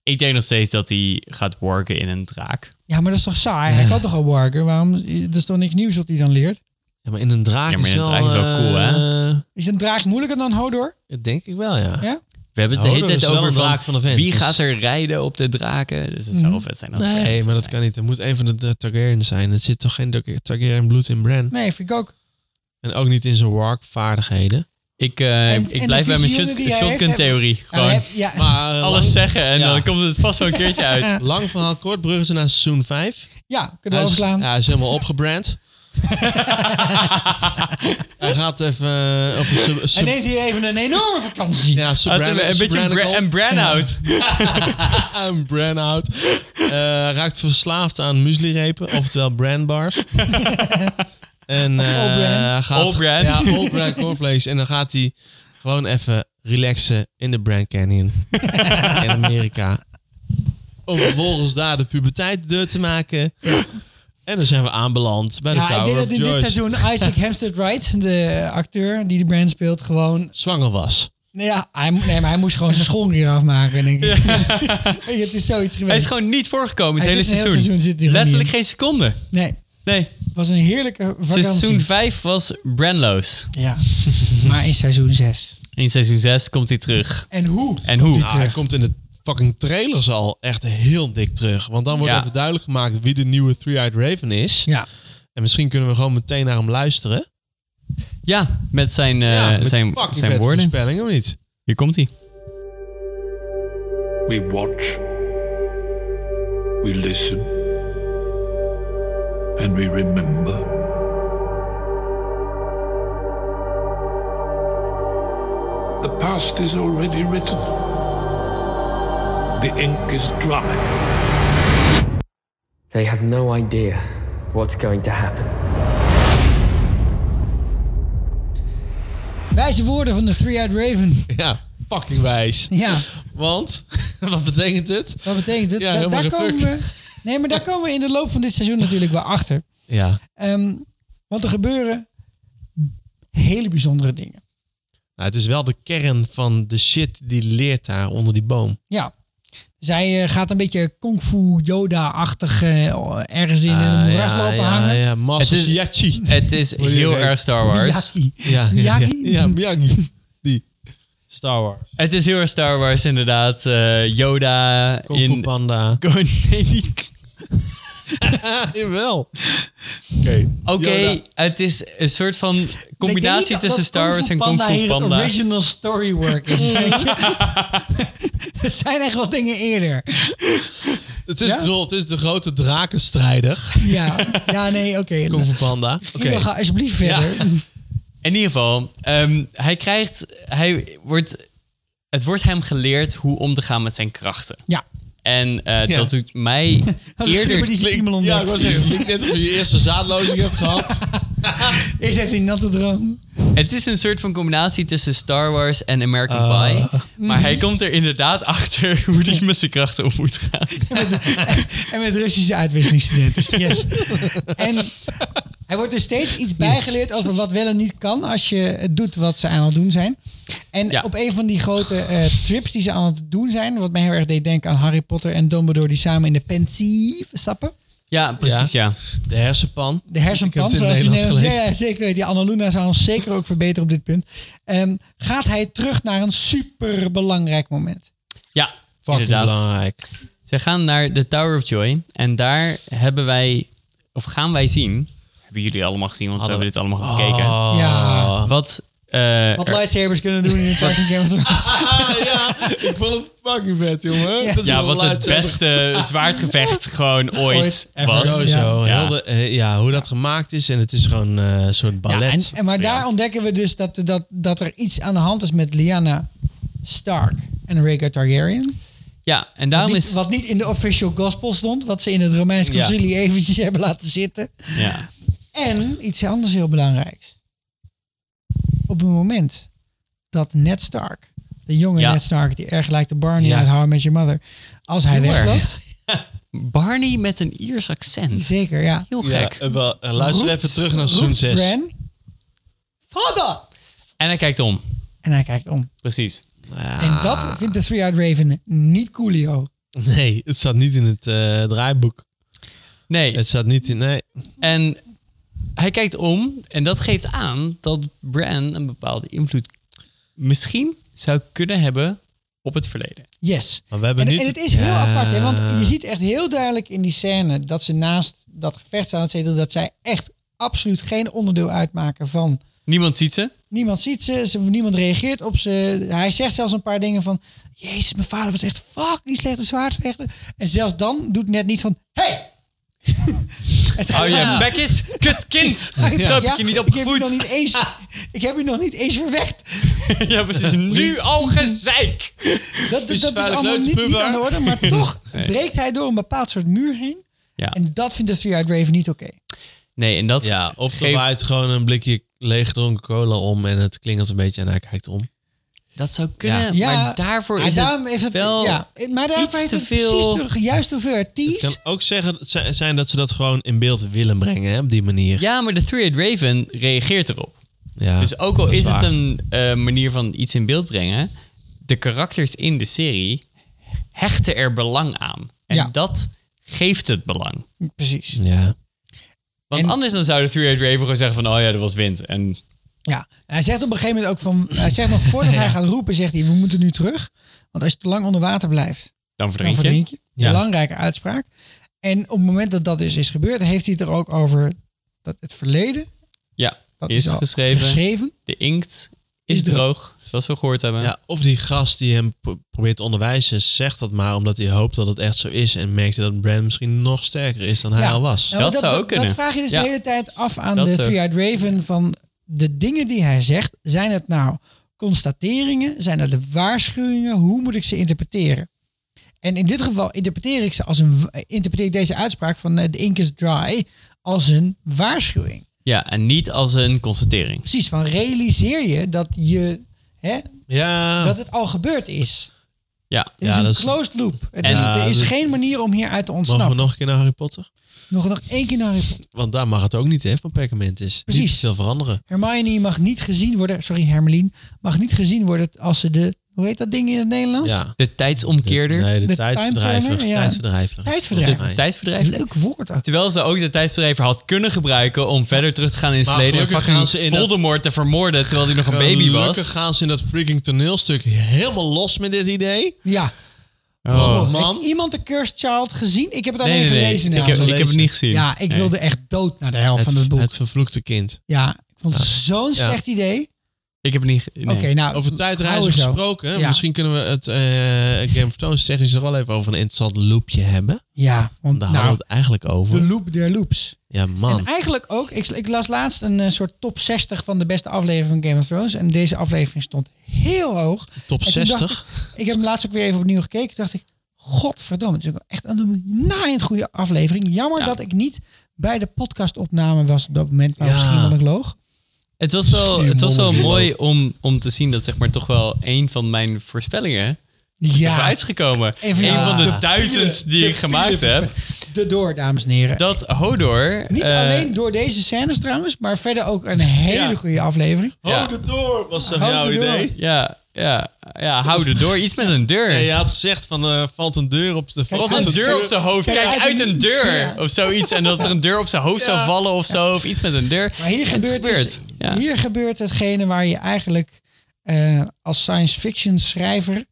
Speaker 1: Ik denk nog steeds dat hij gaat worken in een draak.
Speaker 4: Ja, maar dat is toch saai? Hij kan toch al warken? Waarom? Dat is toch niks nieuws wat hij dan leert?
Speaker 5: Ja, maar in een draak
Speaker 1: Ja, maar
Speaker 5: is
Speaker 1: in een
Speaker 5: wel...
Speaker 1: draak is wel cool, hè?
Speaker 5: eh,
Speaker 4: Is een draak moeilijker dan Hodor?
Speaker 5: dat denk ik wel, ja.
Speaker 4: Ja.
Speaker 1: We hebben het
Speaker 5: Nou,
Speaker 1: de hele
Speaker 5: dat
Speaker 1: tijd
Speaker 5: is wel
Speaker 1: over
Speaker 5: een
Speaker 1: van,
Speaker 5: draak van de vent,
Speaker 1: wie
Speaker 5: dus- Hmm.
Speaker 1: gaat er rijden op de draken. Dus het zou wel vet zijn. als het
Speaker 5: Nee,
Speaker 1: echt
Speaker 5: maar
Speaker 1: zou
Speaker 5: dat kan niet. Er moet een van de Tar- Targaryens zijn. Er zit toch geen Tar- Targaryen bloed in Bran?
Speaker 4: Nee, vind ik ook.
Speaker 5: En ook niet in zijn wark-vaardigheden.
Speaker 1: Ik, eh,
Speaker 4: En-
Speaker 1: ik
Speaker 4: en de
Speaker 1: blijf bij mijn
Speaker 4: visioenen
Speaker 1: shot-
Speaker 4: die hij heeft,
Speaker 1: shotgun-theorie.
Speaker 4: Ja,
Speaker 1: Gewoon
Speaker 4: hij- ja,
Speaker 5: Maar eh,
Speaker 1: alles
Speaker 5: lang,
Speaker 1: zeggen en
Speaker 5: Ja.
Speaker 1: dan komt het vast wel een keertje uit.
Speaker 5: lang verhaal kort, bruggen ze naar seizoen 5.
Speaker 4: ja, kunnen
Speaker 5: Hij
Speaker 4: we
Speaker 5: is, ja,
Speaker 4: overslaan.
Speaker 5: hij is helemaal opgebrand. hij gaat even eh, op een sub,
Speaker 4: Hij
Speaker 5: sub,
Speaker 4: neemt hier even een enorme vakantie.
Speaker 5: ja,
Speaker 1: Had
Speaker 5: subranical-
Speaker 1: een, een beetje een bra-
Speaker 5: subranical-
Speaker 1: een brand-out.
Speaker 5: Een brand-out. Eh, raakt verslaafd aan muesli-repen, oftewel brandbars. en eh,
Speaker 4: All brand.
Speaker 5: gaat...
Speaker 1: All brand.
Speaker 5: Ja, all brand cornflakes. En dan gaat hij gewoon even relaxen in de Brand Canyon. in Amerika. Om vervolgens daar de puberteit deur te maken. En dan zijn we aanbeland bij de
Speaker 4: Ja, ik
Speaker 5: Tower
Speaker 4: denk
Speaker 5: of
Speaker 4: dat in dit
Speaker 5: Joyce.
Speaker 4: seizoen Isaac Hempstead Wright, de acteur die de brand speelt, gewoon
Speaker 5: Zwanger was.
Speaker 4: Nee, ja, hij, mo- nee, maar hij moest gewoon zijn school hier afmaken, denk ik. Weet je, het is zoiets
Speaker 1: Hij is
Speaker 4: geweest.
Speaker 1: gewoon niet voorgekomen het
Speaker 4: Hij
Speaker 1: hele
Speaker 4: zit een heel
Speaker 1: seizoen.
Speaker 4: seizoen zit hij gewoon
Speaker 1: Letterlijk
Speaker 4: niet
Speaker 1: geen seconde.
Speaker 4: Nee,
Speaker 1: Nee,
Speaker 4: het was een heerlijke vakantie.
Speaker 1: seizoen 5 was Branlo's.
Speaker 4: Ja, maar in seizoen 6.
Speaker 1: In seizoen 6 komt hij terug.
Speaker 4: En hoe?
Speaker 1: En hoe?
Speaker 5: Ah, hij komt in de fucking trailers al echt heel dik terug. Want dan wordt
Speaker 1: Ja.
Speaker 5: even duidelijk gemaakt wie de nieuwe Three-Eyed Raven is.
Speaker 4: Ja.
Speaker 5: En misschien kunnen we gewoon meteen naar hem luisteren.
Speaker 1: Ja, met zijn, eh,
Speaker 5: ja, met
Speaker 1: zijn,
Speaker 5: fucking
Speaker 1: zijn
Speaker 5: vette
Speaker 1: woorden.
Speaker 5: voorspelling, of niet?
Speaker 1: Hier komt hij.
Speaker 6: We watch, we listen, and we remember. The past is already written. The ink is dry.
Speaker 7: They have no idea what's going to happen.
Speaker 4: Wijze woorden van de Three-Eyed Raven.
Speaker 5: Ja, fucking wijs.
Speaker 4: Ja,
Speaker 5: Want, wat betekent het?
Speaker 4: wat betekent het?
Speaker 5: Ja,
Speaker 4: Da-
Speaker 5: helemaal
Speaker 4: daar
Speaker 5: geen
Speaker 4: komen
Speaker 5: fuck.
Speaker 4: we. Nee, maar daar komen we in de loop van dit seizoen natuurlijk wel achter.
Speaker 5: Ja. nou,
Speaker 4: Ehm, want er gebeuren hele bijzondere dingen.
Speaker 5: Nou, het is wel de kern van de shit die leert daar onder die boom.
Speaker 4: Ja. Zij eh, gaat een beetje kung fu Yoda-achtig eh, ergens in
Speaker 5: Ah,
Speaker 4: een moeras lopen hangen.
Speaker 5: ja,
Speaker 1: Het is-
Speaker 5: Master Yachi.
Speaker 1: Het is
Speaker 5: Hoe je
Speaker 1: heel
Speaker 5: weet.
Speaker 1: erg Star Wars.
Speaker 4: Miyagi.
Speaker 5: Ja, ja, ja,
Speaker 4: Miyagi?
Speaker 5: ja, Miyagi. Die. Star Wars.
Speaker 1: Het is heel erg Star Wars, inderdaad. Eh, Yoda
Speaker 5: Kung Fu
Speaker 1: in...
Speaker 5: Panda.
Speaker 1: Nee, niet-
Speaker 5: Jawel. Oké.
Speaker 1: Oké, het is een soort van
Speaker 4: Ik
Speaker 1: combinatie
Speaker 4: denk niet
Speaker 1: tussen
Speaker 4: dat
Speaker 1: Star Wars en Kung Fu
Speaker 4: hier het
Speaker 1: Panda.
Speaker 4: original storywork is. weet je. er zijn echt wel dingen eerder.
Speaker 5: Het is,
Speaker 4: Ja?
Speaker 5: bedoel, het is de grote drakenstrijder.
Speaker 4: Ja, ja nee, oké.
Speaker 5: Kung Fu Panda. Oké.
Speaker 4: Ido, Ga alsjeblieft verder.
Speaker 1: In ieder geval, ehm, hij krijgt... Hij wordt, het wordt hem geleerd hoe om te gaan met zijn krachten.
Speaker 4: Ja.
Speaker 1: En eh,
Speaker 5: Ja.
Speaker 1: dat doet mij
Speaker 4: Gilbert
Speaker 1: eerder...
Speaker 4: is iemand ontdekt.
Speaker 5: Ja, ik was zeggen, het klinkt net of je je eerste zaadlozing hebt gehad.
Speaker 4: Eerst heeft hij een natte droom.
Speaker 1: Het is een soort van combinatie tussen Star Wars en American
Speaker 5: Ah.
Speaker 1: Pie. Maar hij komt er inderdaad achter hoe hij met zijn krachten om moet gaan.
Speaker 4: En met Russische uitwisselingsstudenten. Yes. En hij wordt dus steeds iets bijgeleerd over wat wel en niet kan als je het doet wat ze aan het doen zijn. En
Speaker 1: Ja.
Speaker 4: op een van die grote eh, trips die ze aan het doen zijn, wat mij heel erg deed denken aan Harry Potter en Dumbledore die samen in de pensief stappen.
Speaker 1: Ja, precies, ja.
Speaker 5: De hersenpan.
Speaker 4: De hersenpan,
Speaker 5: Ik heb het in
Speaker 4: zoals
Speaker 5: het
Speaker 4: die
Speaker 5: Nederlands
Speaker 4: Nederlands... Ja, ja, zeker weet. Die Annaluna zou ons zeker ook verbeteren op dit punt. Ehm, gaat hij terug naar een superbelangrijk moment.
Speaker 1: Ja,
Speaker 5: Fucking
Speaker 1: inderdaad.
Speaker 5: belangrijk.
Speaker 1: Zij gaan naar de Tower of Joy. En daar hebben wij, of gaan wij zien... Hebben jullie allemaal gezien, want
Speaker 5: Hadden
Speaker 1: we hebben dit allemaal gekeken.
Speaker 5: Oh.
Speaker 4: Ja.
Speaker 1: Wat, eh,
Speaker 4: Wat
Speaker 1: er-
Speaker 4: lightsabers kunnen doen in een fucking Game of Thrones.
Speaker 5: Ah, Ik vond het fucking vet, jongen.
Speaker 4: Ja.
Speaker 5: Dat is
Speaker 1: ja,
Speaker 5: wel
Speaker 1: wat het
Speaker 5: laatste.
Speaker 1: beste zwaardgevecht gewoon
Speaker 4: Ooit
Speaker 1: ooit
Speaker 4: ever.
Speaker 1: was.
Speaker 4: Ja.
Speaker 5: Sowieso.
Speaker 1: Ja.
Speaker 5: Heel de- eh, ja, hoe dat gemaakt is. En het is gewoon eh, een soort
Speaker 4: Ja, en,
Speaker 5: ballet.
Speaker 4: en maar daar
Speaker 1: Briljant.
Speaker 4: ontdekken we dus dat, dat, dat er iets aan de hand is met Lyanna Stark en Rhaegar Targaryen.
Speaker 1: Ja, en
Speaker 4: Wat
Speaker 1: daarom
Speaker 4: niet,
Speaker 1: is...
Speaker 4: wat niet in de official gospel stond, wat ze in het Romeins
Speaker 5: Ja.
Speaker 4: concilie eventjes hebben laten zitten.
Speaker 1: Ja.
Speaker 4: En iets anders heel belangrijks. Op het moment dat Ned Stark, de jonge
Speaker 1: Ja.
Speaker 4: Ned Stark die erg lijkt op Barney
Speaker 5: Ja.
Speaker 4: uit How I Met Your Mother, als hij
Speaker 1: Heel erg.
Speaker 4: wegloopt,
Speaker 1: Barney met een Iers accent.
Speaker 4: zeker ja.
Speaker 1: Heel
Speaker 5: Ja,
Speaker 1: gek.
Speaker 5: eh, wel, eh, luister
Speaker 4: Roept-
Speaker 5: even terug naar seizoen
Speaker 4: roept
Speaker 5: 6.
Speaker 4: Bran, Vader!
Speaker 1: En hij kijkt om.
Speaker 4: En hij kijkt om.
Speaker 1: Precies. Ah.
Speaker 4: En dat vindt de Three-Eyed Raven niet coolio.
Speaker 5: Nee, het staat niet in het eh, draaiboek.
Speaker 1: Nee,
Speaker 5: Het staat niet in... Nee.
Speaker 1: en hij kijkt om en dat geeft aan dat Bran een bepaalde invloed misschien zou kunnen hebben op het verleden.
Speaker 4: Yes.
Speaker 5: Maar we hebben
Speaker 4: En,
Speaker 5: niet...
Speaker 4: en het is heel
Speaker 5: Ja.
Speaker 4: apart, hè? want je ziet echt heel duidelijk in die scène dat ze naast dat gevecht staan, et cetera, dat zij echt absoluut geen onderdeel uitmaken van
Speaker 1: Niemand ziet ze.
Speaker 4: Niemand ziet ze, ze- niemand reageert op ze. Hij zegt zelfs een paar dingen van... Jezus, mijn vader was echt fucking slechte zwaardvechter. En zelfs dan doet net niet van... Hey!
Speaker 1: Oh ja, bek is kut kind. Zo heb ik je niet
Speaker 4: ik heb je nog
Speaker 1: opgevoed.
Speaker 4: niet eens, Ik heb je nog niet eens verwekt.
Speaker 1: Ja, precies. Nu al gezeik.
Speaker 4: Dat, dat
Speaker 5: Is
Speaker 4: is
Speaker 5: veilig
Speaker 4: allemaal niet,
Speaker 5: leutepuber.
Speaker 4: niet aan de orde. Maar toch breekt hij door een bepaald soort muur heen.
Speaker 1: Ja.
Speaker 4: En dat vindt de Three-Eyed Raven niet oké.
Speaker 1: Nee, en dat
Speaker 5: Ja, of er
Speaker 1: Geeft-
Speaker 5: waait gewoon een blikje leeggedronken cola om en het klingelt een beetje en hij kijkt om.
Speaker 1: Dat zou kunnen,
Speaker 4: Ja.
Speaker 1: maar
Speaker 4: Ja,
Speaker 1: daarvoor
Speaker 4: Maar
Speaker 1: is
Speaker 4: daarom
Speaker 1: het
Speaker 4: heeft het...
Speaker 1: wel...
Speaker 4: ja, maar daarvoor
Speaker 1: iets
Speaker 4: heeft
Speaker 1: te
Speaker 4: het
Speaker 1: veel-
Speaker 4: precies de juiste hoeveelheid
Speaker 5: Het
Speaker 4: tease.
Speaker 5: kan ook zeggen, zi- zijn dat ze dat gewoon in beeld willen brengen, hè, op die manier.
Speaker 1: ja, maar de Three-Eyed Raven reageert erop.
Speaker 5: Ja,
Speaker 1: Dus ook al
Speaker 5: dat
Speaker 1: is,
Speaker 5: waar.
Speaker 1: het een eh, manier van iets in beeld brengen, de karakters in de serie hechten er belang aan. En
Speaker 4: Ja.
Speaker 1: dat geeft het belang.
Speaker 4: Precies.
Speaker 5: Ja.
Speaker 1: Want
Speaker 4: En-
Speaker 1: anders dan zou de Three-Eyed Raven gewoon zeggen van, oh ja, dat was wind. En
Speaker 4: Ja, en hij zegt op een gegeven moment ook van... Hij zegt nog voordat hij gaat roepen, zegt hij... We moeten nu terug. Want als je te lang onder water blijft,
Speaker 1: dan
Speaker 4: dan
Speaker 1: verdrink je.
Speaker 4: verdrink je.
Speaker 5: Ja.
Speaker 4: Belangrijke uitspraak. En op het moment dat dat dus is gebeurd... heeft hij het er ook over dat het verleden...
Speaker 1: Ja,
Speaker 4: Dat
Speaker 1: is
Speaker 4: al
Speaker 1: geschreven.
Speaker 4: geschreven.
Speaker 1: De inkt is,
Speaker 4: Is droog.
Speaker 1: droog, zoals we gehoord hebben.
Speaker 5: ja, of die gast die hem pro- probeert te onderwijzen, zegt dat maar omdat hij hoopt dat het echt zo is en merkte dat Brand misschien nog sterker is dan hij
Speaker 4: Ja.
Speaker 5: al was.
Speaker 4: Nou, maar
Speaker 1: Dat zou ook kunnen.
Speaker 4: Dat vraag je dus
Speaker 1: Ja.
Speaker 4: de hele tijd af aan
Speaker 1: Dat
Speaker 4: de
Speaker 1: is zo.
Speaker 4: Three-Eyed Raven... van de dingen die hij zegt. Zijn het nou constateringen? Zijn het de waarschuwingen? Hoe moet ik ze interpreteren? En in dit geval interpreteer ik, ze als een, eh, interpreteer ik deze uitspraak van eh, de ink is dry... als een waarschuwing.
Speaker 1: Ja, en niet als een constatering.
Speaker 4: Precies, van realiseer je dat, je, hè,
Speaker 5: Ja,
Speaker 4: dat het al gebeurd is.
Speaker 5: Ja,
Speaker 4: Dit
Speaker 5: Ah. ja,
Speaker 4: is een
Speaker 5: dat is...
Speaker 4: closed loop. Het
Speaker 5: En-
Speaker 4: is, er
Speaker 5: Ja,
Speaker 4: is
Speaker 5: dat-
Speaker 4: geen manier om hieruit te
Speaker 5: Mogen we
Speaker 4: ontsnappen.
Speaker 5: nog een keer naar Harry Potter?
Speaker 4: Nog, nog één keer naar Harry Potter.
Speaker 5: Want daar mag het ook niet, hè, van Peppermint is.
Speaker 4: Precies.
Speaker 5: Niet veel veranderen.
Speaker 4: Hermione mag niet gezien worden... Sorry, Hermelien. Mag niet gezien worden als ze de... Hoe heet dat ding in het Nederlands?
Speaker 5: Ja.
Speaker 1: De tijdsomkeerder.
Speaker 5: Ah. Nee, de,
Speaker 4: De
Speaker 5: tijdsverdrijver.
Speaker 4: timeturner, ja.
Speaker 5: Tijdsverdrijver. is het volgens
Speaker 4: Tijdsverdrijver.
Speaker 5: mij.
Speaker 1: Tijdsbedrijf.
Speaker 4: Leuk woord. ook.
Speaker 1: Terwijl ze ook de tijdsbedrijver had kunnen gebruiken om verder terug te gaan in het
Speaker 5: Maar
Speaker 1: verleden. En
Speaker 5: gelukkig gaan
Speaker 1: fucking
Speaker 5: ze in dat-
Speaker 1: Voldemort te vermoorden terwijl hij nog een baby was.
Speaker 5: Gelukkig gaan ze in dat freaking toneelstuk helemaal los met dit idee.
Speaker 4: Ja.
Speaker 5: Oh,
Speaker 4: Heeft
Speaker 5: man.
Speaker 4: iemand de Cursed Child gezien? Ik heb het alleen
Speaker 1: Nee, nee, nee.
Speaker 4: gelezen.
Speaker 1: Ik,
Speaker 4: namelijk.
Speaker 1: heb, ik heb het niet gezien.
Speaker 4: Ja, ik wilde echt dood naar de helft van het boek.
Speaker 5: het vervloekte kind.
Speaker 4: ja, ik vond het
Speaker 5: Ja.
Speaker 4: zo'n slecht idee.
Speaker 1: Ik heb het niet ge- nee.
Speaker 4: Oké, nou.
Speaker 5: Over tijdreizen
Speaker 4: hou er zo.
Speaker 5: gesproken.
Speaker 4: Ja.
Speaker 5: Misschien kunnen we het eh, Game of Thrones technisch er wel even over een interessant loopje hebben.
Speaker 4: Ja, want
Speaker 5: Daar hadden
Speaker 4: nou,
Speaker 5: we het eigenlijk over.
Speaker 4: de loop der loops.
Speaker 5: ja,
Speaker 4: En
Speaker 5: man.
Speaker 4: eigenlijk ook, ik, ik las laatst een eh, soort top 60 van de beste aflevering van Game of Thrones. En deze aflevering stond heel hoog.
Speaker 5: Top
Speaker 4: En toen dacht
Speaker 5: 60.
Speaker 4: Ik, ik heb hem laatst ook weer even opnieuw gekeken. Toen dacht ik, godverdomme, het is ook echt een naaiend goede aflevering. Jammer
Speaker 1: Ja.
Speaker 4: dat ik niet bij de podcastopname was op dat moment. Maar
Speaker 5: Ja.
Speaker 4: misschien wel ik loog.
Speaker 1: Het was wel, het was wel mooi om, om te zien dat zeg maar toch wel een van mijn voorspellingen
Speaker 4: Ja,
Speaker 1: eruit is gekomen.
Speaker 4: Een van
Speaker 1: Eén
Speaker 4: de-
Speaker 1: van de
Speaker 5: de
Speaker 1: duizend die ik gemaakt heb.
Speaker 4: de door, dames en heren.
Speaker 1: Dat Hodor...
Speaker 4: niet
Speaker 1: eh,
Speaker 4: alleen door deze scènes trouwens, maar verder ook een hele
Speaker 5: Ja.
Speaker 4: goede aflevering.
Speaker 1: Ja.
Speaker 5: de door was toch
Speaker 4: Hou de door.
Speaker 1: Ja, ja, ja, houden door. Iets met een deur.
Speaker 5: Ja, je had gezegd van eh, valt een deur op de
Speaker 1: Wat
Speaker 5: valt
Speaker 1: een deur op zijn hoofd.
Speaker 4: Kijk,
Speaker 1: Kijk,
Speaker 4: uit
Speaker 1: uit
Speaker 4: een-
Speaker 1: een deur.
Speaker 4: Ja.
Speaker 1: Of zoiets. En dat er een deur op zijn hoofd zou vallen of zo. Of iets met een deur.
Speaker 4: Maar hier
Speaker 1: Het
Speaker 4: gebeurt, dus-
Speaker 1: gebeurt, ja.
Speaker 4: hier gebeurt hetgene waar je eigenlijk eh, als science fiction schrijver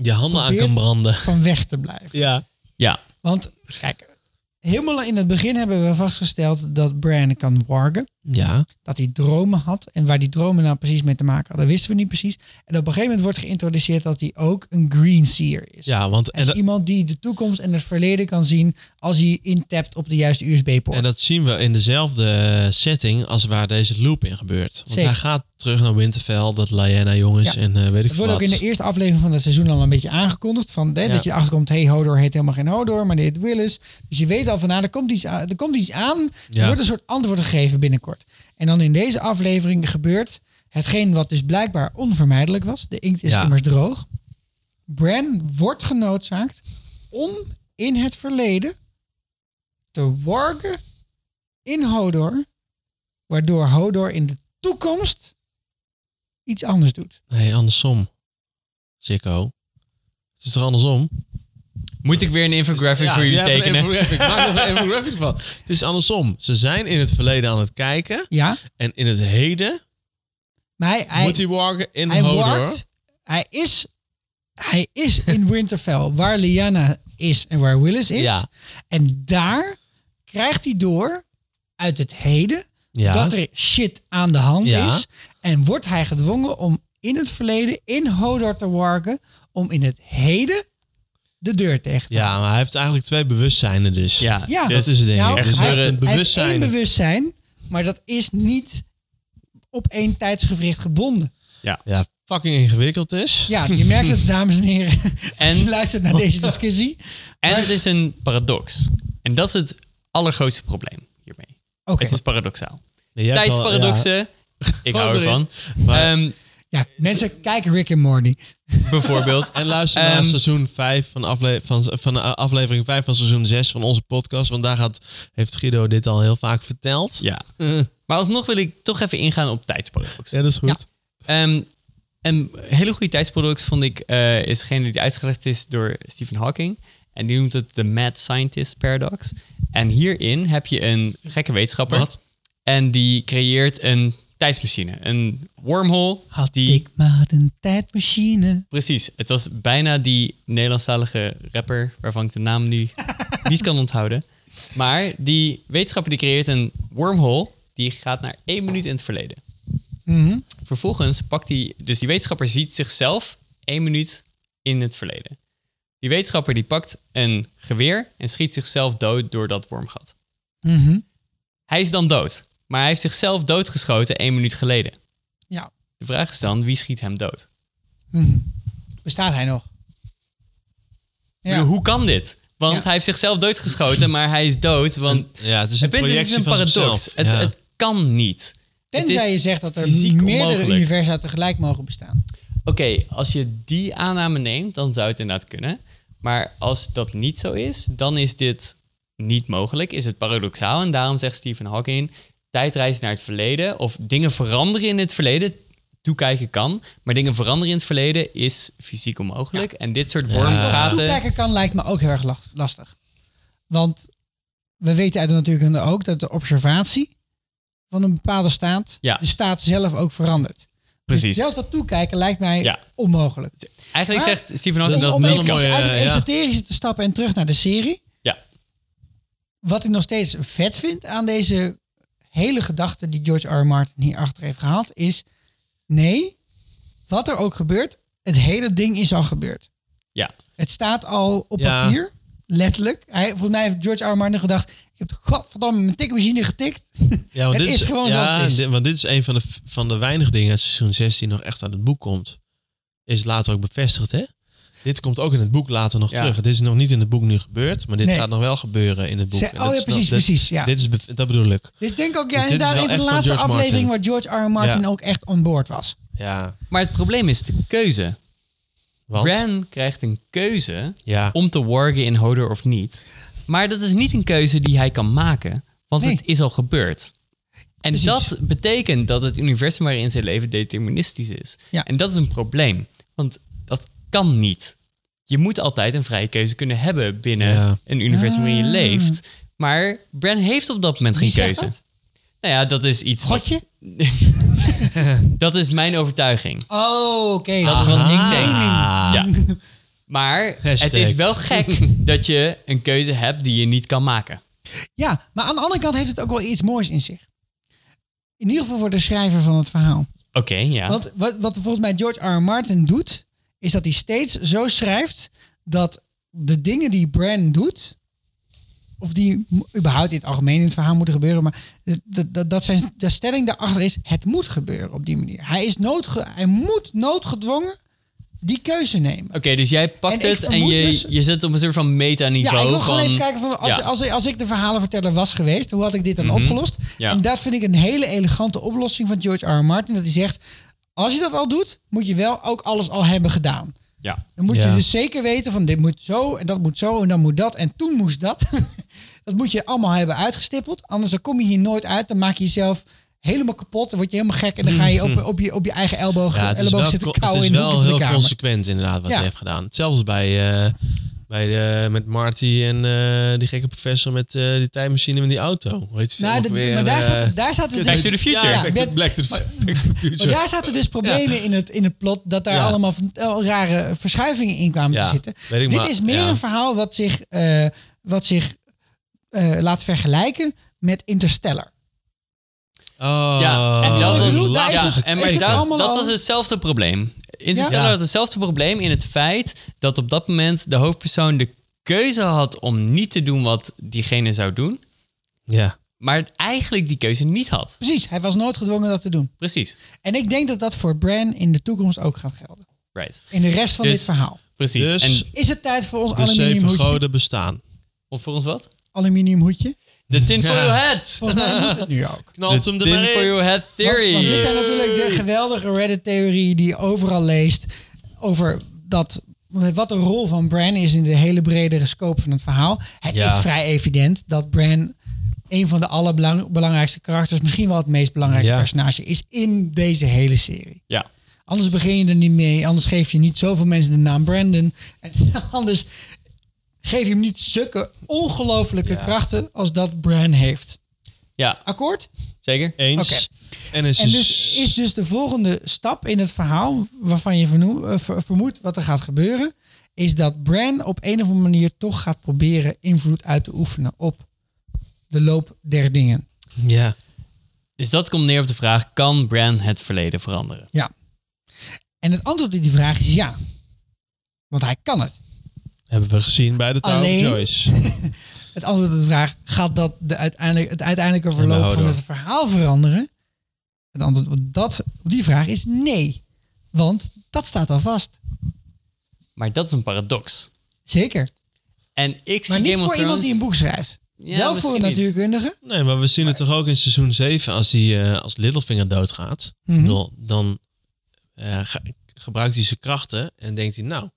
Speaker 5: Je handen aan
Speaker 4: Probeert.
Speaker 5: kan branden.
Speaker 4: van weg te blijven.
Speaker 5: Ja.
Speaker 1: Ja.
Speaker 4: Want kijk, helemaal in het begin hebben we vastgesteld dat Bran kan wargen.
Speaker 5: Ja.
Speaker 4: Dat hij dromen had. En waar die dromen nou precies mee te maken hadden, wisten we niet precies. En op een gegeven moment wordt geïntroduceerd dat hij ook een green seer is.
Speaker 5: Ja, want
Speaker 4: Hij is
Speaker 5: en, dat-
Speaker 4: iemand die de toekomst en het verleden kan zien als hij intapt op de juiste USB-poort.
Speaker 5: en dat zien we in dezelfde setting als waar deze loop in gebeurt. Want
Speaker 4: Zeker.
Speaker 5: hij gaat terug naar Winterfell, dat Lyanna jong is
Speaker 4: Ja.
Speaker 5: en eh, weet ik
Speaker 4: Het
Speaker 5: veel
Speaker 4: wordt ook
Speaker 5: wat.
Speaker 4: in de eerste aflevering van het seizoen al een beetje aangekondigd. Van, hè,
Speaker 5: Ja.
Speaker 4: Dat je erachter komt, hey, Hodor heet helemaal geen Hodor, maar dit heet Willis. Dus je weet al van, nou, er komt iets aan. Er, komt iets aan. er
Speaker 5: Ja.
Speaker 4: wordt een soort antwoord gegeven binnenkort. En dan in deze aflevering gebeurt hetgeen wat dus blijkbaar onvermijdelijk was. De inkt is
Speaker 5: Ja.
Speaker 4: immers droog. Bran wordt genoodzaakt om in het verleden te wargen in Hodor. Waardoor Hodor in de toekomst iets anders doet.
Speaker 5: Nee, andersom. Sikko. Het is toch andersom?
Speaker 1: Moet ik weer een infographic
Speaker 5: Ja,
Speaker 1: voor jullie
Speaker 5: jij hebt een
Speaker 1: tekenen?
Speaker 5: infographic. Maak nog een infographic van. Het is andersom. Ze zijn in het verleden aan het kijken.
Speaker 4: Ja,
Speaker 5: En in het heden
Speaker 4: maar hij, hij,
Speaker 5: moet hij wargen in
Speaker 4: hij
Speaker 5: Hodor.
Speaker 4: wordt- Hij is, hij is in Winterfell, waar Lyanna is en waar Willis is.
Speaker 5: Ja.
Speaker 4: En daar krijgt hij door uit het heden
Speaker 5: Ja.
Speaker 4: dat er shit aan de hand
Speaker 5: Ja.
Speaker 4: is. En wordt hij gedwongen om in het verleden in Hodor te warken, om in het heden de deur tegen te
Speaker 5: Ja, maar hij heeft eigenlijk twee bewustzijnen dus.
Speaker 1: Ja,
Speaker 4: Ja,
Speaker 1: dus-
Speaker 5: Dat is het ding.
Speaker 4: Nou,
Speaker 5: dus
Speaker 4: hij,
Speaker 5: er een
Speaker 4: heeft, hij heeft
Speaker 5: bewustzijn.
Speaker 4: één bewustzijn, maar dat is niet op één tijdsgevricht gebonden.
Speaker 5: ja, fucking ingewikkeld dus. is.
Speaker 4: Ja, je merkt het, dames en heren. En, als je
Speaker 1: En-
Speaker 4: luistert naar deze discussie.
Speaker 1: En het is een paradox. En dat is het allergrootste probleem hiermee.
Speaker 4: Oké.
Speaker 1: Het is paradoxaal.
Speaker 5: Nee, jij hebt al-
Speaker 1: Tijdsparadoxen. Ik
Speaker 5: Gewoon
Speaker 1: hou ervan.
Speaker 5: ja. Maar-
Speaker 1: Ehm,
Speaker 4: Ja, mensen kijken Rick en Morty.
Speaker 1: bijvoorbeeld.
Speaker 5: en luister naar
Speaker 1: Ehm,
Speaker 5: seizoen 5 van, afle van, van eh, aflevering 5 van seizoen 6 van onze podcast. Want daar gaat, heeft Guido dit al heel vaak verteld.
Speaker 1: Ja. Maar alsnog wil ik toch even ingaan op tijdsparadoxen.
Speaker 5: dat is goed.
Speaker 1: Ehm, een hele goede tijdsproduct vond ik, eh, is degene die uitgelegd is door Stephen Hawking. En die noemt het de Mad Scientist Paradox. En hierin heb je een gekke wetenschapper.
Speaker 5: Wat?
Speaker 1: En die creëert een tijdsmachine. Een wormhole.
Speaker 4: Had
Speaker 1: die,
Speaker 4: ik maar een tijdmachine.
Speaker 1: Precies. Het was bijna die Nederlandstalige rapper, waarvan ik de naam nu niet kan onthouden. Maar die wetenschapper die creëert een wormhole. Die gaat naar één minuut in het verleden. Mhm, Vervolgens pakt hij, dus die wetenschapper ziet zichzelf één minuut in het verleden. Die wetenschapper die pakt een geweer en schiet zichzelf dood door dat wormgat.
Speaker 4: Mhm.
Speaker 1: Hij is dan dood, maar hij heeft zichzelf doodgeschoten één minuut geleden.
Speaker 4: Ja.
Speaker 1: De vraag is dan, wie schiet hem dood?
Speaker 4: Mhm. Bestaat hij nog?
Speaker 1: Ik bedoel, Hoe kan dit? Want
Speaker 4: Ja.
Speaker 1: hij heeft zichzelf doodgeschoten, maar hij is dood. Want
Speaker 5: Ja, het is een
Speaker 1: het punt is,
Speaker 5: projectie
Speaker 1: het is een
Speaker 5: van
Speaker 1: paradox. Het,
Speaker 5: zichzelf. Ja.
Speaker 1: het kan niet. Het
Speaker 4: Tenzij
Speaker 1: is
Speaker 4: je zegt dat er
Speaker 1: fysiek
Speaker 4: meerdere
Speaker 1: onmogelijk.
Speaker 4: universa tegelijk mogen bestaan.
Speaker 1: Oké, als je die aanname neemt, dan zou het inderdaad kunnen. Maar als dat niet zo is, dan is dit niet mogelijk. Is het paradoxaal. En daarom zegt Stephen Hawking: tijdreizen naar het verleden of dingen veranderen in het verleden. Toekijken kan, maar dingen veranderen in het verleden is fysiek onmogelijk. En dit soort wormgaten.
Speaker 4: Toekijken kan lijkt me ook heel erg las- lastig. Want we weten uit de natuurkunde ook dat de observatie van een bepaalde staat,
Speaker 1: Ja.
Speaker 4: de staat zelf ook verandert. Dus
Speaker 1: Precies.
Speaker 4: zelfs dat toekijken lijkt mij
Speaker 1: Ja.
Speaker 4: onmogelijk.
Speaker 1: Eigenlijk
Speaker 4: Maar-
Speaker 1: zegt Stephen Hawking
Speaker 5: Dat is
Speaker 1: dat,
Speaker 5: wel
Speaker 4: Dus om
Speaker 1: het
Speaker 5: een
Speaker 1: niet
Speaker 4: even
Speaker 1: kan.
Speaker 5: mooie-
Speaker 4: uit het
Speaker 5: ja.
Speaker 4: esoterische te stappen en terug naar de serie.
Speaker 1: Ja.
Speaker 4: Wat ik nog steeds vet vind aan deze hele gedachte die George R. R. Martin hierachter heeft gehaald, is nee, wat er ook gebeurt, het hele ding is al gebeurd.
Speaker 1: Ja.
Speaker 4: Het staat al op
Speaker 5: Ja.
Speaker 4: papier, letterlijk. Hij, volgens mij heeft George R. R. Martin gedacht, ik heb de godverdomme mijn tikmachine getikt.
Speaker 5: Ja, want
Speaker 4: Het
Speaker 5: dit
Speaker 4: is gewoon
Speaker 5: ja,
Speaker 4: zoals het is.
Speaker 5: dit- want dit is een van de, van de weinige dingen uit seizoen 16 nog echt uit het boek komt. Is later ook bevestigd, hè? Dit komt ook in het boek later nog
Speaker 1: Ja.
Speaker 5: terug. Het is nog niet in het boek nu gebeurd, maar dit
Speaker 4: Nee.
Speaker 5: gaat nog wel gebeuren in het boek.
Speaker 4: Ze-
Speaker 5: En dat
Speaker 4: oh ja,
Speaker 5: is nog-
Speaker 4: precies,
Speaker 5: dit-
Speaker 4: precies. Ja.
Speaker 5: Dit is bev- dat bedoel ik.
Speaker 4: Dus ik denk ook,
Speaker 5: Dus
Speaker 4: ja,
Speaker 5: dit is
Speaker 4: inderdaad,
Speaker 5: wel
Speaker 4: een van de
Speaker 5: echt van
Speaker 4: laatste
Speaker 5: George
Speaker 4: aflevering
Speaker 5: Martin.
Speaker 4: waar George R. R. Martin
Speaker 5: Ja.
Speaker 4: ook echt on board was.
Speaker 5: Ja,
Speaker 1: Maar het probleem is de keuze.
Speaker 5: want
Speaker 1: Ren krijgt een keuze
Speaker 5: ja,
Speaker 1: om te wargen in Hodor of niet. Maar dat is niet een keuze die hij kan maken, want
Speaker 4: Nee.
Speaker 1: het is al gebeurd. En
Speaker 4: Precies.
Speaker 1: dat betekent dat het universum waarin zij leven deterministisch is.
Speaker 4: Ja.
Speaker 1: En dat is een probleem, want dat kan niet. Je moet altijd een vrije keuze kunnen hebben binnen
Speaker 5: Ja.
Speaker 1: een universum waarin je
Speaker 4: Ah.
Speaker 1: leeft. Maar Bran heeft op dat moment
Speaker 4: Wie
Speaker 1: geen
Speaker 4: zegt
Speaker 1: keuze.
Speaker 4: dat?
Speaker 1: Nou ja, dat is iets. wat-
Speaker 4: Godje?
Speaker 1: dat is mijn overtuiging.
Speaker 4: Oh, oké.
Speaker 1: Dat is wat ik denk. Ja. Maar het
Speaker 5: Hashtag.
Speaker 1: is wel gek dat je een keuze hebt die je niet kan maken.
Speaker 4: Ja, maar aan de andere kant heeft het ook wel iets moois in zich. In ieder geval voor de schrijver van het verhaal.
Speaker 1: Oké, ja.
Speaker 4: Want wat, wat volgens mij George R. R. Martin doet, is dat hij steeds zo schrijft dat de dingen die Bran doet, of die m- überhaupt in het algemeen in het verhaal moeten gebeuren, maar dat, dat, dat zijn, de stelling daarachter is, het moet gebeuren op die manier. Hij, is noodge, hij moet noodgedwongen die keuze nemen.
Speaker 1: Oké, dus jij pakt
Speaker 4: En ik
Speaker 1: het en
Speaker 4: vermoed
Speaker 1: je,
Speaker 4: dus-
Speaker 1: je zit op een soort van
Speaker 4: Ja,
Speaker 1: metaniveau.
Speaker 4: ik wil gewoon
Speaker 1: van,
Speaker 4: even kijken van als,
Speaker 1: Ja.
Speaker 4: als, als ik de verhalenverteller was geweest, hoe had ik dit
Speaker 5: Mhm.
Speaker 4: dan opgelost?
Speaker 1: Ja.
Speaker 4: En dat vind ik een hele elegante oplossing van George R. R. Martin. Dat hij zegt, als je dat al doet, moet je wel ook alles al hebben gedaan.
Speaker 1: Ja.
Speaker 4: Dan moet
Speaker 5: Ja.
Speaker 4: je dus zeker weten van dit moet zo en dat moet zo en dan moet dat en toen moest dat. dat moet je allemaal hebben uitgestippeld. Anders dan kom je hier nooit uit. Dan maak je jezelf helemaal kapot. Dan word je helemaal gek en dan ga je op, op, je, op je eigen elleboog,
Speaker 5: Mhm. ja het is
Speaker 4: elleboog
Speaker 5: wel,
Speaker 4: zitten
Speaker 5: co- het
Speaker 4: kauwen
Speaker 5: is
Speaker 4: in de hoek
Speaker 5: wel
Speaker 4: van de
Speaker 5: heel
Speaker 4: kamer.
Speaker 5: consequent inderdaad wat
Speaker 4: Ja.
Speaker 5: je hebt gedaan. Zelfs bij, eh, bij de, met Marty en eh, die gekke professor met eh, die tijdmachine met die auto. Weet je
Speaker 4: Nou, de- maar daar zaten, daar zaten
Speaker 1: Back
Speaker 4: dus-
Speaker 1: to the future.
Speaker 4: Ja,
Speaker 5: eh, Back,
Speaker 4: Oh. Back-
Speaker 5: to, Black to the, Back to the Future.
Speaker 4: Maar daar zaten dus problemen in, het, in het plot. Dat daar
Speaker 5: Ja.
Speaker 4: allemaal van- eh, rare verschuivingen in kwamen
Speaker 5: Ja,
Speaker 4: te zitten.
Speaker 5: weet ik
Speaker 4: Dit
Speaker 5: maar,
Speaker 4: is meer
Speaker 5: ja.
Speaker 4: een verhaal wat zich, eh, wat zich eh, laat vergelijken met Interstellar.
Speaker 5: Oh,
Speaker 1: Ja, en dat
Speaker 4: Ik
Speaker 1: was,
Speaker 4: bedoel, daar is
Speaker 1: ja,
Speaker 4: het-
Speaker 1: en
Speaker 4: is
Speaker 1: maar
Speaker 4: het
Speaker 1: daar-
Speaker 4: allemaal
Speaker 1: dat
Speaker 4: al-
Speaker 1: was hetzelfde probleem. Interstellar
Speaker 5: Ja.
Speaker 1: had hetzelfde probleem in het feit dat op dat moment de hoofdpersoon de keuze had om niet te doen wat diegene zou doen,
Speaker 5: Ja.
Speaker 1: maar eigenlijk die keuze niet had.
Speaker 4: Precies, hij was nooit gedwongen dat te doen.
Speaker 1: Precies.
Speaker 4: En ik denk dat dat voor Bran in de toekomst ook gaat gelden.
Speaker 1: Right.
Speaker 4: In de rest van
Speaker 1: Dus-
Speaker 4: dit verhaal.
Speaker 1: Precies.
Speaker 5: Dus-
Speaker 1: en
Speaker 4: Is het tijd voor ons
Speaker 5: De
Speaker 4: aluminium
Speaker 5: zeven
Speaker 4: hoedje?
Speaker 5: goden bestaan.
Speaker 1: of voor ons wat?
Speaker 4: Aluminium hoedje?
Speaker 1: De tin for
Speaker 5: Ja.
Speaker 1: your head.
Speaker 4: Volgens mij moet het nu ook.
Speaker 5: Knalt
Speaker 1: De
Speaker 5: hem er
Speaker 1: tin
Speaker 5: maar
Speaker 1: for
Speaker 5: in.
Speaker 1: your head
Speaker 4: Want,
Speaker 1: theory.
Speaker 4: want dit zijn natuurlijk de geweldige Reddit-theorieën die je overal leest. Over dat, wat de rol van Bran is in de hele bredere scope van het verhaal. Het
Speaker 5: Ja.
Speaker 4: is vrij evident dat Bran een van de allerbelangrijkste karakters, misschien wel het meest belangrijke
Speaker 5: Ja.
Speaker 4: personage is in deze hele serie.
Speaker 1: Ja.
Speaker 4: Anders begin je er niet mee. Anders geef je niet zoveel mensen de naam Brandon. En anders geef je hem niet zulke ongelofelijke krachten als dat Bran heeft.
Speaker 1: ja,
Speaker 4: Akkoord?
Speaker 1: zeker.
Speaker 5: Eens. En is,
Speaker 4: En dus is dus de volgende stap in het verhaal, waarvan je vernoem- eh, ver- vermoedt wat er gaat gebeuren, is dat Bran op een of andere manier toch gaat proberen invloed uit te oefenen op de loop der dingen.
Speaker 5: Ja.
Speaker 1: Dus dat komt neer op de vraag: kan Bran het verleden veranderen?
Speaker 4: Ja. En het antwoord op die vraag is ja. Want hij kan het.
Speaker 5: Hebben we gezien bij de Tower
Speaker 4: Alleen-
Speaker 5: of Joyce.
Speaker 4: Het antwoord op de vraag, gaat dat de uiteindelijk, het uiteindelijke
Speaker 5: we
Speaker 4: verloop van
Speaker 5: houden
Speaker 4: het verhaal veranderen? Het antwoord op, dat, op die vraag is nee. Want dat staat al vast.
Speaker 1: Maar dat is een paradox.
Speaker 4: Zeker.
Speaker 1: En ik zie
Speaker 4: Maar niet
Speaker 1: Game of
Speaker 4: voor iemand
Speaker 1: Thrones.
Speaker 4: die een boek schrijft.
Speaker 1: Ja,
Speaker 4: Wel voor
Speaker 1: misschien
Speaker 4: een
Speaker 1: niet.
Speaker 4: natuurkundige.
Speaker 5: Nee, maar we zien het toch ook in seizoen 7 als, die, eh, als Littlefinger doodgaat.
Speaker 4: Mhm.
Speaker 5: Ik bedoel, Dan eh, ga- gebruikt hij zijn krachten en denkt hij, nou,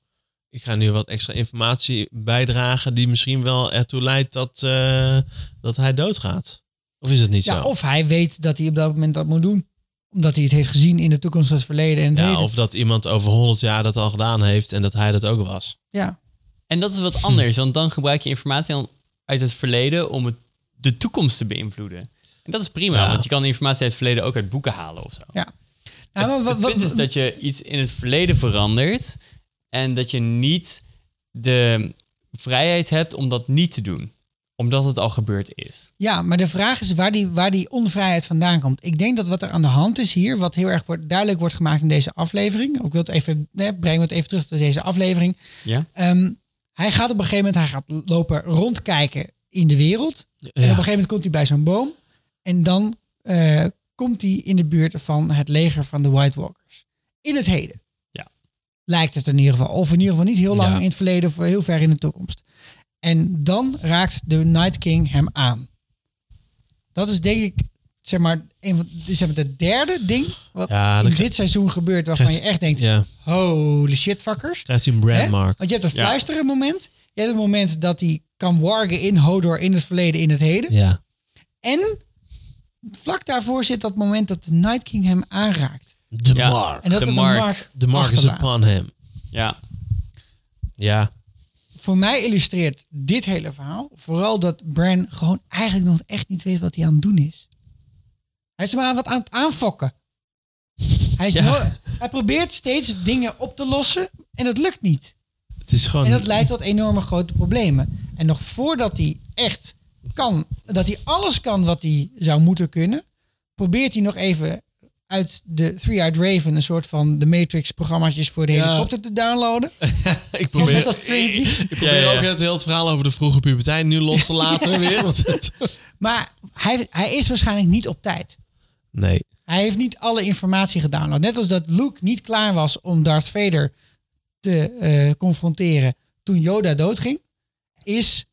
Speaker 5: ik ga nu wat extra informatie bijdragen die misschien wel ertoe leidt dat, eh, dat hij doodgaat. Of is het niet
Speaker 4: Ja,
Speaker 5: zo?
Speaker 4: of hij weet dat hij op dat moment dat moet doen. Omdat hij het heeft gezien in de toekomst, het verleden en het
Speaker 5: ja,
Speaker 4: heden.
Speaker 5: of dat iemand over 100 jaar dat al gedaan heeft en dat hij dat ook was.
Speaker 4: Ja.
Speaker 1: En dat is wat anders, want dan gebruik je informatie aan- uit het verleden om het, de toekomst te beïnvloeden. En dat is prima,
Speaker 5: Ja.
Speaker 1: want je kan informatie uit het verleden ook uit boeken halen of zo.
Speaker 4: Nou, maar wat,
Speaker 1: Het punt is
Speaker 4: wat,
Speaker 1: dat je iets in het verleden verandert en dat je niet de vrijheid hebt om dat niet te doen, omdat het al gebeurd is.
Speaker 4: ja, maar de vraag is waar die, waar die onvrijheid vandaan komt. Ik denk dat wat er aan de hand is hier, wat heel erg wordt, duidelijk wordt gemaakt in deze aflevering. Ik wil het even, hè, breng het even terug tot deze aflevering.
Speaker 1: Ja?
Speaker 4: Ehm, hij gaat op een gegeven moment, hij gaat lopen rondkijken in de wereld. En op een gegeven moment komt hij bij zo'n boom. En dan eh, komt hij in de buurt van het leger van de White Walkers. In het heden.
Speaker 1: Ja.
Speaker 4: Lijkt het in ieder geval. Of in ieder geval niet heel lang
Speaker 5: Ja.
Speaker 4: in het verleden of heel ver in de toekomst. En dan raakt de Night King hem aan. Dat is denk ik, zeg maar, een van, zeg maar de derde ding wat
Speaker 5: Ja,
Speaker 4: in
Speaker 5: dan
Speaker 4: dit
Speaker 5: krijg-
Speaker 4: seizoen gebeurt waarvan
Speaker 5: krijgt-
Speaker 4: je echt denkt,
Speaker 5: Ja,
Speaker 4: holy shit fuckers.
Speaker 5: krijgt hij een
Speaker 4: Hè?
Speaker 5: brandmark.
Speaker 4: Want je hebt het
Speaker 1: Ja.
Speaker 4: fluisteren moment. Je hebt het moment dat hij kan wargen in Hodor in het verleden, in het heden.
Speaker 5: Ja.
Speaker 4: En vlak daarvoor zit dat moment dat de Night King hem aanraakt.
Speaker 5: De
Speaker 1: Ja.
Speaker 5: mark.
Speaker 4: En dat
Speaker 1: De
Speaker 4: het
Speaker 1: mark.
Speaker 4: de mark,
Speaker 5: De mark is
Speaker 4: achterlaat.
Speaker 5: upon hem.
Speaker 1: Ja,
Speaker 5: Ja.
Speaker 4: Voor mij illustreert dit hele verhaal vooral dat Bran gewoon eigenlijk nog echt niet weet wat hij aan het doen is. Hij is maar wat aan het aanfokken. Hij, is
Speaker 5: Ja.
Speaker 4: nooit- hij probeert steeds dingen op te lossen en het lukt niet.
Speaker 5: Het is gewoon...
Speaker 4: En dat leidt tot enorme grote problemen. En nog voordat hij echt kan, dat hij alles kan wat hij zou moeten kunnen, probeert hij nog even uit de Three-Eyed Raven een soort van de Matrix-programma's voor de
Speaker 5: Ja.
Speaker 4: helikopter te downloaden.
Speaker 5: ik
Speaker 4: Net
Speaker 5: probeer,
Speaker 4: als Trinity.
Speaker 5: ik probeer
Speaker 1: Ja, ja.
Speaker 5: ook het hele verhaal over de vroege puberteit nu los te laten weer. Want het...
Speaker 4: Maar hij, hij is waarschijnlijk niet op tijd.
Speaker 5: Nee.
Speaker 4: Hij heeft niet alle informatie gedownload. Net als dat Luke niet klaar was om Darth Vader te eh, confronteren toen Yoda doodging, is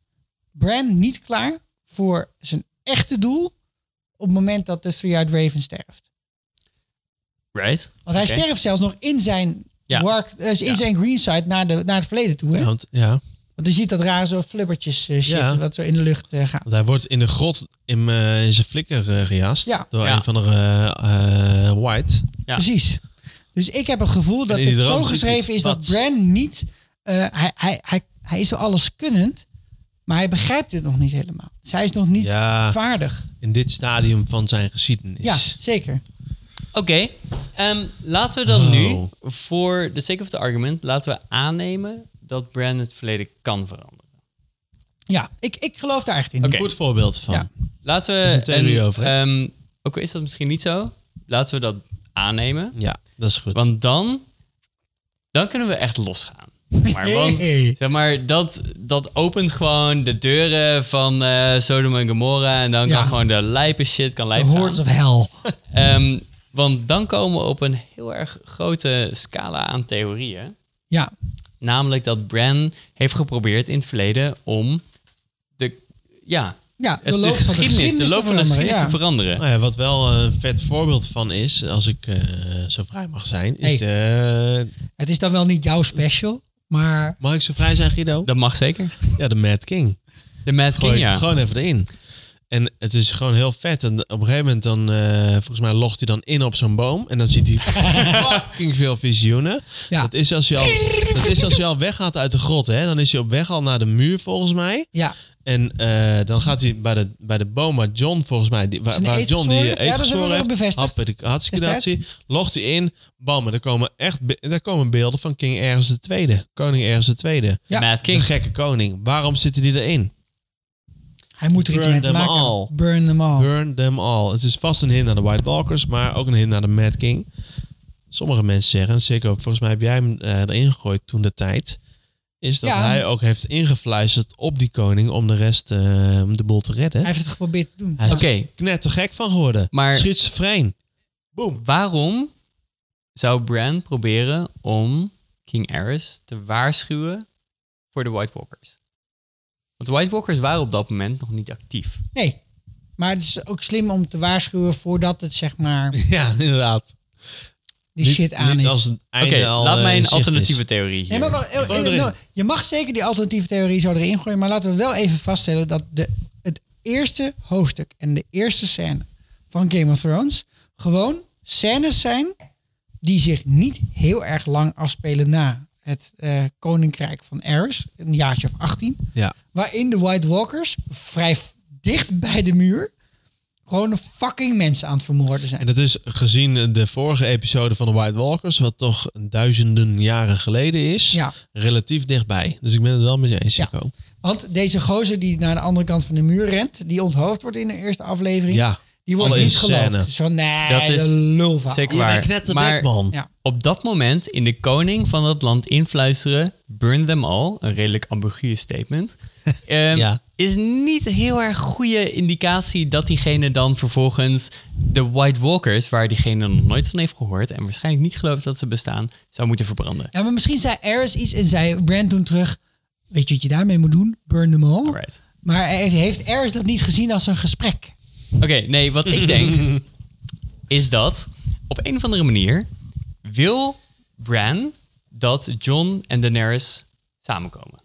Speaker 4: Bran niet klaar voor zijn echte doel op het moment dat de Three-Eyed Raven sterft.
Speaker 1: right?
Speaker 4: Want hij
Speaker 1: Oké.
Speaker 4: sterft zelfs nog in zijn
Speaker 1: Ja.
Speaker 4: wark, eh, in
Speaker 1: Ja.
Speaker 4: zijn greenside naar, de, naar het verleden toe. Hè?
Speaker 5: Ja, want, ja.
Speaker 4: Want je ziet dat raar zo flubbertjes eh, shit
Speaker 5: Ja.
Speaker 4: wat zo in de lucht eh, gaat.
Speaker 5: want hij wordt in de grot in, eh, in zijn flikker eh, gejast.
Speaker 4: Ja.
Speaker 5: Door
Speaker 1: Ja.
Speaker 5: een van de eh, eh, White.
Speaker 1: Ja.
Speaker 4: Precies. Dus ik heb het gevoel dat
Speaker 5: in die
Speaker 4: het
Speaker 5: droom
Speaker 4: zo
Speaker 5: ziet
Speaker 4: geschreven
Speaker 5: hij
Speaker 4: is
Speaker 5: het
Speaker 4: dat
Speaker 5: pad.
Speaker 4: Bran niet... eh, hij, hij, hij, hij is wel alleskunnend, maar hij begrijpt het nog niet helemaal. Zij is nog niet
Speaker 5: Ja.
Speaker 4: vaardig.
Speaker 5: In dit stadium van zijn geschiedenis.
Speaker 4: Ja, zeker.
Speaker 1: Oké, ehm, laten we dan
Speaker 5: Oh.
Speaker 1: nu, voor the sake of the argument, laten we aannemen dat Bran het verleden kan veranderen.
Speaker 4: Ja, ik, ik geloof daar echt in.
Speaker 1: Oké.
Speaker 5: Goed voorbeeld van.
Speaker 4: Ja.
Speaker 1: Laten we.
Speaker 5: Er is een theorie
Speaker 1: en,
Speaker 5: over, hè?
Speaker 1: ehm, ook al is dat misschien niet zo, laten we dat aannemen.
Speaker 5: Ja, dat is goed.
Speaker 1: Want dan, dan kunnen we echt losgaan. Maar, want,
Speaker 4: Hey.
Speaker 1: zeg maar dat, dat opent gewoon de deuren van eh Sodom en Gomorra. En dan
Speaker 4: Ja.
Speaker 1: kan gewoon de lijpe shit kan
Speaker 4: The
Speaker 1: lijpen.
Speaker 4: Hordes of Hell.
Speaker 1: Ehm, want dan komen we op een heel erg grote scala aan theorieën.
Speaker 4: Ja,
Speaker 1: Namelijk dat Bran heeft geprobeerd in het verleden om de, ja,
Speaker 4: ja
Speaker 1: het- de, geschiedenis, de
Speaker 4: te
Speaker 1: loop van de geschiedenis
Speaker 4: veranderen,
Speaker 1: te veranderen.
Speaker 5: Nou ja, wat wel een vet voorbeeld van is, als ik eh, zo vrij mag zijn, is
Speaker 4: Hey.
Speaker 5: de...
Speaker 4: ja. Het is dan wel niet jouw special, maar
Speaker 5: Mag ik zo vrij zijn, Guido?
Speaker 1: Dat mag zeker.
Speaker 5: Ja, de Mad King.
Speaker 1: De Mad
Speaker 5: Gooi
Speaker 1: King,
Speaker 5: ik hem
Speaker 1: ja.
Speaker 5: gewoon even erin. En het is gewoon heel vet. En op een gegeven moment dan, eh, volgens mij logt hij dan in op zo'n boom. En dan ziet hij fucking veel visioenen.
Speaker 4: Ja.
Speaker 5: Dat, is als je al, dat is als je al weggaat uit de grot, hè. Dan is hij op weg al naar de muur, volgens mij.
Speaker 4: ja.
Speaker 5: En eh, dan gaat hij bij de, bij de boom waar John volgens mij... Die, waar,
Speaker 4: Zijn
Speaker 5: waar
Speaker 4: eet
Speaker 5: John
Speaker 4: geschoren
Speaker 5: die
Speaker 4: heeft?
Speaker 5: eet
Speaker 4: Ja, dat hebben we
Speaker 5: geschoren heeft.
Speaker 4: bevestigd.
Speaker 5: Happy- Hartstikke
Speaker 4: Destijds.
Speaker 5: natie. Logt hij in. Bam. En er komen echt be- daar komen beelden van King Ergens de Tweede. Koning Ergens de Tweede.
Speaker 4: Ja.
Speaker 1: De Mad
Speaker 5: De
Speaker 1: King.
Speaker 5: gekke koning. Waarom zitten die erin?
Speaker 4: hij moet er iets
Speaker 5: Burn
Speaker 4: mee te
Speaker 5: them
Speaker 4: maken hebben.
Speaker 5: all.
Speaker 4: Burn them all.
Speaker 5: Burn them all. Het is vast een hint naar de White Walkers, maar ook een hint naar de Mad King. Sommige mensen zeggen, zeker volgens mij heb jij hem eh, erin gegooid toen de tijd, is dat
Speaker 4: Ja.
Speaker 5: hij ook heeft ingefluisterd op die koning om de rest, eh, om de boel te redden.
Speaker 4: Hij
Speaker 5: Hij
Speaker 4: heeft het geprobeerd te doen.
Speaker 5: is
Speaker 1: Oké,
Speaker 5: er knettergek van geworden.
Speaker 1: Maar-
Speaker 5: Schizofreen.
Speaker 1: waarom zou Bran proberen om King Aerys te waarschuwen voor de White Walkers? Want de White Walkers waren op dat moment nog niet actief.
Speaker 4: Nee, maar het is ook slim om te waarschuwen voordat het zeg maar...
Speaker 5: Ja, inderdaad.
Speaker 4: die shit aan
Speaker 5: niet
Speaker 4: is.
Speaker 5: als een einde
Speaker 1: Oké,
Speaker 5: al,
Speaker 1: laat
Speaker 5: eh,
Speaker 1: mij
Speaker 5: in
Speaker 1: een
Speaker 5: zicht
Speaker 1: alternatieve
Speaker 5: is.
Speaker 1: theorie. Hier.
Speaker 4: Nee, maar wacht, eh, eh,
Speaker 5: erin.
Speaker 4: nou, je mag zeker die alternatieve theorie zo erin gooien, maar laten we wel even vaststellen dat de, het eerste hoofdstuk en de eerste scène van Game of Thrones gewoon scènes zijn die zich niet heel erg lang afspelen na het eh, koninkrijk van Aerys, een jaartje of 18,
Speaker 5: Ja.
Speaker 4: waarin de White Walkers vrij f- dicht bij de muur gewoon fucking mensen aan het vermoorden zijn.
Speaker 5: En dat is gezien de vorige episode van de White Walkers, wat toch duizenden jaren geleden is,
Speaker 4: Ja.
Speaker 5: relatief dichtbij. Dus ik ben het wel met je eens,
Speaker 4: Ja.
Speaker 5: Jaco.
Speaker 4: Want deze gozer die naar de andere kant van de muur rent, die onthoofd wordt in de eerste aflevering.
Speaker 5: Ja.
Speaker 4: Die wordt
Speaker 5: Alle
Speaker 4: niet geloofd.
Speaker 5: scène.
Speaker 4: Dus van, nee,
Speaker 1: Dat
Speaker 4: dat
Speaker 1: is
Speaker 4: is lulva.
Speaker 1: Zeker
Speaker 5: Je bent
Speaker 1: waar.
Speaker 5: knetterback, man.
Speaker 4: Ja.
Speaker 1: op dat moment in de koning van dat land influisteren, burn them all, een redelijk ambiguur statement, ehm,
Speaker 5: Ja.
Speaker 1: is niet een heel erg goede indicatie dat diegene dan vervolgens de White Walkers, waar diegene nog nooit van heeft gehoord en waarschijnlijk niet gelooft dat ze bestaan, zou moeten verbranden.
Speaker 4: Ja, maar misschien zei Ares iets en zei Brand toen terug, weet je wat je daarmee moet doen? Burn them all.
Speaker 1: Alright.
Speaker 4: Maar hij- heeft Ares dat niet gezien als een gesprek?
Speaker 1: Oké, nee, wat ik denk is dat op een of andere manier wil Bran dat John en Daenerys samenkomen.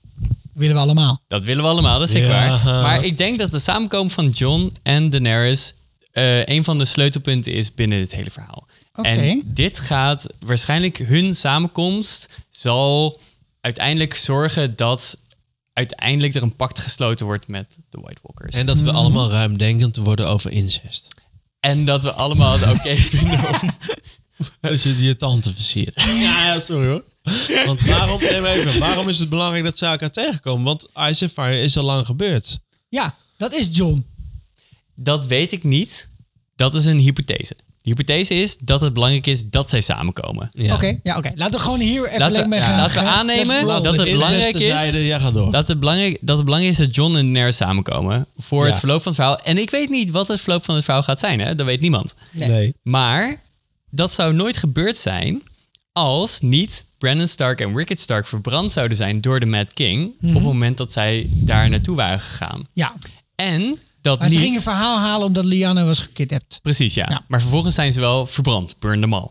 Speaker 4: Willen we allemaal.
Speaker 1: Dat willen we allemaal, dat is zeker
Speaker 5: Ja.
Speaker 1: waar. Maar ik denk dat de samenkomen van John en Daenerys eh, een van de sleutelpunten is binnen dit hele verhaal.
Speaker 4: Oké.
Speaker 1: En dit gaat waarschijnlijk hun samenkomst zal uiteindelijk zorgen dat uiteindelijk er een pact gesloten wordt met de White Walkers.
Speaker 5: En
Speaker 1: En,
Speaker 5: dat
Speaker 4: Mm.
Speaker 5: we allemaal ruimdenkend worden over incest.
Speaker 1: dat we allemaal het oké vinden om...
Speaker 5: Als je je tante versiert. Ja, ja, sorry hoor. Want waarom, neem even, waarom is het belangrijk dat ze elkaar tegenkomen? Want Ice and Fire is al lang gebeurd.
Speaker 4: Ja, dat is John.
Speaker 1: Dat weet ik niet. Dat is een hypothese. De hypothese is dat het belangrijk is dat zij samenkomen.
Speaker 5: Ja.
Speaker 4: Oké, ja, oké. laten we gewoon hier
Speaker 1: Laten
Speaker 4: even lekker
Speaker 1: we-
Speaker 4: mee
Speaker 1: ja,
Speaker 4: gaan.
Speaker 1: laten we
Speaker 4: gaan-
Speaker 1: aannemen
Speaker 4: let's roll.
Speaker 1: dat het
Speaker 5: Incest
Speaker 1: belangrijk is-
Speaker 5: terzijde, ja, ga door.
Speaker 1: Dat het, belangrijk, dat het belangrijk is dat John en Daenerys samenkomen voor
Speaker 5: Ja.
Speaker 1: het verloop van het verhaal. En ik weet niet wat het verloop van het verhaal gaat zijn, hè? dat weet niemand.
Speaker 5: nee.
Speaker 1: Maar dat zou nooit gebeurd zijn als niet Brandon Stark en Rickard Stark verbrand zouden zijn door de Mad King
Speaker 5: Mhm.
Speaker 1: op het moment dat zij daar naartoe waren gegaan.
Speaker 4: Ja,
Speaker 1: En dat
Speaker 4: maar
Speaker 1: niet...
Speaker 4: ze gingen een verhaal halen omdat Lianne was gekidnapt.
Speaker 1: Precies, ja.
Speaker 4: Ja. Mhm.
Speaker 1: Maar vervolgens zijn ze wel verbrand. Burn them all.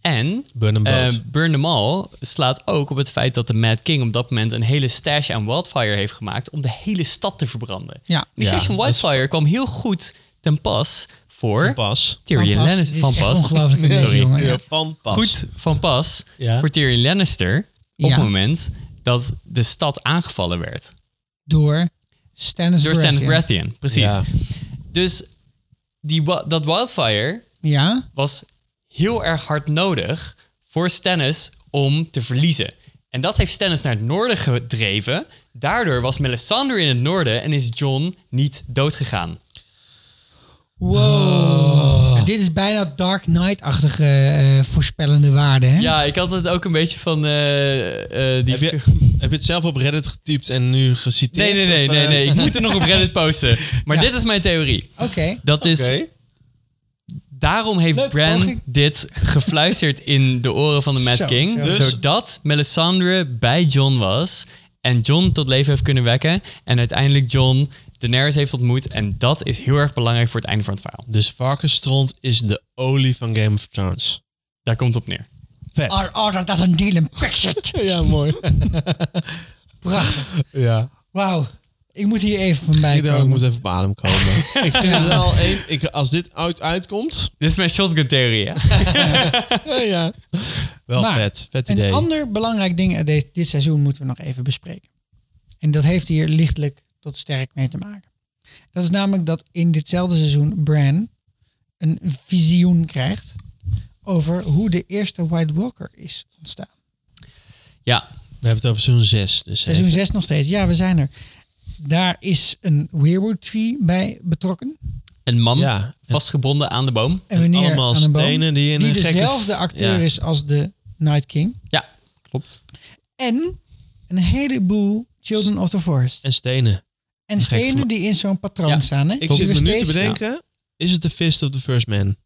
Speaker 1: En
Speaker 5: Burn them
Speaker 1: eh,
Speaker 5: both.
Speaker 1: burn them all slaat ook op het feit dat de Mad King op dat moment een hele stash aan wildfire heeft gemaakt om de hele stad te verbranden.
Speaker 4: Ja.
Speaker 1: Die
Speaker 5: Ja,
Speaker 1: stash van
Speaker 5: dat is
Speaker 1: wildfire kwam heel goed ten pas voor
Speaker 5: Van Pas.
Speaker 1: Tyrion
Speaker 4: Van Pas.
Speaker 1: Lannister.
Speaker 4: Dit is
Speaker 1: Van
Speaker 4: echt
Speaker 1: pas.
Speaker 4: ongelooflijk in deze jongen, ja.
Speaker 5: Van Pas.
Speaker 1: Goed van pas
Speaker 5: Ja.
Speaker 1: voor Tyrion Lannister op
Speaker 4: Ja.
Speaker 1: het moment dat de stad aangevallen werd.
Speaker 4: Door Stannis
Speaker 1: Door Stannis
Speaker 4: Baratheon.
Speaker 1: Baratheon, precies.
Speaker 5: Ja.
Speaker 1: Dus die, wa- dat wildfire
Speaker 4: Ja,
Speaker 1: was heel erg hard nodig voor Stannis om te verliezen. En dat heeft Stannis naar het noorden gedreven. Daardoor was Melisandre in het noorden en is John niet doodgegaan.
Speaker 5: Oh.
Speaker 4: dit is bijna Dark Knight-achtige eh, voorspellende waarde, hè?
Speaker 1: Ja, ik had het ook een beetje van eh, eh, die...
Speaker 5: Heb je, heb je het zelf op Reddit getypt en nu
Speaker 1: Nee,
Speaker 5: geciteerd?
Speaker 1: nee, nee,
Speaker 5: Of, eh,
Speaker 1: nee, nee. Ik moet er nog op Reddit posten. Maar
Speaker 4: Ja.
Speaker 1: dit is mijn theorie.
Speaker 4: Oké.
Speaker 1: Dat is...
Speaker 5: Oké.
Speaker 1: Daarom heeft
Speaker 4: Leuk
Speaker 1: Bran
Speaker 4: poging.
Speaker 1: dit gefluisterd in de oren van de Mad
Speaker 4: Zo,
Speaker 1: King.
Speaker 4: zo.
Speaker 5: Dus-
Speaker 1: Zodat Melisandre bij John was. En John tot leven heeft kunnen wekken. En uiteindelijk John Daenerys heeft ontmoet. En dat is heel erg belangrijk voor het einde van het verhaal.
Speaker 5: Dus varkensstront is de olie van Game of Thrones.
Speaker 1: Daar komt het op neer.
Speaker 5: Vet.
Speaker 4: Our order doesn't deal in Brexit.
Speaker 5: Ja, mooi.
Speaker 4: Prachtig.
Speaker 5: ja.
Speaker 4: Wauw. Ik moet hier even van bij
Speaker 5: Guido, ik
Speaker 4: komen.
Speaker 5: moet even op adem komen. ik vind het wel één... Ik, als dit uit, uitkomt...
Speaker 1: Dit is mijn shotgun-theorie. hè?
Speaker 5: ja. Wel
Speaker 4: Maar,
Speaker 5: vet. Vet
Speaker 4: Een
Speaker 5: idee.
Speaker 4: ander belangrijk ding uit deze- dit seizoen moeten we nog even bespreken. En dat heeft hier lichtelijk tot sterk mee te maken. Dat is namelijk dat in ditzelfde seizoen Bran een visioen krijgt over hoe de eerste White Walker is ontstaan.
Speaker 1: Ja,
Speaker 5: We hebben het over seizoen 6. Dus
Speaker 4: Seizoen 6 nog steeds. Ja, we zijn er. Daar is een Weirwood Tree bij betrokken.
Speaker 1: een man
Speaker 5: Ja.
Speaker 1: vastgebonden aan de boom.
Speaker 4: En wanneer
Speaker 5: allemaal
Speaker 4: aan een boom,
Speaker 5: stenen die in
Speaker 4: die
Speaker 5: een gekke-
Speaker 4: dezelfde acteur
Speaker 5: Ja.
Speaker 4: is als de Night King.
Speaker 1: Ja, klopt.
Speaker 4: En een heleboel Children of the Forest.
Speaker 5: En stenen.
Speaker 4: En
Speaker 5: gek
Speaker 4: stenen
Speaker 5: verma-
Speaker 4: die in zo'n patroon
Speaker 1: Ja,
Speaker 4: staan. Hè?
Speaker 5: Ik
Speaker 4: Die
Speaker 5: zit
Speaker 4: we
Speaker 5: me nu te
Speaker 4: steeds-
Speaker 5: bedenken... Is het de Fist of the First Man?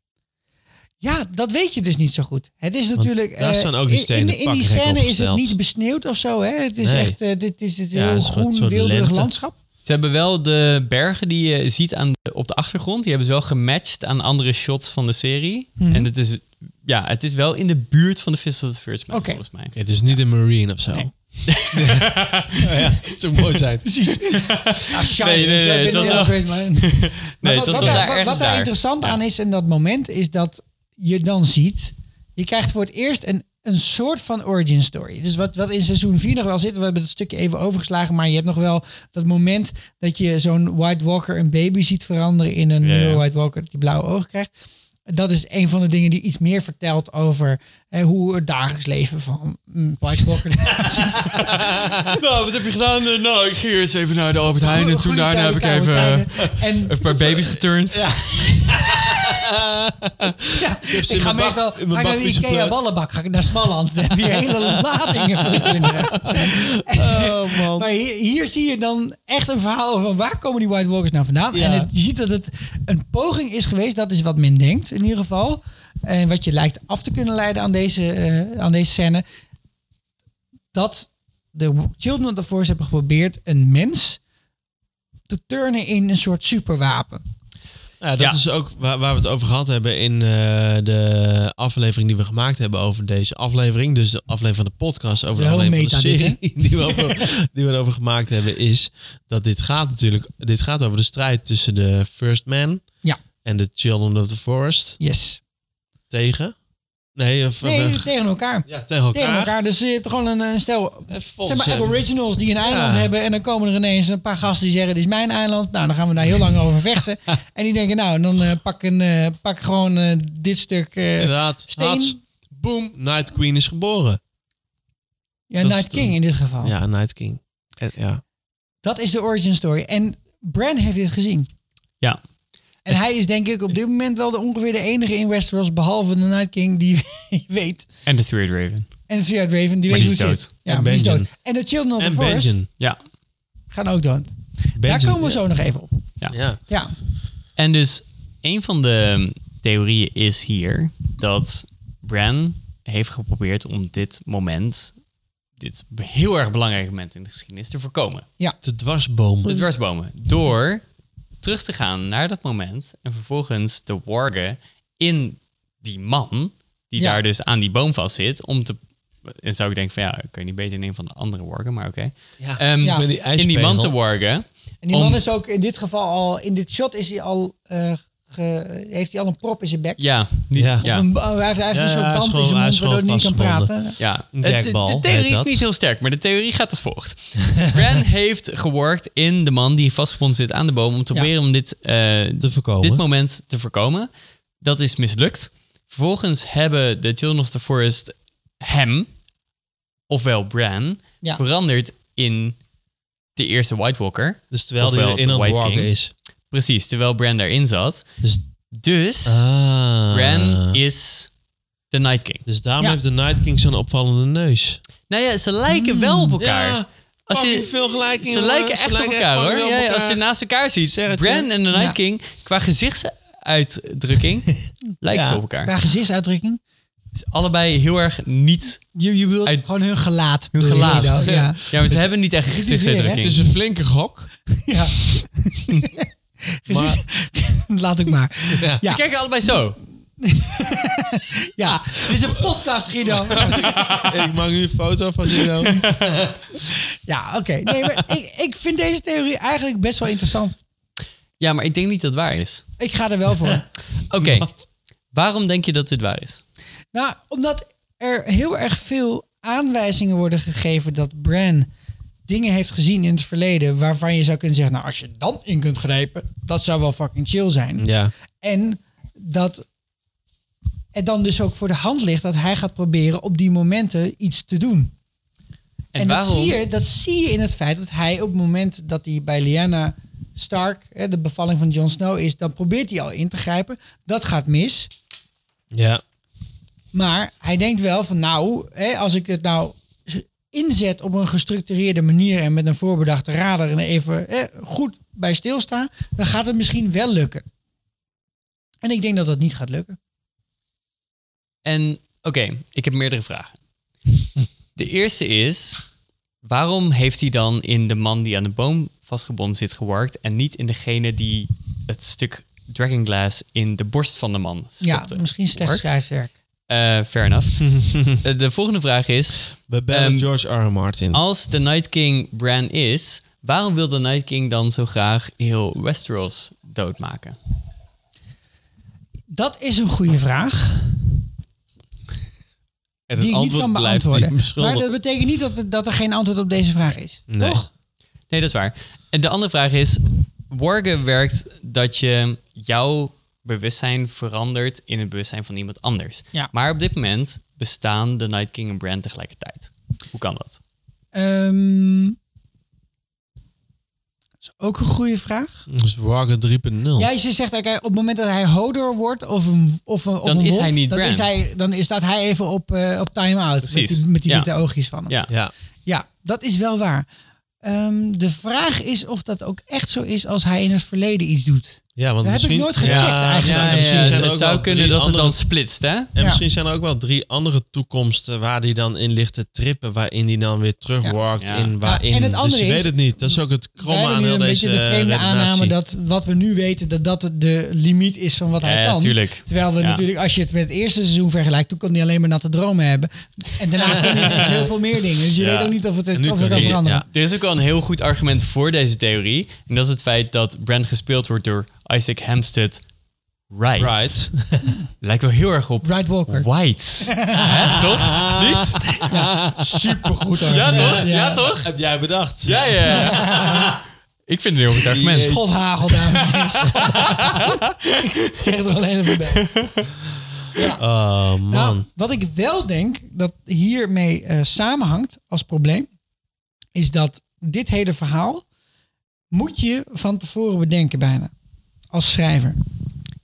Speaker 4: Ja, dat weet je dus niet zo goed. Het is natuurlijk.
Speaker 5: daar
Speaker 4: eh,
Speaker 5: staan ook die
Speaker 4: in-
Speaker 5: stenen
Speaker 4: In, in die
Speaker 5: pakken gek
Speaker 4: scène is het
Speaker 5: opgesteld.
Speaker 4: niet besneeuwd of zo. Hè? Het is
Speaker 5: Nee.
Speaker 4: echt. eh, dit is het
Speaker 5: Ja,
Speaker 4: heel
Speaker 5: een soort-
Speaker 4: groen,
Speaker 5: soort
Speaker 4: wilderig
Speaker 5: lente.
Speaker 4: landschap.
Speaker 1: Ze hebben wel de bergen die je
Speaker 4: Mhm.
Speaker 1: ziet aan de- op de achtergrond, die hebben ze wel gematcht aan andere shots van de serie. En het is ja, het is wel in de buurt van de Fist of the First Man,
Speaker 4: Oké.
Speaker 1: volgens mij.
Speaker 5: Het is niet een marine of zo. Nee. ja, zo mooi zijn. Precies.
Speaker 4: Ah, shiny.
Speaker 1: Nee, nee, nee,
Speaker 4: Ik ben
Speaker 1: het was
Speaker 4: er
Speaker 1: wel-
Speaker 4: ook geweest, maar- Maar
Speaker 1: Nee, het
Speaker 4: wat,
Speaker 1: was
Speaker 4: wat
Speaker 1: wel
Speaker 4: daar-
Speaker 1: daar
Speaker 4: wat-
Speaker 1: ergens
Speaker 4: wat daar
Speaker 1: daar.
Speaker 4: interessant aan is in dat moment, is dat je dan ziet, je krijgt voor het eerst een, een soort van origin story. Dus wat, wat in seizoen 4 nog wel zit, we hebben het stukje even overgeslagen, maar je hebt nog wel dat moment dat je zo'n White Walker een baby ziet veranderen in een
Speaker 1: Ja, ja.
Speaker 4: nieuwe White Walker, dat die blauwe ogen krijgt. Dat is een van de dingen die iets meer vertelt over hè, hoe het dagelijks leven van een White Walker eruit ziet.
Speaker 1: Nou, wat heb je gedaan? Eh, Nou, ik ging eerst even naar de Albert Heijn en toen
Speaker 4: Goeie
Speaker 1: daarna heb ik
Speaker 4: tijden,
Speaker 1: even eh,
Speaker 4: koude
Speaker 1: even
Speaker 4: tijden. En
Speaker 1: een paar baby's geturnd.
Speaker 4: Ja, ik,
Speaker 5: ze in
Speaker 4: ga
Speaker 5: mijn bak- eh, in
Speaker 4: meestal ga
Speaker 5: mijn
Speaker 4: ik naar de
Speaker 5: bakfiets
Speaker 4: Ikea
Speaker 5: gepleurd.
Speaker 4: ballenbak, ga ik naar Smalland. Dan heb je hele ladingen van kinderen.
Speaker 5: Oh man.
Speaker 4: Maar hier, hier zie je dan echt een verhaal van waar komen die White Walkers nou vandaan?
Speaker 5: Ja.
Speaker 4: En het, je ziet dat het een poging is geweest, dat is wat men denkt in ieder geval. En wat je lijkt af te kunnen leiden aan deze, eh, aan deze scène. Dat de Children of the Force hebben geprobeerd een mens te turnen in een soort superwapen.
Speaker 5: Ja, dat
Speaker 1: Ja.
Speaker 5: is ook waar, waar we het over gehad hebben in eh, de aflevering die we gemaakt hebben over deze aflevering. Dus de aflevering van de podcast over de
Speaker 4: Wel
Speaker 5: aflevering van de
Speaker 4: meta
Speaker 5: serie die we, over, die we erover gemaakt hebben. Is dat dit gaat natuurlijk dit gaat over de strijd tussen de First Man
Speaker 4: Ja.
Speaker 5: en de Children of the Forest
Speaker 4: Yes.
Speaker 5: tegen. Nee, of,
Speaker 4: Nee,
Speaker 5: of-
Speaker 4: tegen elkaar.
Speaker 5: ja, tegen elkaar.
Speaker 4: Tegen elkaar. Dus je hebt gewoon een, een stel
Speaker 5: Eh,
Speaker 4: Zeg
Speaker 5: volgens
Speaker 4: maar
Speaker 5: hem.
Speaker 4: aboriginals die een eiland
Speaker 5: Ja.
Speaker 4: hebben en dan komen er ineens een paar gasten die zeggen dit is mijn eiland. Nou, dan gaan we daar heel lang over vechten. En die denken nou, dan eh, pak, een, eh, pak gewoon eh, dit stuk eh,
Speaker 5: Inderdaad.
Speaker 4: steen.
Speaker 5: Hats. Boom. Night Queen is geboren.
Speaker 4: ja,
Speaker 5: dat is
Speaker 4: Night King
Speaker 5: de-
Speaker 4: in dit geval.
Speaker 5: Ja, Night King. En, ja.
Speaker 4: Dat is de origin story. En Bran heeft dit gezien.
Speaker 1: Ja.
Speaker 4: En hij is denk ik op dit moment wel de, ongeveer de enige in Westeros, behalve de Night King, die weet.
Speaker 1: En de Thread Raven.
Speaker 4: En de Thread Raven, die
Speaker 1: Maar
Speaker 4: weet
Speaker 1: die
Speaker 4: hoe het
Speaker 1: is dood.
Speaker 4: zit. Ja,
Speaker 5: En
Speaker 4: maar die is
Speaker 5: Benjen.
Speaker 4: dood. En de Children of
Speaker 5: En
Speaker 4: the Forest
Speaker 5: Benjen.
Speaker 1: Ja.
Speaker 4: gaan ook dood. Daar
Speaker 5: Benjen,
Speaker 4: komen we
Speaker 5: ja.
Speaker 4: zo nog even op.
Speaker 5: Ja.
Speaker 4: Ja.
Speaker 1: En dus een van de mm, theorieën is hier dat Bran heeft geprobeerd om dit moment, dit heel erg belangrijke moment in de geschiedenis, te voorkomen.
Speaker 5: De dwarsboom.
Speaker 1: De dwarsbomen. Door terug te gaan naar dat moment en vervolgens te wargen in die man die
Speaker 4: Ja.
Speaker 1: daar dus aan die boom vast zit om te... En zou ik denken van ja, kun je niet beter in een van de andere wargen, maar oké. Ehm,
Speaker 4: Ja.
Speaker 1: In die man te wargen.
Speaker 4: En die
Speaker 1: Om-
Speaker 4: man is ook in dit geval al, in dit shot is hij al, eh, ge- heeft hij al een prop in zijn bek.
Speaker 1: Ja. Niet,
Speaker 5: Ja.
Speaker 1: ja.
Speaker 4: Of
Speaker 1: ja.
Speaker 4: een, hij heeft, hij heeft
Speaker 5: Ja,
Speaker 4: een
Speaker 5: hij
Speaker 4: soort
Speaker 5: is
Speaker 4: band in
Speaker 5: gewoon-
Speaker 4: zijn
Speaker 5: hij
Speaker 4: mond
Speaker 5: is
Speaker 4: waardoor hij
Speaker 5: gewoon
Speaker 4: niet kan
Speaker 5: vastgebonden.
Speaker 4: praten.
Speaker 1: Ja,
Speaker 5: Een
Speaker 1: Het-
Speaker 5: gagbal,
Speaker 1: de, de
Speaker 5: heet
Speaker 1: theorie is
Speaker 5: dat.
Speaker 1: niet heel sterk, maar de theorie gaat als volgt. Bran heeft geworkt in de man die vastgebonden zit aan de boom... om te
Speaker 4: Ja.
Speaker 1: proberen om dit, eh,
Speaker 5: te voorkomen.
Speaker 1: dit moment te voorkomen. Dat is mislukt. Vervolgens hebben de Children of the Forest hem, ofwel Bran...
Speaker 4: Ja.
Speaker 1: veranderd in de eerste White Walker.
Speaker 5: dus terwijl
Speaker 1: Ofwel
Speaker 5: hij in
Speaker 1: de
Speaker 5: aan het
Speaker 1: White
Speaker 5: walken
Speaker 1: King.
Speaker 5: is.
Speaker 1: Precies, terwijl Bran daarin zat.
Speaker 5: Dus,
Speaker 1: Dus
Speaker 5: ah.
Speaker 1: Bran is de Night King.
Speaker 5: Dus daarom
Speaker 4: Ja.
Speaker 5: heeft de Night King zo'n opvallende neus.
Speaker 1: Nou ja, ze lijken wel op elkaar.
Speaker 5: Hmm, Ja,
Speaker 1: Als je,
Speaker 5: fucking veel gelijking,
Speaker 1: Ze
Speaker 5: jongen.
Speaker 1: lijken
Speaker 5: Ze
Speaker 1: echt op
Speaker 5: lijken echt
Speaker 1: elkaar hoor.
Speaker 5: fucking
Speaker 1: Ja,
Speaker 5: op
Speaker 1: ja, als
Speaker 5: elkaar.
Speaker 1: je naast elkaar ziet,
Speaker 5: Zeg het,
Speaker 1: Bran
Speaker 5: ja.
Speaker 1: en de Night
Speaker 4: Ja.
Speaker 1: King, qua gezichtsuitdrukking, lijken ze
Speaker 5: Ja.
Speaker 1: op elkaar.
Speaker 4: Qua gezichtsuitdrukking.
Speaker 1: Ze zijn Allebei heel erg niet.
Speaker 4: Je, je wilt
Speaker 1: Uit-
Speaker 4: gewoon hun gelaat.
Speaker 1: Hun
Speaker 4: bedoel je
Speaker 1: gelaat.
Speaker 4: dan, Ja.
Speaker 1: Ja, maar ze hebben niet echt een
Speaker 4: is weer, hè? dus
Speaker 1: gezichtsuitdrukking.
Speaker 5: een flinke gok.
Speaker 4: ja. Gezicht- Laat ik maar.
Speaker 5: Ja.
Speaker 4: Ja.
Speaker 1: Ze kijken allebei zo.
Speaker 4: Ja, dit is een podcast, Guido.
Speaker 5: ah. ik maak nu een foto van Gino.
Speaker 4: Ja, oké. Nee, maar ik, ik vind deze theorie eigenlijk best wel interessant.
Speaker 1: Ja, maar ik denk niet dat het waar is.
Speaker 4: Ik ga er wel voor.
Speaker 1: Oké, waarom denk je dat dit waar is?
Speaker 4: Nou, omdat er heel erg veel aanwijzingen worden gegeven dat Bran dingen heeft gezien in het verleden waarvan je zou kunnen zeggen, nou als je dan in kunt grijpen, dat zou wel fucking chill zijn.
Speaker 5: ja.
Speaker 4: En dat het dan dus ook voor de hand ligt dat hij gaat proberen op die momenten iets te doen. En, dat,
Speaker 1: waarom?
Speaker 4: zie je, dat zie je in het feit dat hij op het moment dat hij bij Lyanna Stark, hè, de bevalling van Jon Snow is, dan probeert hij al in te grijpen. Dat gaat mis.
Speaker 5: Ja.
Speaker 4: Maar hij denkt wel van nou, hè, als ik het nou z- inzet op een gestructureerde manier en met een voorbedachte radar en even hè, goed bij stilstaan, dan gaat het misschien wel lukken. En ik denk dat dat niet gaat lukken.
Speaker 1: En oké, ik heb meerdere vragen. De eerste is, waarom heeft hij dan in de man die aan de boom vastgebonden zit gewerkt en niet in degene die het stuk dragonglass in de borst van de man stopte?
Speaker 4: Ja, misschien slecht
Speaker 1: Geworkt?
Speaker 4: schrijfwerk.
Speaker 1: Eh, fair enough. Eh, de volgende vraag is...
Speaker 5: We bellen
Speaker 1: Ehm,
Speaker 5: George R. R. Martin.
Speaker 1: Als de Night King Bran is, waarom wil de Night King dan zo graag heel Westeros doodmaken?
Speaker 4: Dat is een goede vraag.
Speaker 5: en
Speaker 4: Die
Speaker 5: het
Speaker 4: ik niet kan
Speaker 5: antwoord blijft hij
Speaker 4: beantwoorden. Maar dat
Speaker 5: beschuldigd.
Speaker 4: betekent niet dat, er- dat er geen antwoord op deze vraag is.
Speaker 5: Nee.
Speaker 4: Toch?
Speaker 1: Nee, dat is waar. En de andere vraag is, Worgen werkt dat je jouw bewustzijn verandert in het bewustzijn van iemand anders.
Speaker 4: Ja.
Speaker 1: Maar op dit moment bestaan de Night King en Bran tegelijkertijd. Hoe kan dat?
Speaker 4: Ehm, dat is ook een goede vraag.
Speaker 5: Zwakke 3.0.
Speaker 4: Jij ze zegt oké, op het moment dat hij Hodor wordt of een of een, of
Speaker 1: Dan
Speaker 4: een
Speaker 1: is
Speaker 4: wolf,
Speaker 1: hij niet
Speaker 4: dan
Speaker 1: Bran.
Speaker 4: is hij dan is staat hij even op, eh, op time-out met
Speaker 1: Precies.
Speaker 4: die, met die
Speaker 1: Ja.
Speaker 4: witte oogjes van hem.
Speaker 1: Ja.
Speaker 5: Ja.
Speaker 4: Ja, dat is wel waar. Ehm, de vraag is of dat ook echt zo is als hij in het verleden iets doet.
Speaker 5: ja, want
Speaker 4: Dat heb ik
Speaker 5: misschien...
Speaker 4: nooit gecheckt
Speaker 5: ja,
Speaker 4: eigenlijk.
Speaker 5: ja,
Speaker 4: Ja,
Speaker 5: misschien zijn er
Speaker 1: het
Speaker 5: ook
Speaker 1: zou
Speaker 5: wel
Speaker 1: kunnen
Speaker 5: drie
Speaker 1: dat het dan
Speaker 5: andere-
Speaker 1: splitst, hè?
Speaker 5: En
Speaker 4: Ja.
Speaker 5: misschien zijn er ook wel drie andere toekomsten waar die dan in ligt te trippen, waarin die dan weer terugwarkt.
Speaker 1: Ja.
Speaker 5: In, waarin,
Speaker 4: Ja, en het
Speaker 5: dus
Speaker 4: andere
Speaker 5: je
Speaker 4: is-
Speaker 5: weet het niet. Dat is ook het
Speaker 4: Wij
Speaker 5: kromme
Speaker 4: hebben
Speaker 5: aan
Speaker 4: nu
Speaker 5: heel
Speaker 4: een
Speaker 5: deze
Speaker 4: beetje de vreemde
Speaker 5: redenatie.
Speaker 4: aanname dat wat we nu weten, dat dat de limiet is van wat hij
Speaker 1: Ja,
Speaker 4: kan.
Speaker 1: natuurlijk.
Speaker 4: Terwijl we
Speaker 1: Ja.
Speaker 4: natuurlijk, als je het met het eerste seizoen vergelijkt, toen kon hij alleen maar natte dromen hebben. En daarna kon hij nog heel veel meer dingen. Dus je
Speaker 1: Ja.
Speaker 4: weet ook niet of het,
Speaker 5: En nu
Speaker 4: of het
Speaker 5: kan
Speaker 4: kan
Speaker 5: hij-
Speaker 4: veranderen.
Speaker 5: ja.
Speaker 1: Er is ook wel een heel goed argument voor deze theorie. En dat is het feit dat Brand gespeeld wordt door Isaac Hempstead Wright.
Speaker 5: Right.
Speaker 1: Lijkt wel heel erg op
Speaker 4: Bright Walker.
Speaker 1: White. Hè, toch? Niet?
Speaker 4: Supergoed.
Speaker 1: Ah. Ja,
Speaker 4: argument,
Speaker 1: toch? Ja, toch?
Speaker 5: Heb jij bedacht?
Speaker 1: Ja, ja. Ik vind het een heel goed argument.
Speaker 4: Schothagel, dames en heren. Ik zeg het er alleen even bij.
Speaker 5: Oh man.
Speaker 4: Nou, wat ik wel denk dat hiermee eh, samenhangt als probleem, is dat dit hele verhaal moet je van tevoren bedenken bijna. Als schrijver.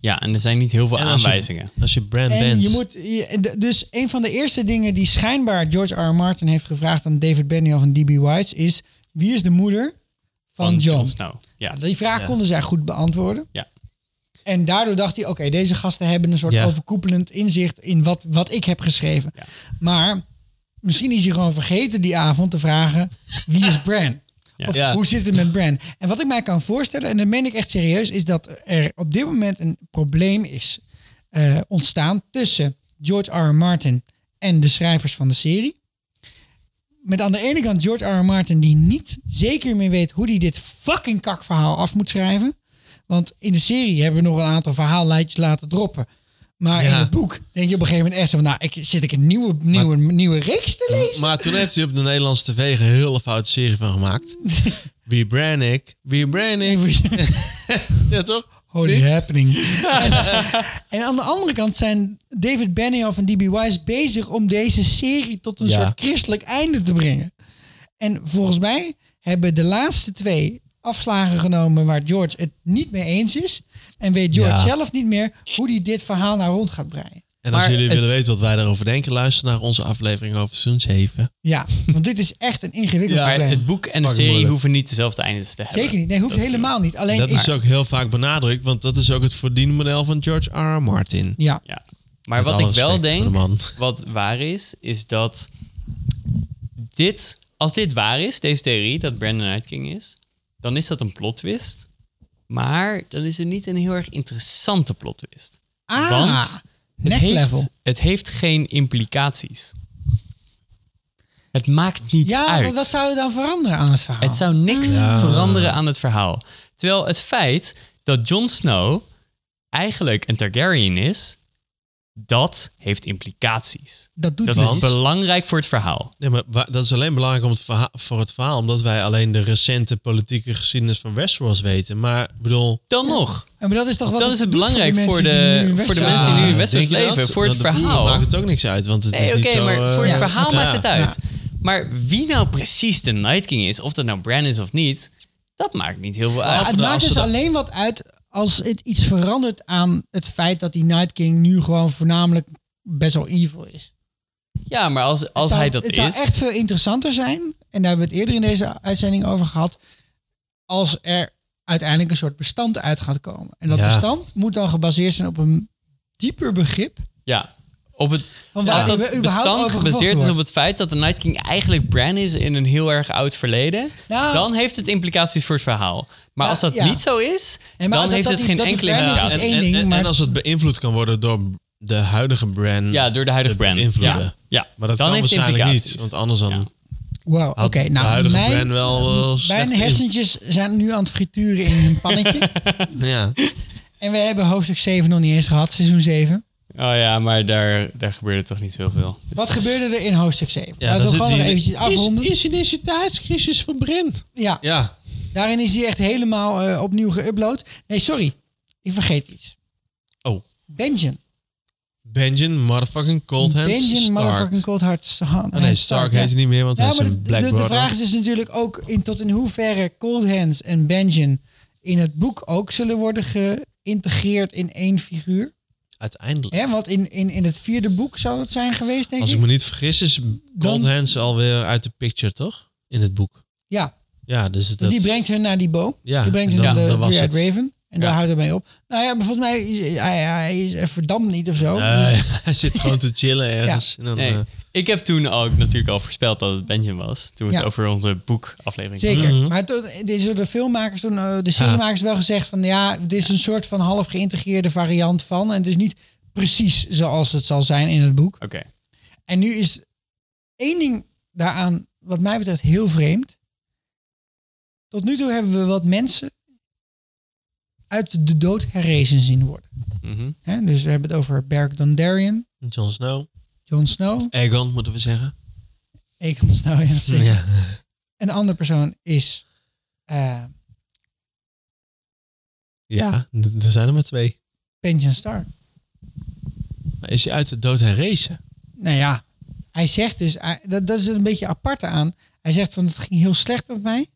Speaker 1: Ja, en er zijn niet heel veel
Speaker 5: En als je-
Speaker 1: aanwijzingen.
Speaker 5: Als je brand
Speaker 4: En
Speaker 5: bent.
Speaker 4: je moet, je- d- dus een van de eerste dingen die schijnbaar George R. R. Martin heeft gevraagd aan David Benioff en D.B. Weiss is: wie is de moeder van,
Speaker 1: Van
Speaker 4: John?
Speaker 1: Jon Snow. Ja.
Speaker 4: Die vraag
Speaker 5: Ja.
Speaker 4: konden zij goed beantwoorden.
Speaker 1: Ja.
Speaker 4: En daardoor dacht hij, oké, deze gasten hebben een soort
Speaker 5: Ja.
Speaker 4: overkoepelend inzicht in wat, wat ik heb geschreven.
Speaker 1: Ja.
Speaker 4: Maar misschien is hij gewoon vergeten die avond te vragen, wie is Bran?
Speaker 1: Ja.
Speaker 4: Of
Speaker 5: Ja.
Speaker 4: hoe zit het met Bran? En wat ik mij kan voorstellen, en dat meen ik echt serieus, is dat er op dit moment een probleem is eh, ontstaan tussen George R. R. Martin en de schrijvers van de serie. Met aan de ene kant George R. R. Martin die niet zeker meer weet hoe hij dit fucking kakverhaal af moet schrijven. Want in de serie hebben we nog een aantal verhaallijntjes laten droppen. Maar in
Speaker 5: Ja.
Speaker 4: het boek denk je op een gegeven moment echt zo van... nou, ik, zit ik een nieuwe, nieuwe, nieuwe reeks te lezen?
Speaker 5: Maar toen heeft hij op de Nederlandse tv een hele foute serie van gemaakt. Wie brand ik? Wie brand ik? ja toch?
Speaker 4: Holy
Speaker 5: Niet?
Speaker 4: happening. en, en aan de andere kant zijn David Benioff en D.B. Wise bezig om deze serie tot een
Speaker 5: Ja.
Speaker 4: soort christelijk einde te brengen. En volgens mij hebben de laatste twee afslagen genomen waar George het niet mee eens is. En weet George
Speaker 5: Ja.
Speaker 4: zelf niet meer hoe hij dit verhaal nou rond gaat breien.
Speaker 5: En als
Speaker 1: Maar
Speaker 5: jullie
Speaker 1: het-
Speaker 5: willen weten wat wij daarover denken, luister naar onze aflevering over seizoen 7.
Speaker 4: Ja, want dit is echt een ingewikkeld
Speaker 1: Maar
Speaker 4: probleem.
Speaker 1: het boek en de
Speaker 5: Pak
Speaker 1: serie
Speaker 5: moeilijk.
Speaker 1: hoeven niet dezelfde eindes te hebben.
Speaker 4: Zeker niet. Nee, hoeft
Speaker 1: Dat is
Speaker 4: helemaal niet. Alleen
Speaker 5: dat
Speaker 4: ik-
Speaker 5: is ook heel vaak benadrukt, want dat is ook het verdienmodel van George R. R. Martin.
Speaker 4: Ja,
Speaker 1: Ja. Maar
Speaker 5: Met
Speaker 1: wat
Speaker 5: alle
Speaker 1: ik wel
Speaker 5: respect voor de
Speaker 1: denk,
Speaker 5: man.
Speaker 1: wat waar is, is dat dit, als dit waar is, deze theorie, dat Brandon Night King is, dan is dat een plot twist. Maar dan is het niet een heel erg interessante plot twist.
Speaker 4: Ah,
Speaker 1: Want het
Speaker 4: next level.
Speaker 1: heeft, het heeft geen implicaties. Het maakt niet
Speaker 4: ja
Speaker 1: uit.
Speaker 4: want wat zou je dan veranderen aan het verhaal?
Speaker 1: Het zou niks
Speaker 5: Ja.
Speaker 1: veranderen aan het verhaal. Terwijl het feit dat Jon Snow eigenlijk een Targaryen is, dat heeft implicaties.
Speaker 4: dat doet
Speaker 1: Dat
Speaker 4: wel
Speaker 1: is
Speaker 4: iets.
Speaker 1: belangrijk voor het verhaal.
Speaker 5: Nee, maar wa- dat is alleen belangrijk om het verha- voor het verhaal, omdat wij alleen de recente politieke geschiedenis van Westeros weten. Maar ik bedoel,
Speaker 1: Dan nog,
Speaker 4: Ja, maar dat is toch wat
Speaker 1: dat
Speaker 4: het
Speaker 1: is het
Speaker 4: doet
Speaker 1: belangrijk
Speaker 4: voor,
Speaker 1: voor
Speaker 4: die mensen die
Speaker 1: de,
Speaker 4: nu in
Speaker 1: voor de
Speaker 4: Westeros
Speaker 1: mensen die nu in Westeros
Speaker 5: denk je dat?
Speaker 1: leven, voor het
Speaker 5: Want de boeren
Speaker 1: verhaal.
Speaker 5: maakt het ook niks uit, want het is
Speaker 1: Nee,
Speaker 5: niet
Speaker 1: oké,
Speaker 5: zo,
Speaker 1: maar
Speaker 5: eh,
Speaker 1: voor het
Speaker 4: Ja.
Speaker 1: verhaal
Speaker 5: ja.
Speaker 1: maakt het uit. Maar wie nou precies de Night King is, of dat nou Bran is of niet, dat maakt niet heel veel uit.
Speaker 4: het
Speaker 5: als
Speaker 4: maakt
Speaker 5: ze
Speaker 4: dus
Speaker 5: dat-
Speaker 4: alleen wat uit als het iets verandert aan het feit dat die Night King nu gewoon voornamelijk best wel evil is.
Speaker 1: Ja, maar als, als
Speaker 4: Zou-
Speaker 1: hij dat
Speaker 4: het
Speaker 1: is...
Speaker 4: zou echt veel interessanter zijn, en daar hebben we het eerder in deze uitzending over gehad, als er uiteindelijk een soort bestand uit gaat komen. En dat
Speaker 5: Ja.
Speaker 4: bestand moet dan gebaseerd zijn op een dieper begrip
Speaker 1: Ja. Op het,
Speaker 4: Van waar
Speaker 1: als
Speaker 4: die
Speaker 1: dat
Speaker 4: überhaupt
Speaker 1: bestand
Speaker 4: over
Speaker 1: gebaseerd
Speaker 4: gevochten
Speaker 1: is op
Speaker 4: wordt.
Speaker 1: het feit dat de Night King eigenlijk Bran is in een heel erg oud verleden,
Speaker 4: Nou.
Speaker 1: dan heeft het implicaties voor het verhaal. Maar
Speaker 4: Ja,
Speaker 1: als dat
Speaker 4: ja.
Speaker 1: niet zo is,
Speaker 4: Nee, maar
Speaker 1: dan
Speaker 4: dat-
Speaker 1: heeft
Speaker 4: dat
Speaker 1: het
Speaker 4: die-
Speaker 1: geen
Speaker 4: dat die
Speaker 1: enkele
Speaker 4: Bran is, is
Speaker 1: implicaties.
Speaker 5: En,
Speaker 4: één
Speaker 5: en-
Speaker 4: ding,
Speaker 5: en-
Speaker 4: maar-
Speaker 5: en als het beïnvloed kan worden door de huidige brand
Speaker 8: Ja, door de huidige
Speaker 5: te
Speaker 8: brand.
Speaker 5: beïnvloeden.
Speaker 8: Ja, ja.
Speaker 5: Maar dat
Speaker 8: Dan
Speaker 5: kan
Speaker 8: heeft het
Speaker 5: waarschijnlijk niet,
Speaker 8: implicaties.
Speaker 5: want anders dan
Speaker 4: Wow, oké.
Speaker 5: had de
Speaker 4: nou,
Speaker 5: huidige
Speaker 4: mijn,
Speaker 5: brand wel eh, slecht
Speaker 4: mijn
Speaker 5: in-
Speaker 4: hersentjes zijn nu aan het frituren in hun pannetje.
Speaker 5: Ja.
Speaker 4: en we hebben hoofdstuk 7 nog niet eens gehad, seizoen 7.
Speaker 8: Oh ja, maar daar, daar gebeurde toch niet zoveel. Dus-
Speaker 4: Wat gebeurde er in hoofdstuk 7?
Speaker 5: Ja, dan
Speaker 4: Laten we
Speaker 5: zit
Speaker 4: gewoon nog
Speaker 5: hij-
Speaker 4: eventjes afronden.
Speaker 5: Is, is identiteitscrisis van brand?
Speaker 4: ja,
Speaker 5: Ja.
Speaker 4: daarin is hij echt helemaal eh, opnieuw geüpload. Nee, sorry. Ik vergeet iets.
Speaker 5: Oh.
Speaker 4: Benjen.
Speaker 5: Benjen, motherfucking Cold Hands,
Speaker 4: Benjen,
Speaker 5: Stark.
Speaker 4: motherfucking Cold Heart. Stark.
Speaker 5: Oh nee, Stark heet
Speaker 4: ja.
Speaker 5: hij niet meer, want
Speaker 4: Ja,
Speaker 5: hij is
Speaker 4: maar
Speaker 5: een
Speaker 4: de,
Speaker 5: Black
Speaker 4: de, de
Speaker 5: Brother.
Speaker 4: vraag is dus natuurlijk ook in, tot in hoeverre Cold Hands en Benjen in het boek ook zullen worden geïntegreerd in één figuur.
Speaker 5: Uiteindelijk.
Speaker 4: Hè, want in, in, in het vierde boek zou dat zijn geweest, denk
Speaker 5: Als ik
Speaker 4: ik.
Speaker 5: me niet vergis, is Cold
Speaker 4: Dan-
Speaker 5: Hands alweer uit de picture, toch? In het boek.
Speaker 4: Ja,
Speaker 5: Ja, dus het-
Speaker 4: want
Speaker 5: dat...
Speaker 4: die brengt hun naar die boom.
Speaker 5: Ja,
Speaker 4: die brengt
Speaker 5: en
Speaker 4: hun
Speaker 5: dan-
Speaker 4: naar de
Speaker 5: dan was
Speaker 4: Three-Eyed
Speaker 5: het.
Speaker 4: Raven. En daar houdt het mee op. Nou ja, maar volgens mij is hij, hij is eh, verdampt niet of zo.
Speaker 5: Nee,
Speaker 4: Dus-
Speaker 5: hij zit gewoon te chillen ergens. En dan,
Speaker 8: Nee.
Speaker 5: eh,
Speaker 8: Ik heb toen ook natuurlijk al voorspeld dat het Benjamin was. Toen we
Speaker 4: Ja.
Speaker 8: het over onze boekaflevering
Speaker 4: Dus Zeker.
Speaker 5: Mhm.
Speaker 4: Maar toen, dit is door de filmmakers, toen, eh, de seriemakers wel gezegd van ja, dit is een soort van half geïntegreerde variant van. En het is niet precies zoals het zal zijn in het boek.
Speaker 8: Oké.
Speaker 4: En nu is één ding daaraan, wat mij betreft, heel vreemd. Tot nu toe hebben we wat mensen uit de dood herrezen zien worden.
Speaker 8: Mhm.
Speaker 4: Hè, dus we hebben het over Beric Dondarrion,
Speaker 5: Jon Snow.
Speaker 4: Jon Snow,
Speaker 5: Egon, moeten we zeggen.
Speaker 4: Aegon Snow. Ja, zeker.
Speaker 5: Ja.
Speaker 4: Een andere persoon is eh
Speaker 5: Ja, d- er zijn er maar twee.
Speaker 4: Benjen Stark.
Speaker 5: Maar is hij uit de dood herrezen?
Speaker 4: Nou ja, hij zegt dus, hij- dat, dat is een beetje aparte aan. Hij zegt van het ging heel slecht met mij.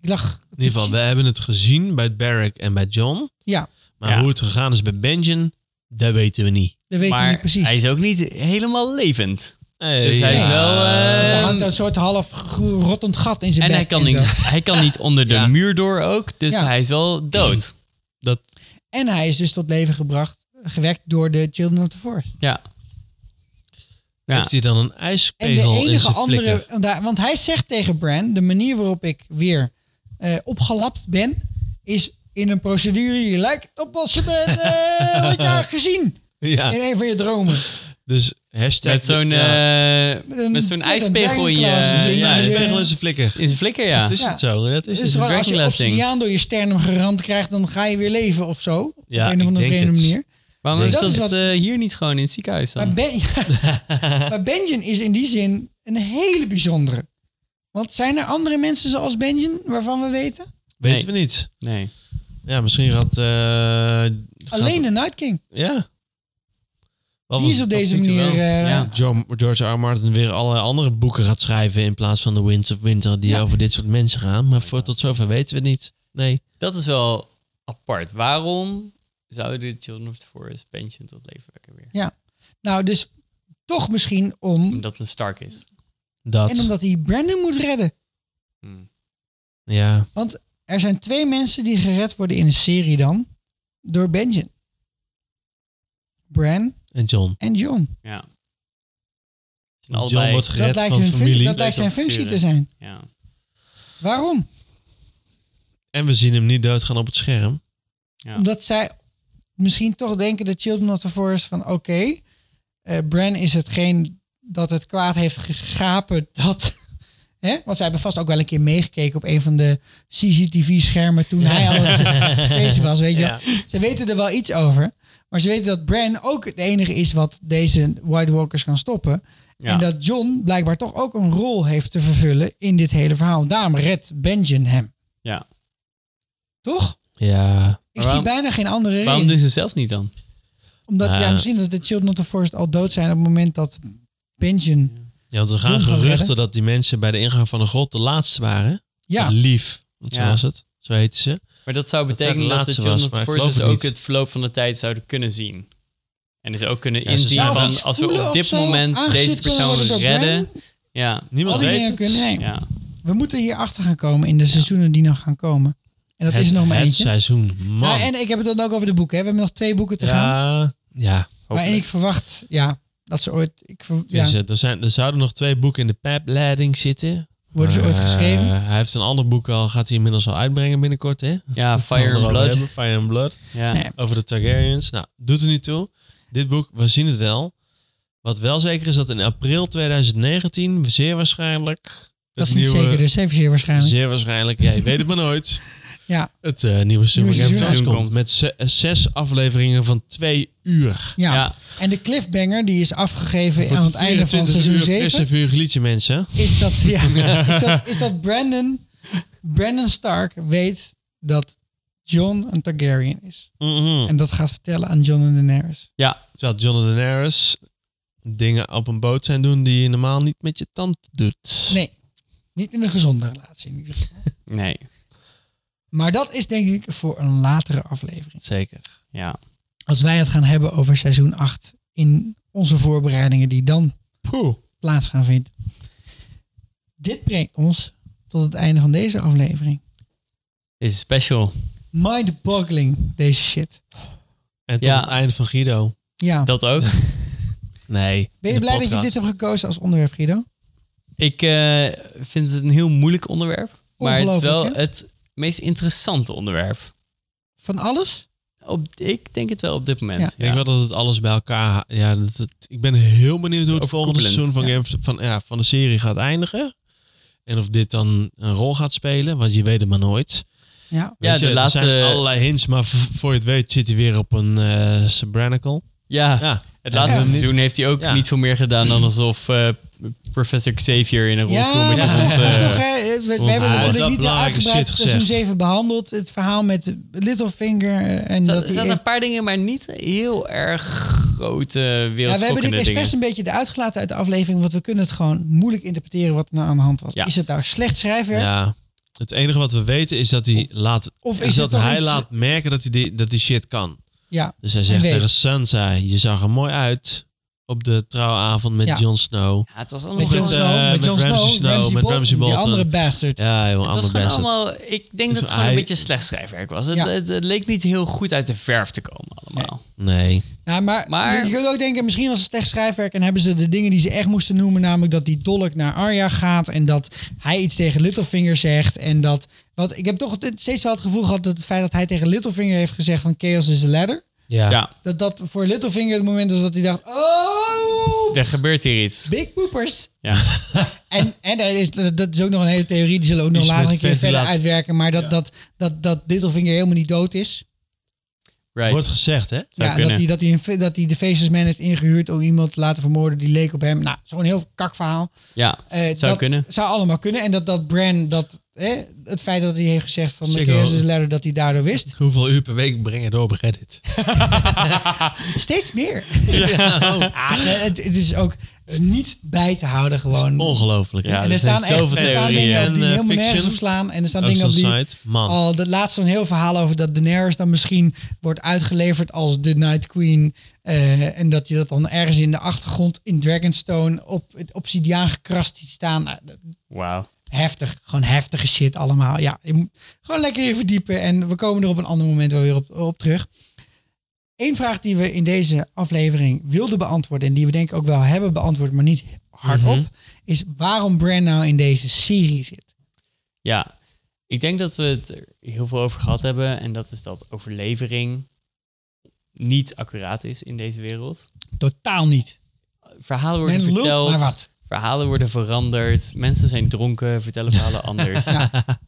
Speaker 4: Ik lag.
Speaker 5: In ieder geval, we hebben het gezien bij Barrack en bij John.
Speaker 4: Ja.
Speaker 5: Maar
Speaker 8: Ja.
Speaker 5: hoe het gegaan is bij Benjen, dat weten we niet.
Speaker 4: Dat weet je
Speaker 8: Maar
Speaker 4: niet precies.
Speaker 8: hij is ook niet helemaal levend.
Speaker 5: Dus
Speaker 8: hij is wel, eh,
Speaker 5: Ehm,
Speaker 4: er hangt een soort half gro- rottend gat in zijn
Speaker 8: En
Speaker 4: bek
Speaker 8: hij kan,
Speaker 4: en, zo.
Speaker 8: niet, hij kan niet onder de
Speaker 5: Ja.
Speaker 8: muur door ook. Dus
Speaker 4: Ja.
Speaker 8: hij is wel dood.
Speaker 5: Dat,
Speaker 4: en hij is dus tot leven gebracht, gewekt door de Children of the Forest.
Speaker 8: Ja. Ja.
Speaker 5: Heeft hij dan een
Speaker 4: En de
Speaker 5: ijspegel in
Speaker 4: enige
Speaker 5: zijn
Speaker 4: andere,
Speaker 5: flikker?
Speaker 4: want hij- want hij zegt tegen Bran, de manier waarop ik weer eh, opgelapt ben, is in een procedure die lijkt op wat ze met, eh, wat je had gezien in
Speaker 5: Ja,
Speaker 4: een van je dromen.
Speaker 5: dus hashtag...
Speaker 8: Met zo'n
Speaker 5: ja.
Speaker 8: eh,
Speaker 4: Met een-
Speaker 8: met zo'n
Speaker 4: met een
Speaker 8: ijspegel in je...
Speaker 4: draaienglas.
Speaker 5: Een
Speaker 8: ja, in
Speaker 5: ijspegel in zijn flikker.
Speaker 8: zijn flikker, ja.
Speaker 5: Dat is
Speaker 4: Ja.
Speaker 5: het zo. Dat is
Speaker 4: Dus
Speaker 5: het.
Speaker 4: gewoon als je
Speaker 8: dragonlasting.
Speaker 4: obsidiaan door je sternum geramd krijgt, dan ga je weer leven of zo.
Speaker 5: Ja,
Speaker 4: op een
Speaker 5: ik
Speaker 4: of andere
Speaker 5: denk
Speaker 4: vreemde
Speaker 5: het.
Speaker 4: manier.
Speaker 8: Waarom
Speaker 5: Nee.
Speaker 8: is
Speaker 4: Dat
Speaker 8: dat
Speaker 4: is wat-
Speaker 8: eh, hier niet gewoon in het ziekenhuis
Speaker 4: Maar,
Speaker 8: dan?
Speaker 4: ben, maar Benjen is in die zin een hele bijzondere. Want zijn er andere mensen zoals Benjen waarvan we weten?
Speaker 5: Weten we niet.
Speaker 8: Nee.
Speaker 5: Ja, misschien gaat... eh, gaat-
Speaker 4: Alleen de Night King.
Speaker 5: Ja. Wat
Speaker 4: Die
Speaker 5: was-
Speaker 4: is op
Speaker 5: tot
Speaker 4: deze
Speaker 5: nu toe
Speaker 4: manier.
Speaker 5: wel.
Speaker 4: eh,
Speaker 8: Ja.
Speaker 5: Jo- George R. R. Martin weer allerlei andere boeken gaat schrijven in plaats van The Winds of Winter die
Speaker 4: Ja.
Speaker 5: over dit soort mensen gaan. Maar voor tot zover weten we het niet. Nee.
Speaker 8: Dat is wel apart. Waarom zouden de Children of the Forest pension tot leven wekken weer?
Speaker 4: Nou, dus toch misschien om.
Speaker 8: Omdat het een Stark is.
Speaker 5: Dat.
Speaker 4: En omdat hij Brandon moet redden.
Speaker 5: Ja.
Speaker 4: Er zijn twee mensen die gered worden in een serie dan. Door Benjen. Bran
Speaker 5: En John.
Speaker 4: en John.
Speaker 8: Ja. Ze zijn
Speaker 5: John
Speaker 8: allebei-
Speaker 5: wordt
Speaker 4: Dat
Speaker 5: gered
Speaker 4: lijkt,
Speaker 5: van
Speaker 4: hun fun-
Speaker 5: familie.
Speaker 4: dat lijkt zijn
Speaker 8: Leuk om te
Speaker 4: functie te
Speaker 8: sturen.
Speaker 4: zijn.
Speaker 8: Ja.
Speaker 4: Waarom?
Speaker 5: En we zien hem niet doodgaan op het scherm.
Speaker 8: Ja.
Speaker 4: Omdat zij misschien toch denken de Children of the Forest van oké, eh, Bran is hetgeen dat het kwaad heeft gegapen dat... Hè? Want zij hebben vast ook wel een keer meegekeken op een van de CCTV-schermen toen hij al het space was, weet je wel. Ze weten er wel iets over, maar ze weten dat Bran ook het enige is wat deze White Walkers kan stoppen.
Speaker 8: Ja.
Speaker 4: En dat John blijkbaar toch ook een rol heeft te vervullen in dit hele verhaal. Daarom redt Benjen hem.
Speaker 8: Ja.
Speaker 4: Toch?
Speaker 5: Ja.
Speaker 4: Ik
Speaker 8: waarom-
Speaker 4: zie bijna geen andere reden.
Speaker 8: Waarom doen ze het zelf niet dan?
Speaker 4: Omdat
Speaker 5: Nou
Speaker 4: ja,
Speaker 5: ja.
Speaker 4: misschien dat de Children of the Forest al dood zijn op het moment dat Benjen.
Speaker 5: Ja, want er gaan
Speaker 4: John kan
Speaker 5: geruchten
Speaker 4: redden.
Speaker 5: dat die mensen bij de ingang van de grot de laatste waren.
Speaker 4: Ja,
Speaker 5: Lief. Want zo
Speaker 8: Ja.
Speaker 5: was het. Zo heette ze.
Speaker 8: Maar dat zou
Speaker 5: Dat zou de
Speaker 8: betekenen dat de
Speaker 5: laatste
Speaker 8: Children
Speaker 5: was,
Speaker 8: of the
Speaker 5: maar ik
Speaker 8: Forces
Speaker 5: geloof
Speaker 8: ook
Speaker 5: het niet.
Speaker 8: het verloop van de tijd zouden kunnen zien. En dus ook kunnen
Speaker 5: Ja, ze
Speaker 8: inzien
Speaker 5: zouden
Speaker 8: van
Speaker 5: iets
Speaker 8: als we
Speaker 4: voelen
Speaker 8: op
Speaker 4: of
Speaker 8: dit
Speaker 4: zo,
Speaker 8: moment
Speaker 4: aangestipt
Speaker 8: deze
Speaker 4: kunnen
Speaker 8: persoon
Speaker 4: worden door
Speaker 8: redden. Ja.
Speaker 5: Niemand
Speaker 4: Al die
Speaker 5: weet
Speaker 4: dingen
Speaker 5: het.
Speaker 4: kunnen nemen.
Speaker 8: ja.
Speaker 4: we moeten hier achter gaan komen in de seizoenen die nog gaan komen. En dat
Speaker 5: het,
Speaker 4: is er nog maar
Speaker 5: het
Speaker 4: eentje.
Speaker 5: seizoen. Man.
Speaker 4: Nou, en ik heb het dan ook over de boeken. Hè. We hebben nog twee boeken te gaan.
Speaker 5: ja. Ja.
Speaker 4: Maar en ik verwacht, ja, dat ze ooit. Ik ver- ja.
Speaker 5: Dus, eh, er, zijn, er zouden nog twee boeken in de pijpleiding zitten.
Speaker 4: Worden ze ooit geschreven?
Speaker 5: Eh, hij heeft een ander boek al, gaat hij inmiddels al uitbrengen binnenkort, hè?
Speaker 1: Ja, Fire
Speaker 5: Erover
Speaker 1: and Blood.
Speaker 5: hebben, Fire and Blood.
Speaker 1: Ja.
Speaker 4: Nee.
Speaker 5: Over de Targaryens. Nou, doet er niet toe. Dit boek, we zien het wel. Wat wel zeker is dat in april 2019, zeer waarschijnlijk...
Speaker 4: Dat is
Speaker 5: het
Speaker 4: niet
Speaker 5: nieuwe-
Speaker 4: zeker, dus evenzeer waarschijnlijk.
Speaker 5: Zeer waarschijnlijk, ja, je weet het maar nooit.
Speaker 4: Ja.
Speaker 5: Het eh, nieuwe Summer
Speaker 4: Nieuwe
Speaker 5: Game
Speaker 4: seizoen
Speaker 5: komt.
Speaker 1: komt.
Speaker 5: Met ze- eh, zes afleveringen van twee uur.
Speaker 4: Ja.
Speaker 1: Ja.
Speaker 4: en de cliffbanger die is afgegeven aan
Speaker 5: Wordt
Speaker 4: het einde van
Speaker 5: 24
Speaker 4: seizoen
Speaker 5: uur
Speaker 4: 7
Speaker 5: frisse liedje, mensen.
Speaker 4: is dat, ja, is dat, is dat Brandon, Brandon Stark weet dat John een Targaryen is.
Speaker 5: Mhm.
Speaker 4: En dat gaat vertellen aan John en Daenerys.
Speaker 5: Terwijl Jonathan Daenerys dingen op een boot zijn doen die je normaal niet met je tand doet.
Speaker 4: Nee, niet in een gezonde relatie in ieder geval.
Speaker 1: Nee.
Speaker 4: Maar dat is denk ik voor een latere aflevering.
Speaker 5: Zeker.
Speaker 1: Ja.
Speaker 4: Als wij het gaan hebben over seizoen 8 in onze voorbereidingen die dan
Speaker 5: Poeh.
Speaker 4: plaats gaan vinden. Dit brengt ons tot het einde van deze aflevering.
Speaker 1: Dit is special.
Speaker 4: Mind-boggling, deze shit.
Speaker 5: En tot
Speaker 1: Ja.
Speaker 5: het einde van Guido.
Speaker 4: Ja.
Speaker 1: Dat ook.
Speaker 5: Nee.
Speaker 4: Ben je
Speaker 5: de
Speaker 4: blij dat
Speaker 5: podcast.
Speaker 4: je dit hebt gekozen als onderwerp, Guido?
Speaker 1: Ik eh, vind het een heel moeilijk onderwerp. Maar het is wel
Speaker 4: Ongelooflijk, hè?
Speaker 1: het meest interessante onderwerp.
Speaker 4: Van alles?
Speaker 1: Op, ik denk het wel op dit moment.
Speaker 4: Ja.
Speaker 1: Ja.
Speaker 4: Ik
Speaker 5: Ik denk wel dat het alles bij elkaar... ha- Ja, dat het- ik ben heel benieuwd hoe het volgende seizoen
Speaker 1: Overkoepelend,
Speaker 5: van, Game of- van, ja, van de serie gaat eindigen. En of dit dan een rol gaat spelen, want je weet het maar nooit.
Speaker 4: Ja.
Speaker 1: Ja,
Speaker 5: Weet
Speaker 1: de
Speaker 5: je,
Speaker 1: laatste-
Speaker 5: Er zijn allerlei hints, maar v- voor je het weet zit hij weer op een eh Sabranical.
Speaker 1: Ja,
Speaker 5: Ja,
Speaker 1: het laatste
Speaker 4: Ja.
Speaker 1: seizoen heeft hij ook
Speaker 5: Ja.
Speaker 1: niet veel meer gedaan dan alsof eh, professor Xavier in een rolstoel
Speaker 4: Ja,
Speaker 1: met
Speaker 4: maar
Speaker 1: je
Speaker 4: toch,
Speaker 1: hond...
Speaker 4: maar
Speaker 1: eh,
Speaker 4: toch, hè, we, we
Speaker 1: ons-
Speaker 4: hebben
Speaker 1: Ah,
Speaker 5: dat
Speaker 4: natuurlijk niet de
Speaker 5: belangrijke
Speaker 4: uitgebreid
Speaker 5: shit
Speaker 4: seizoen
Speaker 5: gezegd.
Speaker 4: 7 behandeld. Het verhaal met Littlefinger eh,
Speaker 1: Er
Speaker 4: en dat
Speaker 1: zat- er
Speaker 4: hij
Speaker 1: zaten
Speaker 4: eer-
Speaker 1: een paar dingen, maar niet heel erg grote
Speaker 4: Ja, we hebben
Speaker 1: wereldschokkende
Speaker 4: dit expres
Speaker 1: dingen.
Speaker 4: een beetje eruit gelaten uit de aflevering, want we kunnen het gewoon moeilijk interpreteren wat er nou aan de hand was.
Speaker 1: Ja.
Speaker 4: Is het nou slecht schrijfwerk?
Speaker 5: Ja. Het enige wat we weten is dat hij laat...
Speaker 4: of
Speaker 5: Of is
Speaker 4: is het
Speaker 5: dat
Speaker 4: toch
Speaker 5: hij
Speaker 4: iets-
Speaker 5: laat merken dat hij, die, dat hij shit kan.
Speaker 4: Ja.
Speaker 5: Dus hij
Speaker 4: En
Speaker 5: zegt
Speaker 4: weet.
Speaker 5: tegen Sansa, je zag er mooi uit op de trouwavond met
Speaker 4: Ja.
Speaker 5: Jon Snow.
Speaker 1: Ja, het was
Speaker 4: Met
Speaker 1: allemaal
Speaker 4: Jon
Speaker 5: Met,
Speaker 4: Snow,
Speaker 5: eh,
Speaker 4: met
Speaker 5: met
Speaker 4: Jon Snow,
Speaker 5: Ramsay Snow,
Speaker 4: Ramsay
Speaker 5: met
Speaker 4: Bolton,
Speaker 5: Ramsay
Speaker 4: die
Speaker 5: Bolton.
Speaker 4: andere bastard.
Speaker 5: Ja, joh,
Speaker 1: Het was
Speaker 5: allemaal
Speaker 1: gewoon
Speaker 5: best.
Speaker 1: allemaal... Ik denk
Speaker 5: Dus
Speaker 1: dat het gewoon een
Speaker 5: hij-
Speaker 1: beetje slecht schrijfwerk was. Het,
Speaker 4: Ja.
Speaker 1: het, het leek niet heel goed uit de verf te komen allemaal.
Speaker 5: Nee.
Speaker 4: Ja, maar,
Speaker 1: Maar-
Speaker 4: je, je kunt ook denken, misschien was het slecht schrijfwerk en hebben ze de dingen die ze echt moesten noemen, namelijk dat die dolk naar Arya gaat en dat hij iets tegen Littlefinger zegt en dat, want ik heb toch het- steeds wel het gevoel gehad dat het feit dat hij tegen Littlefinger heeft gezegd van chaos is a ladder,
Speaker 5: Ja.
Speaker 1: Ja.
Speaker 4: dat dat voor Littlefinger het moment was dat hij dacht, oh,
Speaker 1: Er gebeurt hier iets.
Speaker 4: big poopers.
Speaker 1: Ja.
Speaker 4: En, en er is, dat is ook nog een hele theorie, die zullen we ook nog
Speaker 5: Iets
Speaker 4: later
Speaker 5: met
Speaker 4: een keer verder
Speaker 5: ventilatie.
Speaker 4: uitwerken, maar dat, dat, dat, dat Littlefinger helemaal niet dood is.
Speaker 1: Right.
Speaker 5: Wordt gezegd, hè?
Speaker 1: Zou
Speaker 4: ja,
Speaker 1: kunnen.
Speaker 4: dat hij, dat, hij een, fe- dat hij de Faceless Man heeft ingehuurd om iemand te laten vermoorden die leek op hem. Nou, zo'n heel kak verhaal.
Speaker 1: Ja,
Speaker 4: Eh,
Speaker 1: zou
Speaker 4: dat
Speaker 1: kunnen.
Speaker 4: Zou allemaal kunnen. En dat, dat Bran, dat, hè, het feit dat hij heeft gezegd van
Speaker 5: Zeker.
Speaker 4: Matthias is leider dat hij daardoor wist.
Speaker 5: Hoeveel uur per week breng je door op Reddit?
Speaker 4: Steeds meer. Ah, het, is- het, het is ook het is niet bij te houden gewoon.
Speaker 5: Ongelooflijk. hè?
Speaker 1: Ja,
Speaker 4: en er
Speaker 1: er
Speaker 4: staan
Speaker 1: zijn
Speaker 4: echt
Speaker 1: zoveel
Speaker 4: er staan
Speaker 1: theorieën
Speaker 4: dingen op die
Speaker 5: en, eh,
Speaker 4: helemaal nergens
Speaker 5: fiction.
Speaker 4: op slaan. En er staan
Speaker 5: Ook
Speaker 4: dingen
Speaker 5: zo'n
Speaker 4: op die...
Speaker 5: site. Man.
Speaker 4: Al dat laatst zo'n heel verhaal over dat Daenerys dan misschien wordt uitgeleverd als de Night Queen. eh, en dat je dat dan ergens in de achtergrond in Dragonstone op het obsidiaan gekrast ziet staan. Nou, dat-
Speaker 1: Wauw.
Speaker 4: heftig. Gewoon heftige shit allemaal. Ja, je moet gewoon lekker in verdiepen. En we komen er op een ander moment wel weer op, op terug. Eén vraag die we in deze aflevering wilden beantwoorden. En die we denk ik ook wel hebben beantwoord, maar niet hardop. Is waarom Bran nou in deze serie zit.
Speaker 1: Ja, ik denk dat we het er heel veel over gehad hebben. En dat is dat overlevering niet accuraat is in deze wereld.
Speaker 4: Totaal niet.
Speaker 1: Verhalen worden
Speaker 4: Men lult
Speaker 1: verteld.
Speaker 4: maar wat.
Speaker 1: Verhalen worden veranderd. Mensen zijn dronken, vertellen verhalen anders.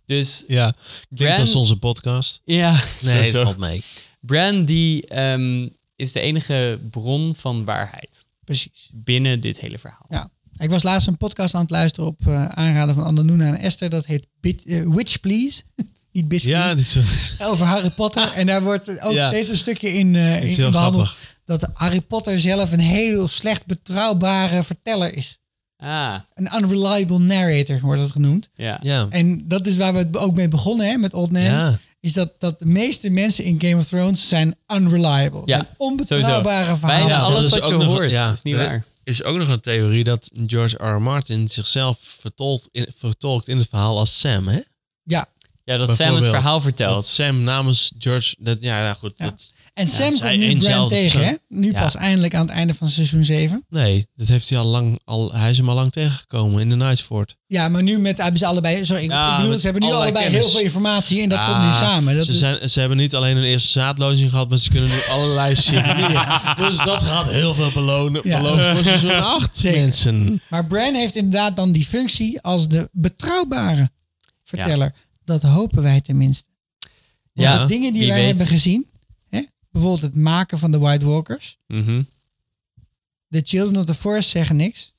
Speaker 1: Dus
Speaker 5: Ja, klinkt
Speaker 1: Bran-
Speaker 5: als onze podcast.
Speaker 1: ja,
Speaker 5: Nee,
Speaker 1: zo,
Speaker 5: het
Speaker 1: zo.
Speaker 5: valt mee.
Speaker 1: Bran die ehm, is de enige bron van waarheid
Speaker 4: Precies.
Speaker 1: binnen dit hele verhaal.
Speaker 4: Ja. Ik was laatst een podcast aan het luisteren op eh, aanraden van Andanuna en Esther. Dat heet Bit, eh, Witch Please. Niet Bitch
Speaker 5: Ja,
Speaker 4: Please.
Speaker 5: dit is,
Speaker 4: Over Harry Potter. En daar wordt ook
Speaker 5: Ah. Ja.
Speaker 4: steeds een stukje in, eh,
Speaker 5: is
Speaker 4: in
Speaker 5: heel
Speaker 4: behandeld.
Speaker 5: grappig.
Speaker 4: Dat Harry Potter zelf een heel slecht betrouwbare verteller is.
Speaker 1: Ah,
Speaker 4: Een unreliable narrator wordt dat genoemd.
Speaker 1: ja.
Speaker 5: Ja.
Speaker 4: En dat is waar we het ook mee begonnen hè, met Old Man.
Speaker 5: Ja.
Speaker 4: Is dat, dat de meeste mensen in Game of Thrones zijn unreliable.
Speaker 1: Ja,
Speaker 4: zijn onbetrouwbare verhalen.
Speaker 1: Bijna
Speaker 5: dat
Speaker 1: alles
Speaker 5: is
Speaker 1: wat je
Speaker 5: ook nog-
Speaker 1: hoort
Speaker 5: ja,
Speaker 1: is niet
Speaker 5: dat-
Speaker 1: waar.
Speaker 5: is ook nog een theorie dat George R. R. Martin zichzelf vertolkt in, vertolkt in het verhaal als Sam, hè?
Speaker 4: Ja,
Speaker 8: Ja, dat Sam het
Speaker 5: Bijvoorbeeld,
Speaker 8: verhaal vertelt.
Speaker 5: Dat Sam namens George... Dat, ja, nou goed. Dat,
Speaker 4: En Sam
Speaker 5: zij
Speaker 4: komt nu
Speaker 5: één
Speaker 4: Bran
Speaker 5: zelfde
Speaker 4: tegen, hè?
Speaker 5: persoon.
Speaker 4: Nu
Speaker 5: Ja.
Speaker 4: pas eindelijk aan het einde van seizoen 7.
Speaker 5: nee, dat heeft hij al lang... Al, hij is hem al lang tegengekomen in de Nightford.
Speaker 4: Ja, maar nu met, hebben ze allebei... Sorry, ik-
Speaker 5: Ja,
Speaker 4: ik bedoel,
Speaker 5: met
Speaker 4: ze hebben nu
Speaker 5: allerlei
Speaker 4: allebei
Speaker 5: kennis.
Speaker 4: heel veel informatie en dat
Speaker 5: Ah,
Speaker 4: komt nu samen. Dat
Speaker 5: ze,
Speaker 4: is-
Speaker 5: zijn, ze hebben niet alleen hun eerste zaadlozing gehad, maar ze kunnen nu allerlei shit leren. Dus dat gaat heel veel belonen.
Speaker 4: Ja.
Speaker 5: Beloven voor seizoen 8,
Speaker 4: Zeker.
Speaker 5: mensen.
Speaker 4: Maar Bran heeft inderdaad dan die functie als de betrouwbare verteller. Dat hopen wij tenminste. Want
Speaker 8: Ja,
Speaker 4: de dingen die
Speaker 8: wie
Speaker 4: wij
Speaker 8: weet.
Speaker 4: hebben gezien, hè? bijvoorbeeld het maken van de White Walkers.
Speaker 8: Mhm.
Speaker 4: De Children of the Forest zeggen niks.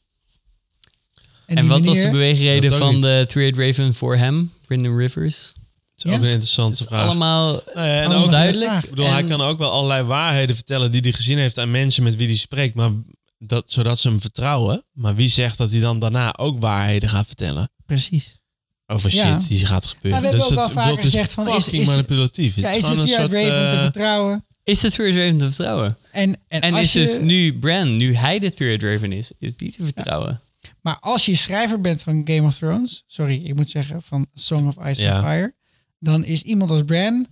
Speaker 8: En,
Speaker 4: die
Speaker 8: wat was
Speaker 4: manier-
Speaker 8: de beweegreden
Speaker 5: Dat ook
Speaker 8: van
Speaker 5: niet.
Speaker 8: de Three-Eyed Raven voor hem, Brendan Rivers?
Speaker 5: Dat is
Speaker 4: Ja.
Speaker 5: ook een interessante vraag.
Speaker 8: Allemaal eh,
Speaker 5: Nou ja, en
Speaker 4: Allemaal
Speaker 5: ook
Speaker 4: duidelijk.
Speaker 5: Ik bedoel, hij
Speaker 8: En-
Speaker 5: kan ook wel allerlei waarheden vertellen die hij gezien heeft aan mensen met wie hij spreekt, maar dat, zodat ze hem vertrouwen. Maar wie zegt dat hij dan daarna ook waarheden gaat vertellen
Speaker 4: Precies.
Speaker 5: over shit
Speaker 4: Ja.
Speaker 5: die gaat gebeuren? Dus
Speaker 4: Ja, we hebben ook
Speaker 5: het-
Speaker 4: wel
Speaker 5: ik bedoel,
Speaker 4: vaker
Speaker 5: het is
Speaker 4: gezegd van, is-
Speaker 5: fucking
Speaker 4: is-
Speaker 5: manipulatief.
Speaker 4: Ja, is
Speaker 5: gewoon
Speaker 4: het
Speaker 5: een
Speaker 4: via
Speaker 5: soort,
Speaker 4: Raven te
Speaker 5: eh,
Speaker 4: vertrouwen?
Speaker 8: is de Three-Eyed Raven te vertrouwen.
Speaker 4: En, en,
Speaker 8: En
Speaker 4: als
Speaker 8: is
Speaker 4: je,
Speaker 8: dus nu Bran, nu hij de Three-Eyed Raven is, is die te vertrouwen.
Speaker 4: Maar als je schrijver bent van Game of Thrones, sorry, ik moet zeggen van Song of Ice
Speaker 5: Ja.
Speaker 4: and Fire, dan is iemand als Bran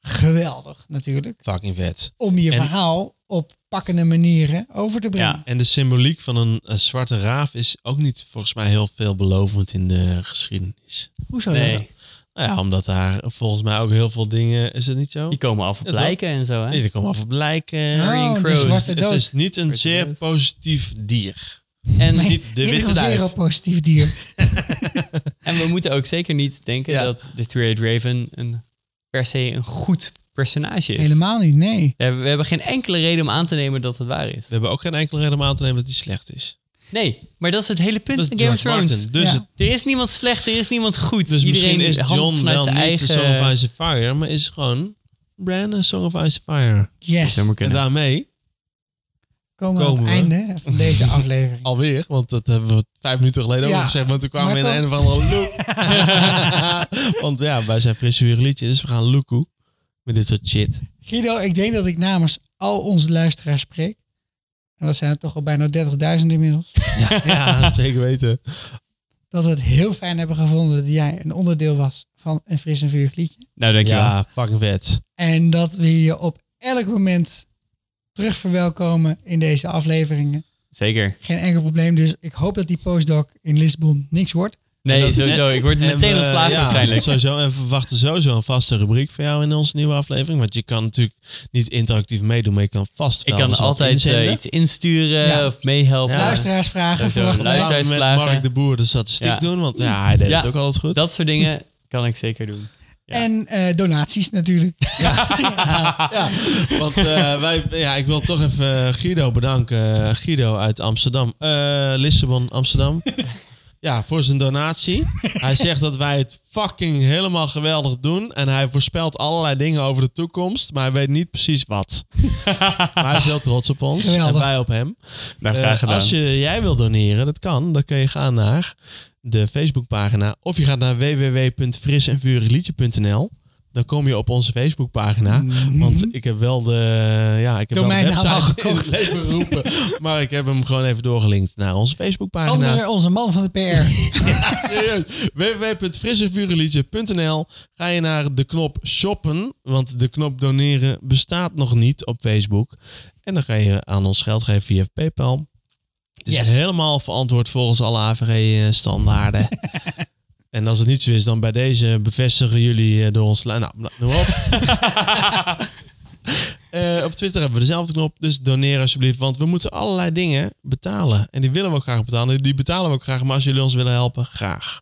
Speaker 4: geweldig natuurlijk.
Speaker 5: fucking vet.
Speaker 4: Om je
Speaker 5: En-
Speaker 4: verhaal op pakkende manieren over te brengen.
Speaker 8: Ja.
Speaker 5: En de symboliek van een, eh, zwarte raaf is ook niet volgens mij heel veelbelovend in de geschiedenis.
Speaker 4: Hoezo dan?
Speaker 8: Nee,
Speaker 5: Nou ja, omdat daar volgens mij ook heel veel dingen... Is het niet zo?
Speaker 8: die komen af op
Speaker 5: Ja, toch?
Speaker 8: blijken en zo. Hè?
Speaker 5: Nee, er komen af op blijken.
Speaker 4: Oh, de
Speaker 8: Crows.
Speaker 4: zwarte
Speaker 5: Het
Speaker 4: dood.
Speaker 5: is niet een
Speaker 8: Witte
Speaker 5: zeer
Speaker 8: duif.
Speaker 5: positief dier.
Speaker 8: En,
Speaker 5: niet de
Speaker 4: Iedereen
Speaker 5: witte
Speaker 4: is een
Speaker 5: duif.
Speaker 4: zero positief dier.
Speaker 8: en we moeten ook zeker niet denken
Speaker 5: Ja.
Speaker 8: dat de Three-Eyed Raven een, per se een goed personage is.
Speaker 4: Helemaal niet, nee.
Speaker 8: We hebben- we hebben geen enkele reden om aan te nemen dat het waar is.
Speaker 5: We hebben ook geen enkele reden om aan te nemen dat hij slecht is.
Speaker 8: Nee, maar dat is het hele punt
Speaker 5: Dat is
Speaker 8: van Game of
Speaker 5: George
Speaker 8: Thrones.
Speaker 5: Martin. Dus,
Speaker 4: Ja.
Speaker 5: het-
Speaker 8: Er is niemand slecht, er is niemand goed.
Speaker 5: dus
Speaker 8: Iedereen
Speaker 5: misschien is
Speaker 8: handelt
Speaker 5: John
Speaker 8: vanuit
Speaker 5: wel niet
Speaker 8: zijn eigen...
Speaker 5: de Song of Ice and Fire, maar is gewoon Bran een Song of Ice and Fire.
Speaker 4: Yes.
Speaker 8: Zou maar
Speaker 5: En
Speaker 8: kunnen.
Speaker 5: daarmee,
Speaker 4: Komen we aan het
Speaker 5: komen we.
Speaker 4: einde van deze aflevering.
Speaker 5: alweer, want dat hebben we vijf minuten geleden
Speaker 4: Ja,
Speaker 5: ook gezegd, want toen kwamen
Speaker 4: maar
Speaker 5: we in
Speaker 4: toch-
Speaker 5: een of andere loop. want ja, wij zijn frisse weer een liedje, dus we gaan loekoe met dit soort shit.
Speaker 4: Guido, ik denk dat ik namens al onze luisteraars spreek. En dat zijn er toch al bijna 30.000 inmiddels.
Speaker 5: Ja, zeker weten.
Speaker 4: Dat we het heel fijn hebben gevonden dat jij een onderdeel was van een fris en vuurig liedje.
Speaker 8: Nou, dankjewel.
Speaker 5: Ja, fucking vet.
Speaker 4: En dat we je op elk moment terug verwelkomen in deze afleveringen.
Speaker 8: Zeker.
Speaker 4: Geen enkel probleem. Dus ik hoop dat die postdoc in Lisbon niks wordt.
Speaker 8: Nee,
Speaker 5: En dat-
Speaker 8: sowieso. Ik word
Speaker 5: En
Speaker 8: meteen
Speaker 5: we-
Speaker 8: ontslagen
Speaker 5: ja,
Speaker 8: waarschijnlijk.
Speaker 5: Sowieso, en we verwachten sowieso een vaste rubriek voor jou in onze nieuwe aflevering. Want je kan natuurlijk niet interactief meedoen, maar je kan vast
Speaker 8: Ik
Speaker 5: wel
Speaker 8: kan
Speaker 5: eens wat
Speaker 8: altijd eh,
Speaker 5: inzenden.
Speaker 8: iets insturen
Speaker 4: Ja.
Speaker 8: of meehelpen.
Speaker 5: Ja.
Speaker 4: Luisteraarsvragen
Speaker 8: Sowieso.
Speaker 4: verwachten wij.
Speaker 8: Luister-
Speaker 5: Samen met
Speaker 8: uitslagen.
Speaker 5: Mark de Boer de statistiek
Speaker 8: Ja.
Speaker 5: doen, want ja, hij deed
Speaker 8: Ja.
Speaker 5: het ook altijd goed.
Speaker 8: Dat soort dingen kan ik zeker doen. Ja.
Speaker 4: En eh, donaties natuurlijk.
Speaker 5: Want eh, wij, ja, ik wil toch even eh, Guido bedanken. Eh, Guido uit Amsterdam. Eh, Lissabon, Amsterdam. Ja, voor zijn donatie. Hij zegt dat wij het fucking helemaal geweldig doen. En hij voorspelt allerlei dingen over de toekomst. Maar hij weet niet precies wat. maar hij is heel trots op ons.
Speaker 4: Geweldig.
Speaker 5: En wij op hem.
Speaker 8: Nou,
Speaker 5: Eh,
Speaker 8: graag gedaan.
Speaker 5: als je, jij wil doneren, dat kan. Dan kun je gaan naar de Facebookpagina. Of je gaat naar www.frisenvurigliedje.nl. Dan kom je op onze Facebookpagina. Want ik heb wel de, ja, ik heb wel de
Speaker 4: Mhm. Domeinnaam al
Speaker 5: website in
Speaker 4: gekocht.
Speaker 5: het leven geroepen. maar ik heb hem gewoon even doorgelinkt naar onze Facebookpagina.
Speaker 4: Sander, onze man van de PR.
Speaker 5: Serieus. www.frisenvurigliedje.nl Ga je naar de knop shoppen. Want de knop doneren bestaat nog niet op Facebook. En dan ga je aan ons geld geven via PayPal. Het is
Speaker 4: Yes.
Speaker 5: helemaal verantwoord volgens alle AVG-standaarden. en als het niet zo is, dan bij deze bevestigen jullie eh, door ons... lu- Nou, nou, noem maar op. Eh, op Twitter hebben we dezelfde knop, dus doneer alsjeblieft. Want we moeten allerlei dingen betalen. En die willen we ook graag betalen. Die betalen we ook graag. Maar als jullie ons willen helpen, graag.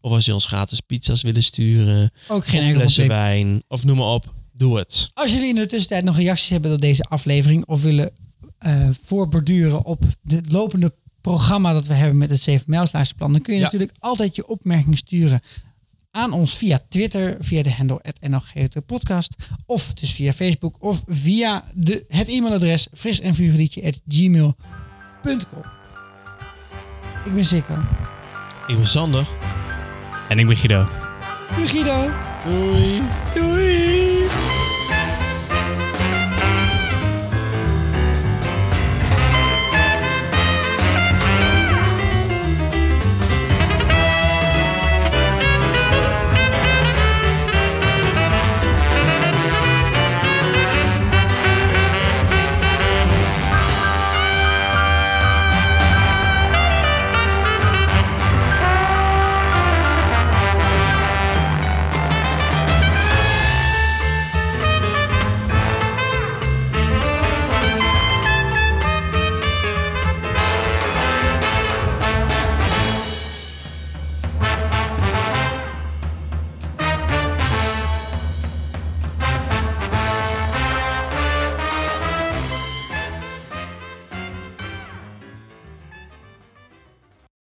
Speaker 5: Of als je ons gratis pizza's willen sturen.
Speaker 4: Ook geen
Speaker 5: of
Speaker 4: enkel
Speaker 5: flessen
Speaker 4: probleem.
Speaker 5: wijn. Of noem maar op. Doe het.
Speaker 4: Als jullie in de tussentijd nog reacties hebben op deze aflevering of willen eh, voorborduren op het lopende programma dat we hebben met het 7 Mijls luisterplan, dan kun je
Speaker 5: Ja.
Speaker 4: natuurlijk altijd je opmerking sturen aan ons via Twitter, via de handle @nlgt podcast of dus via Facebook of via de, het e-mailadres fris en Ik ben Sikko.
Speaker 5: Ik ben Sander.
Speaker 8: En ik ben Guido.
Speaker 4: Doei Guido.
Speaker 5: Doei.
Speaker 4: Doei.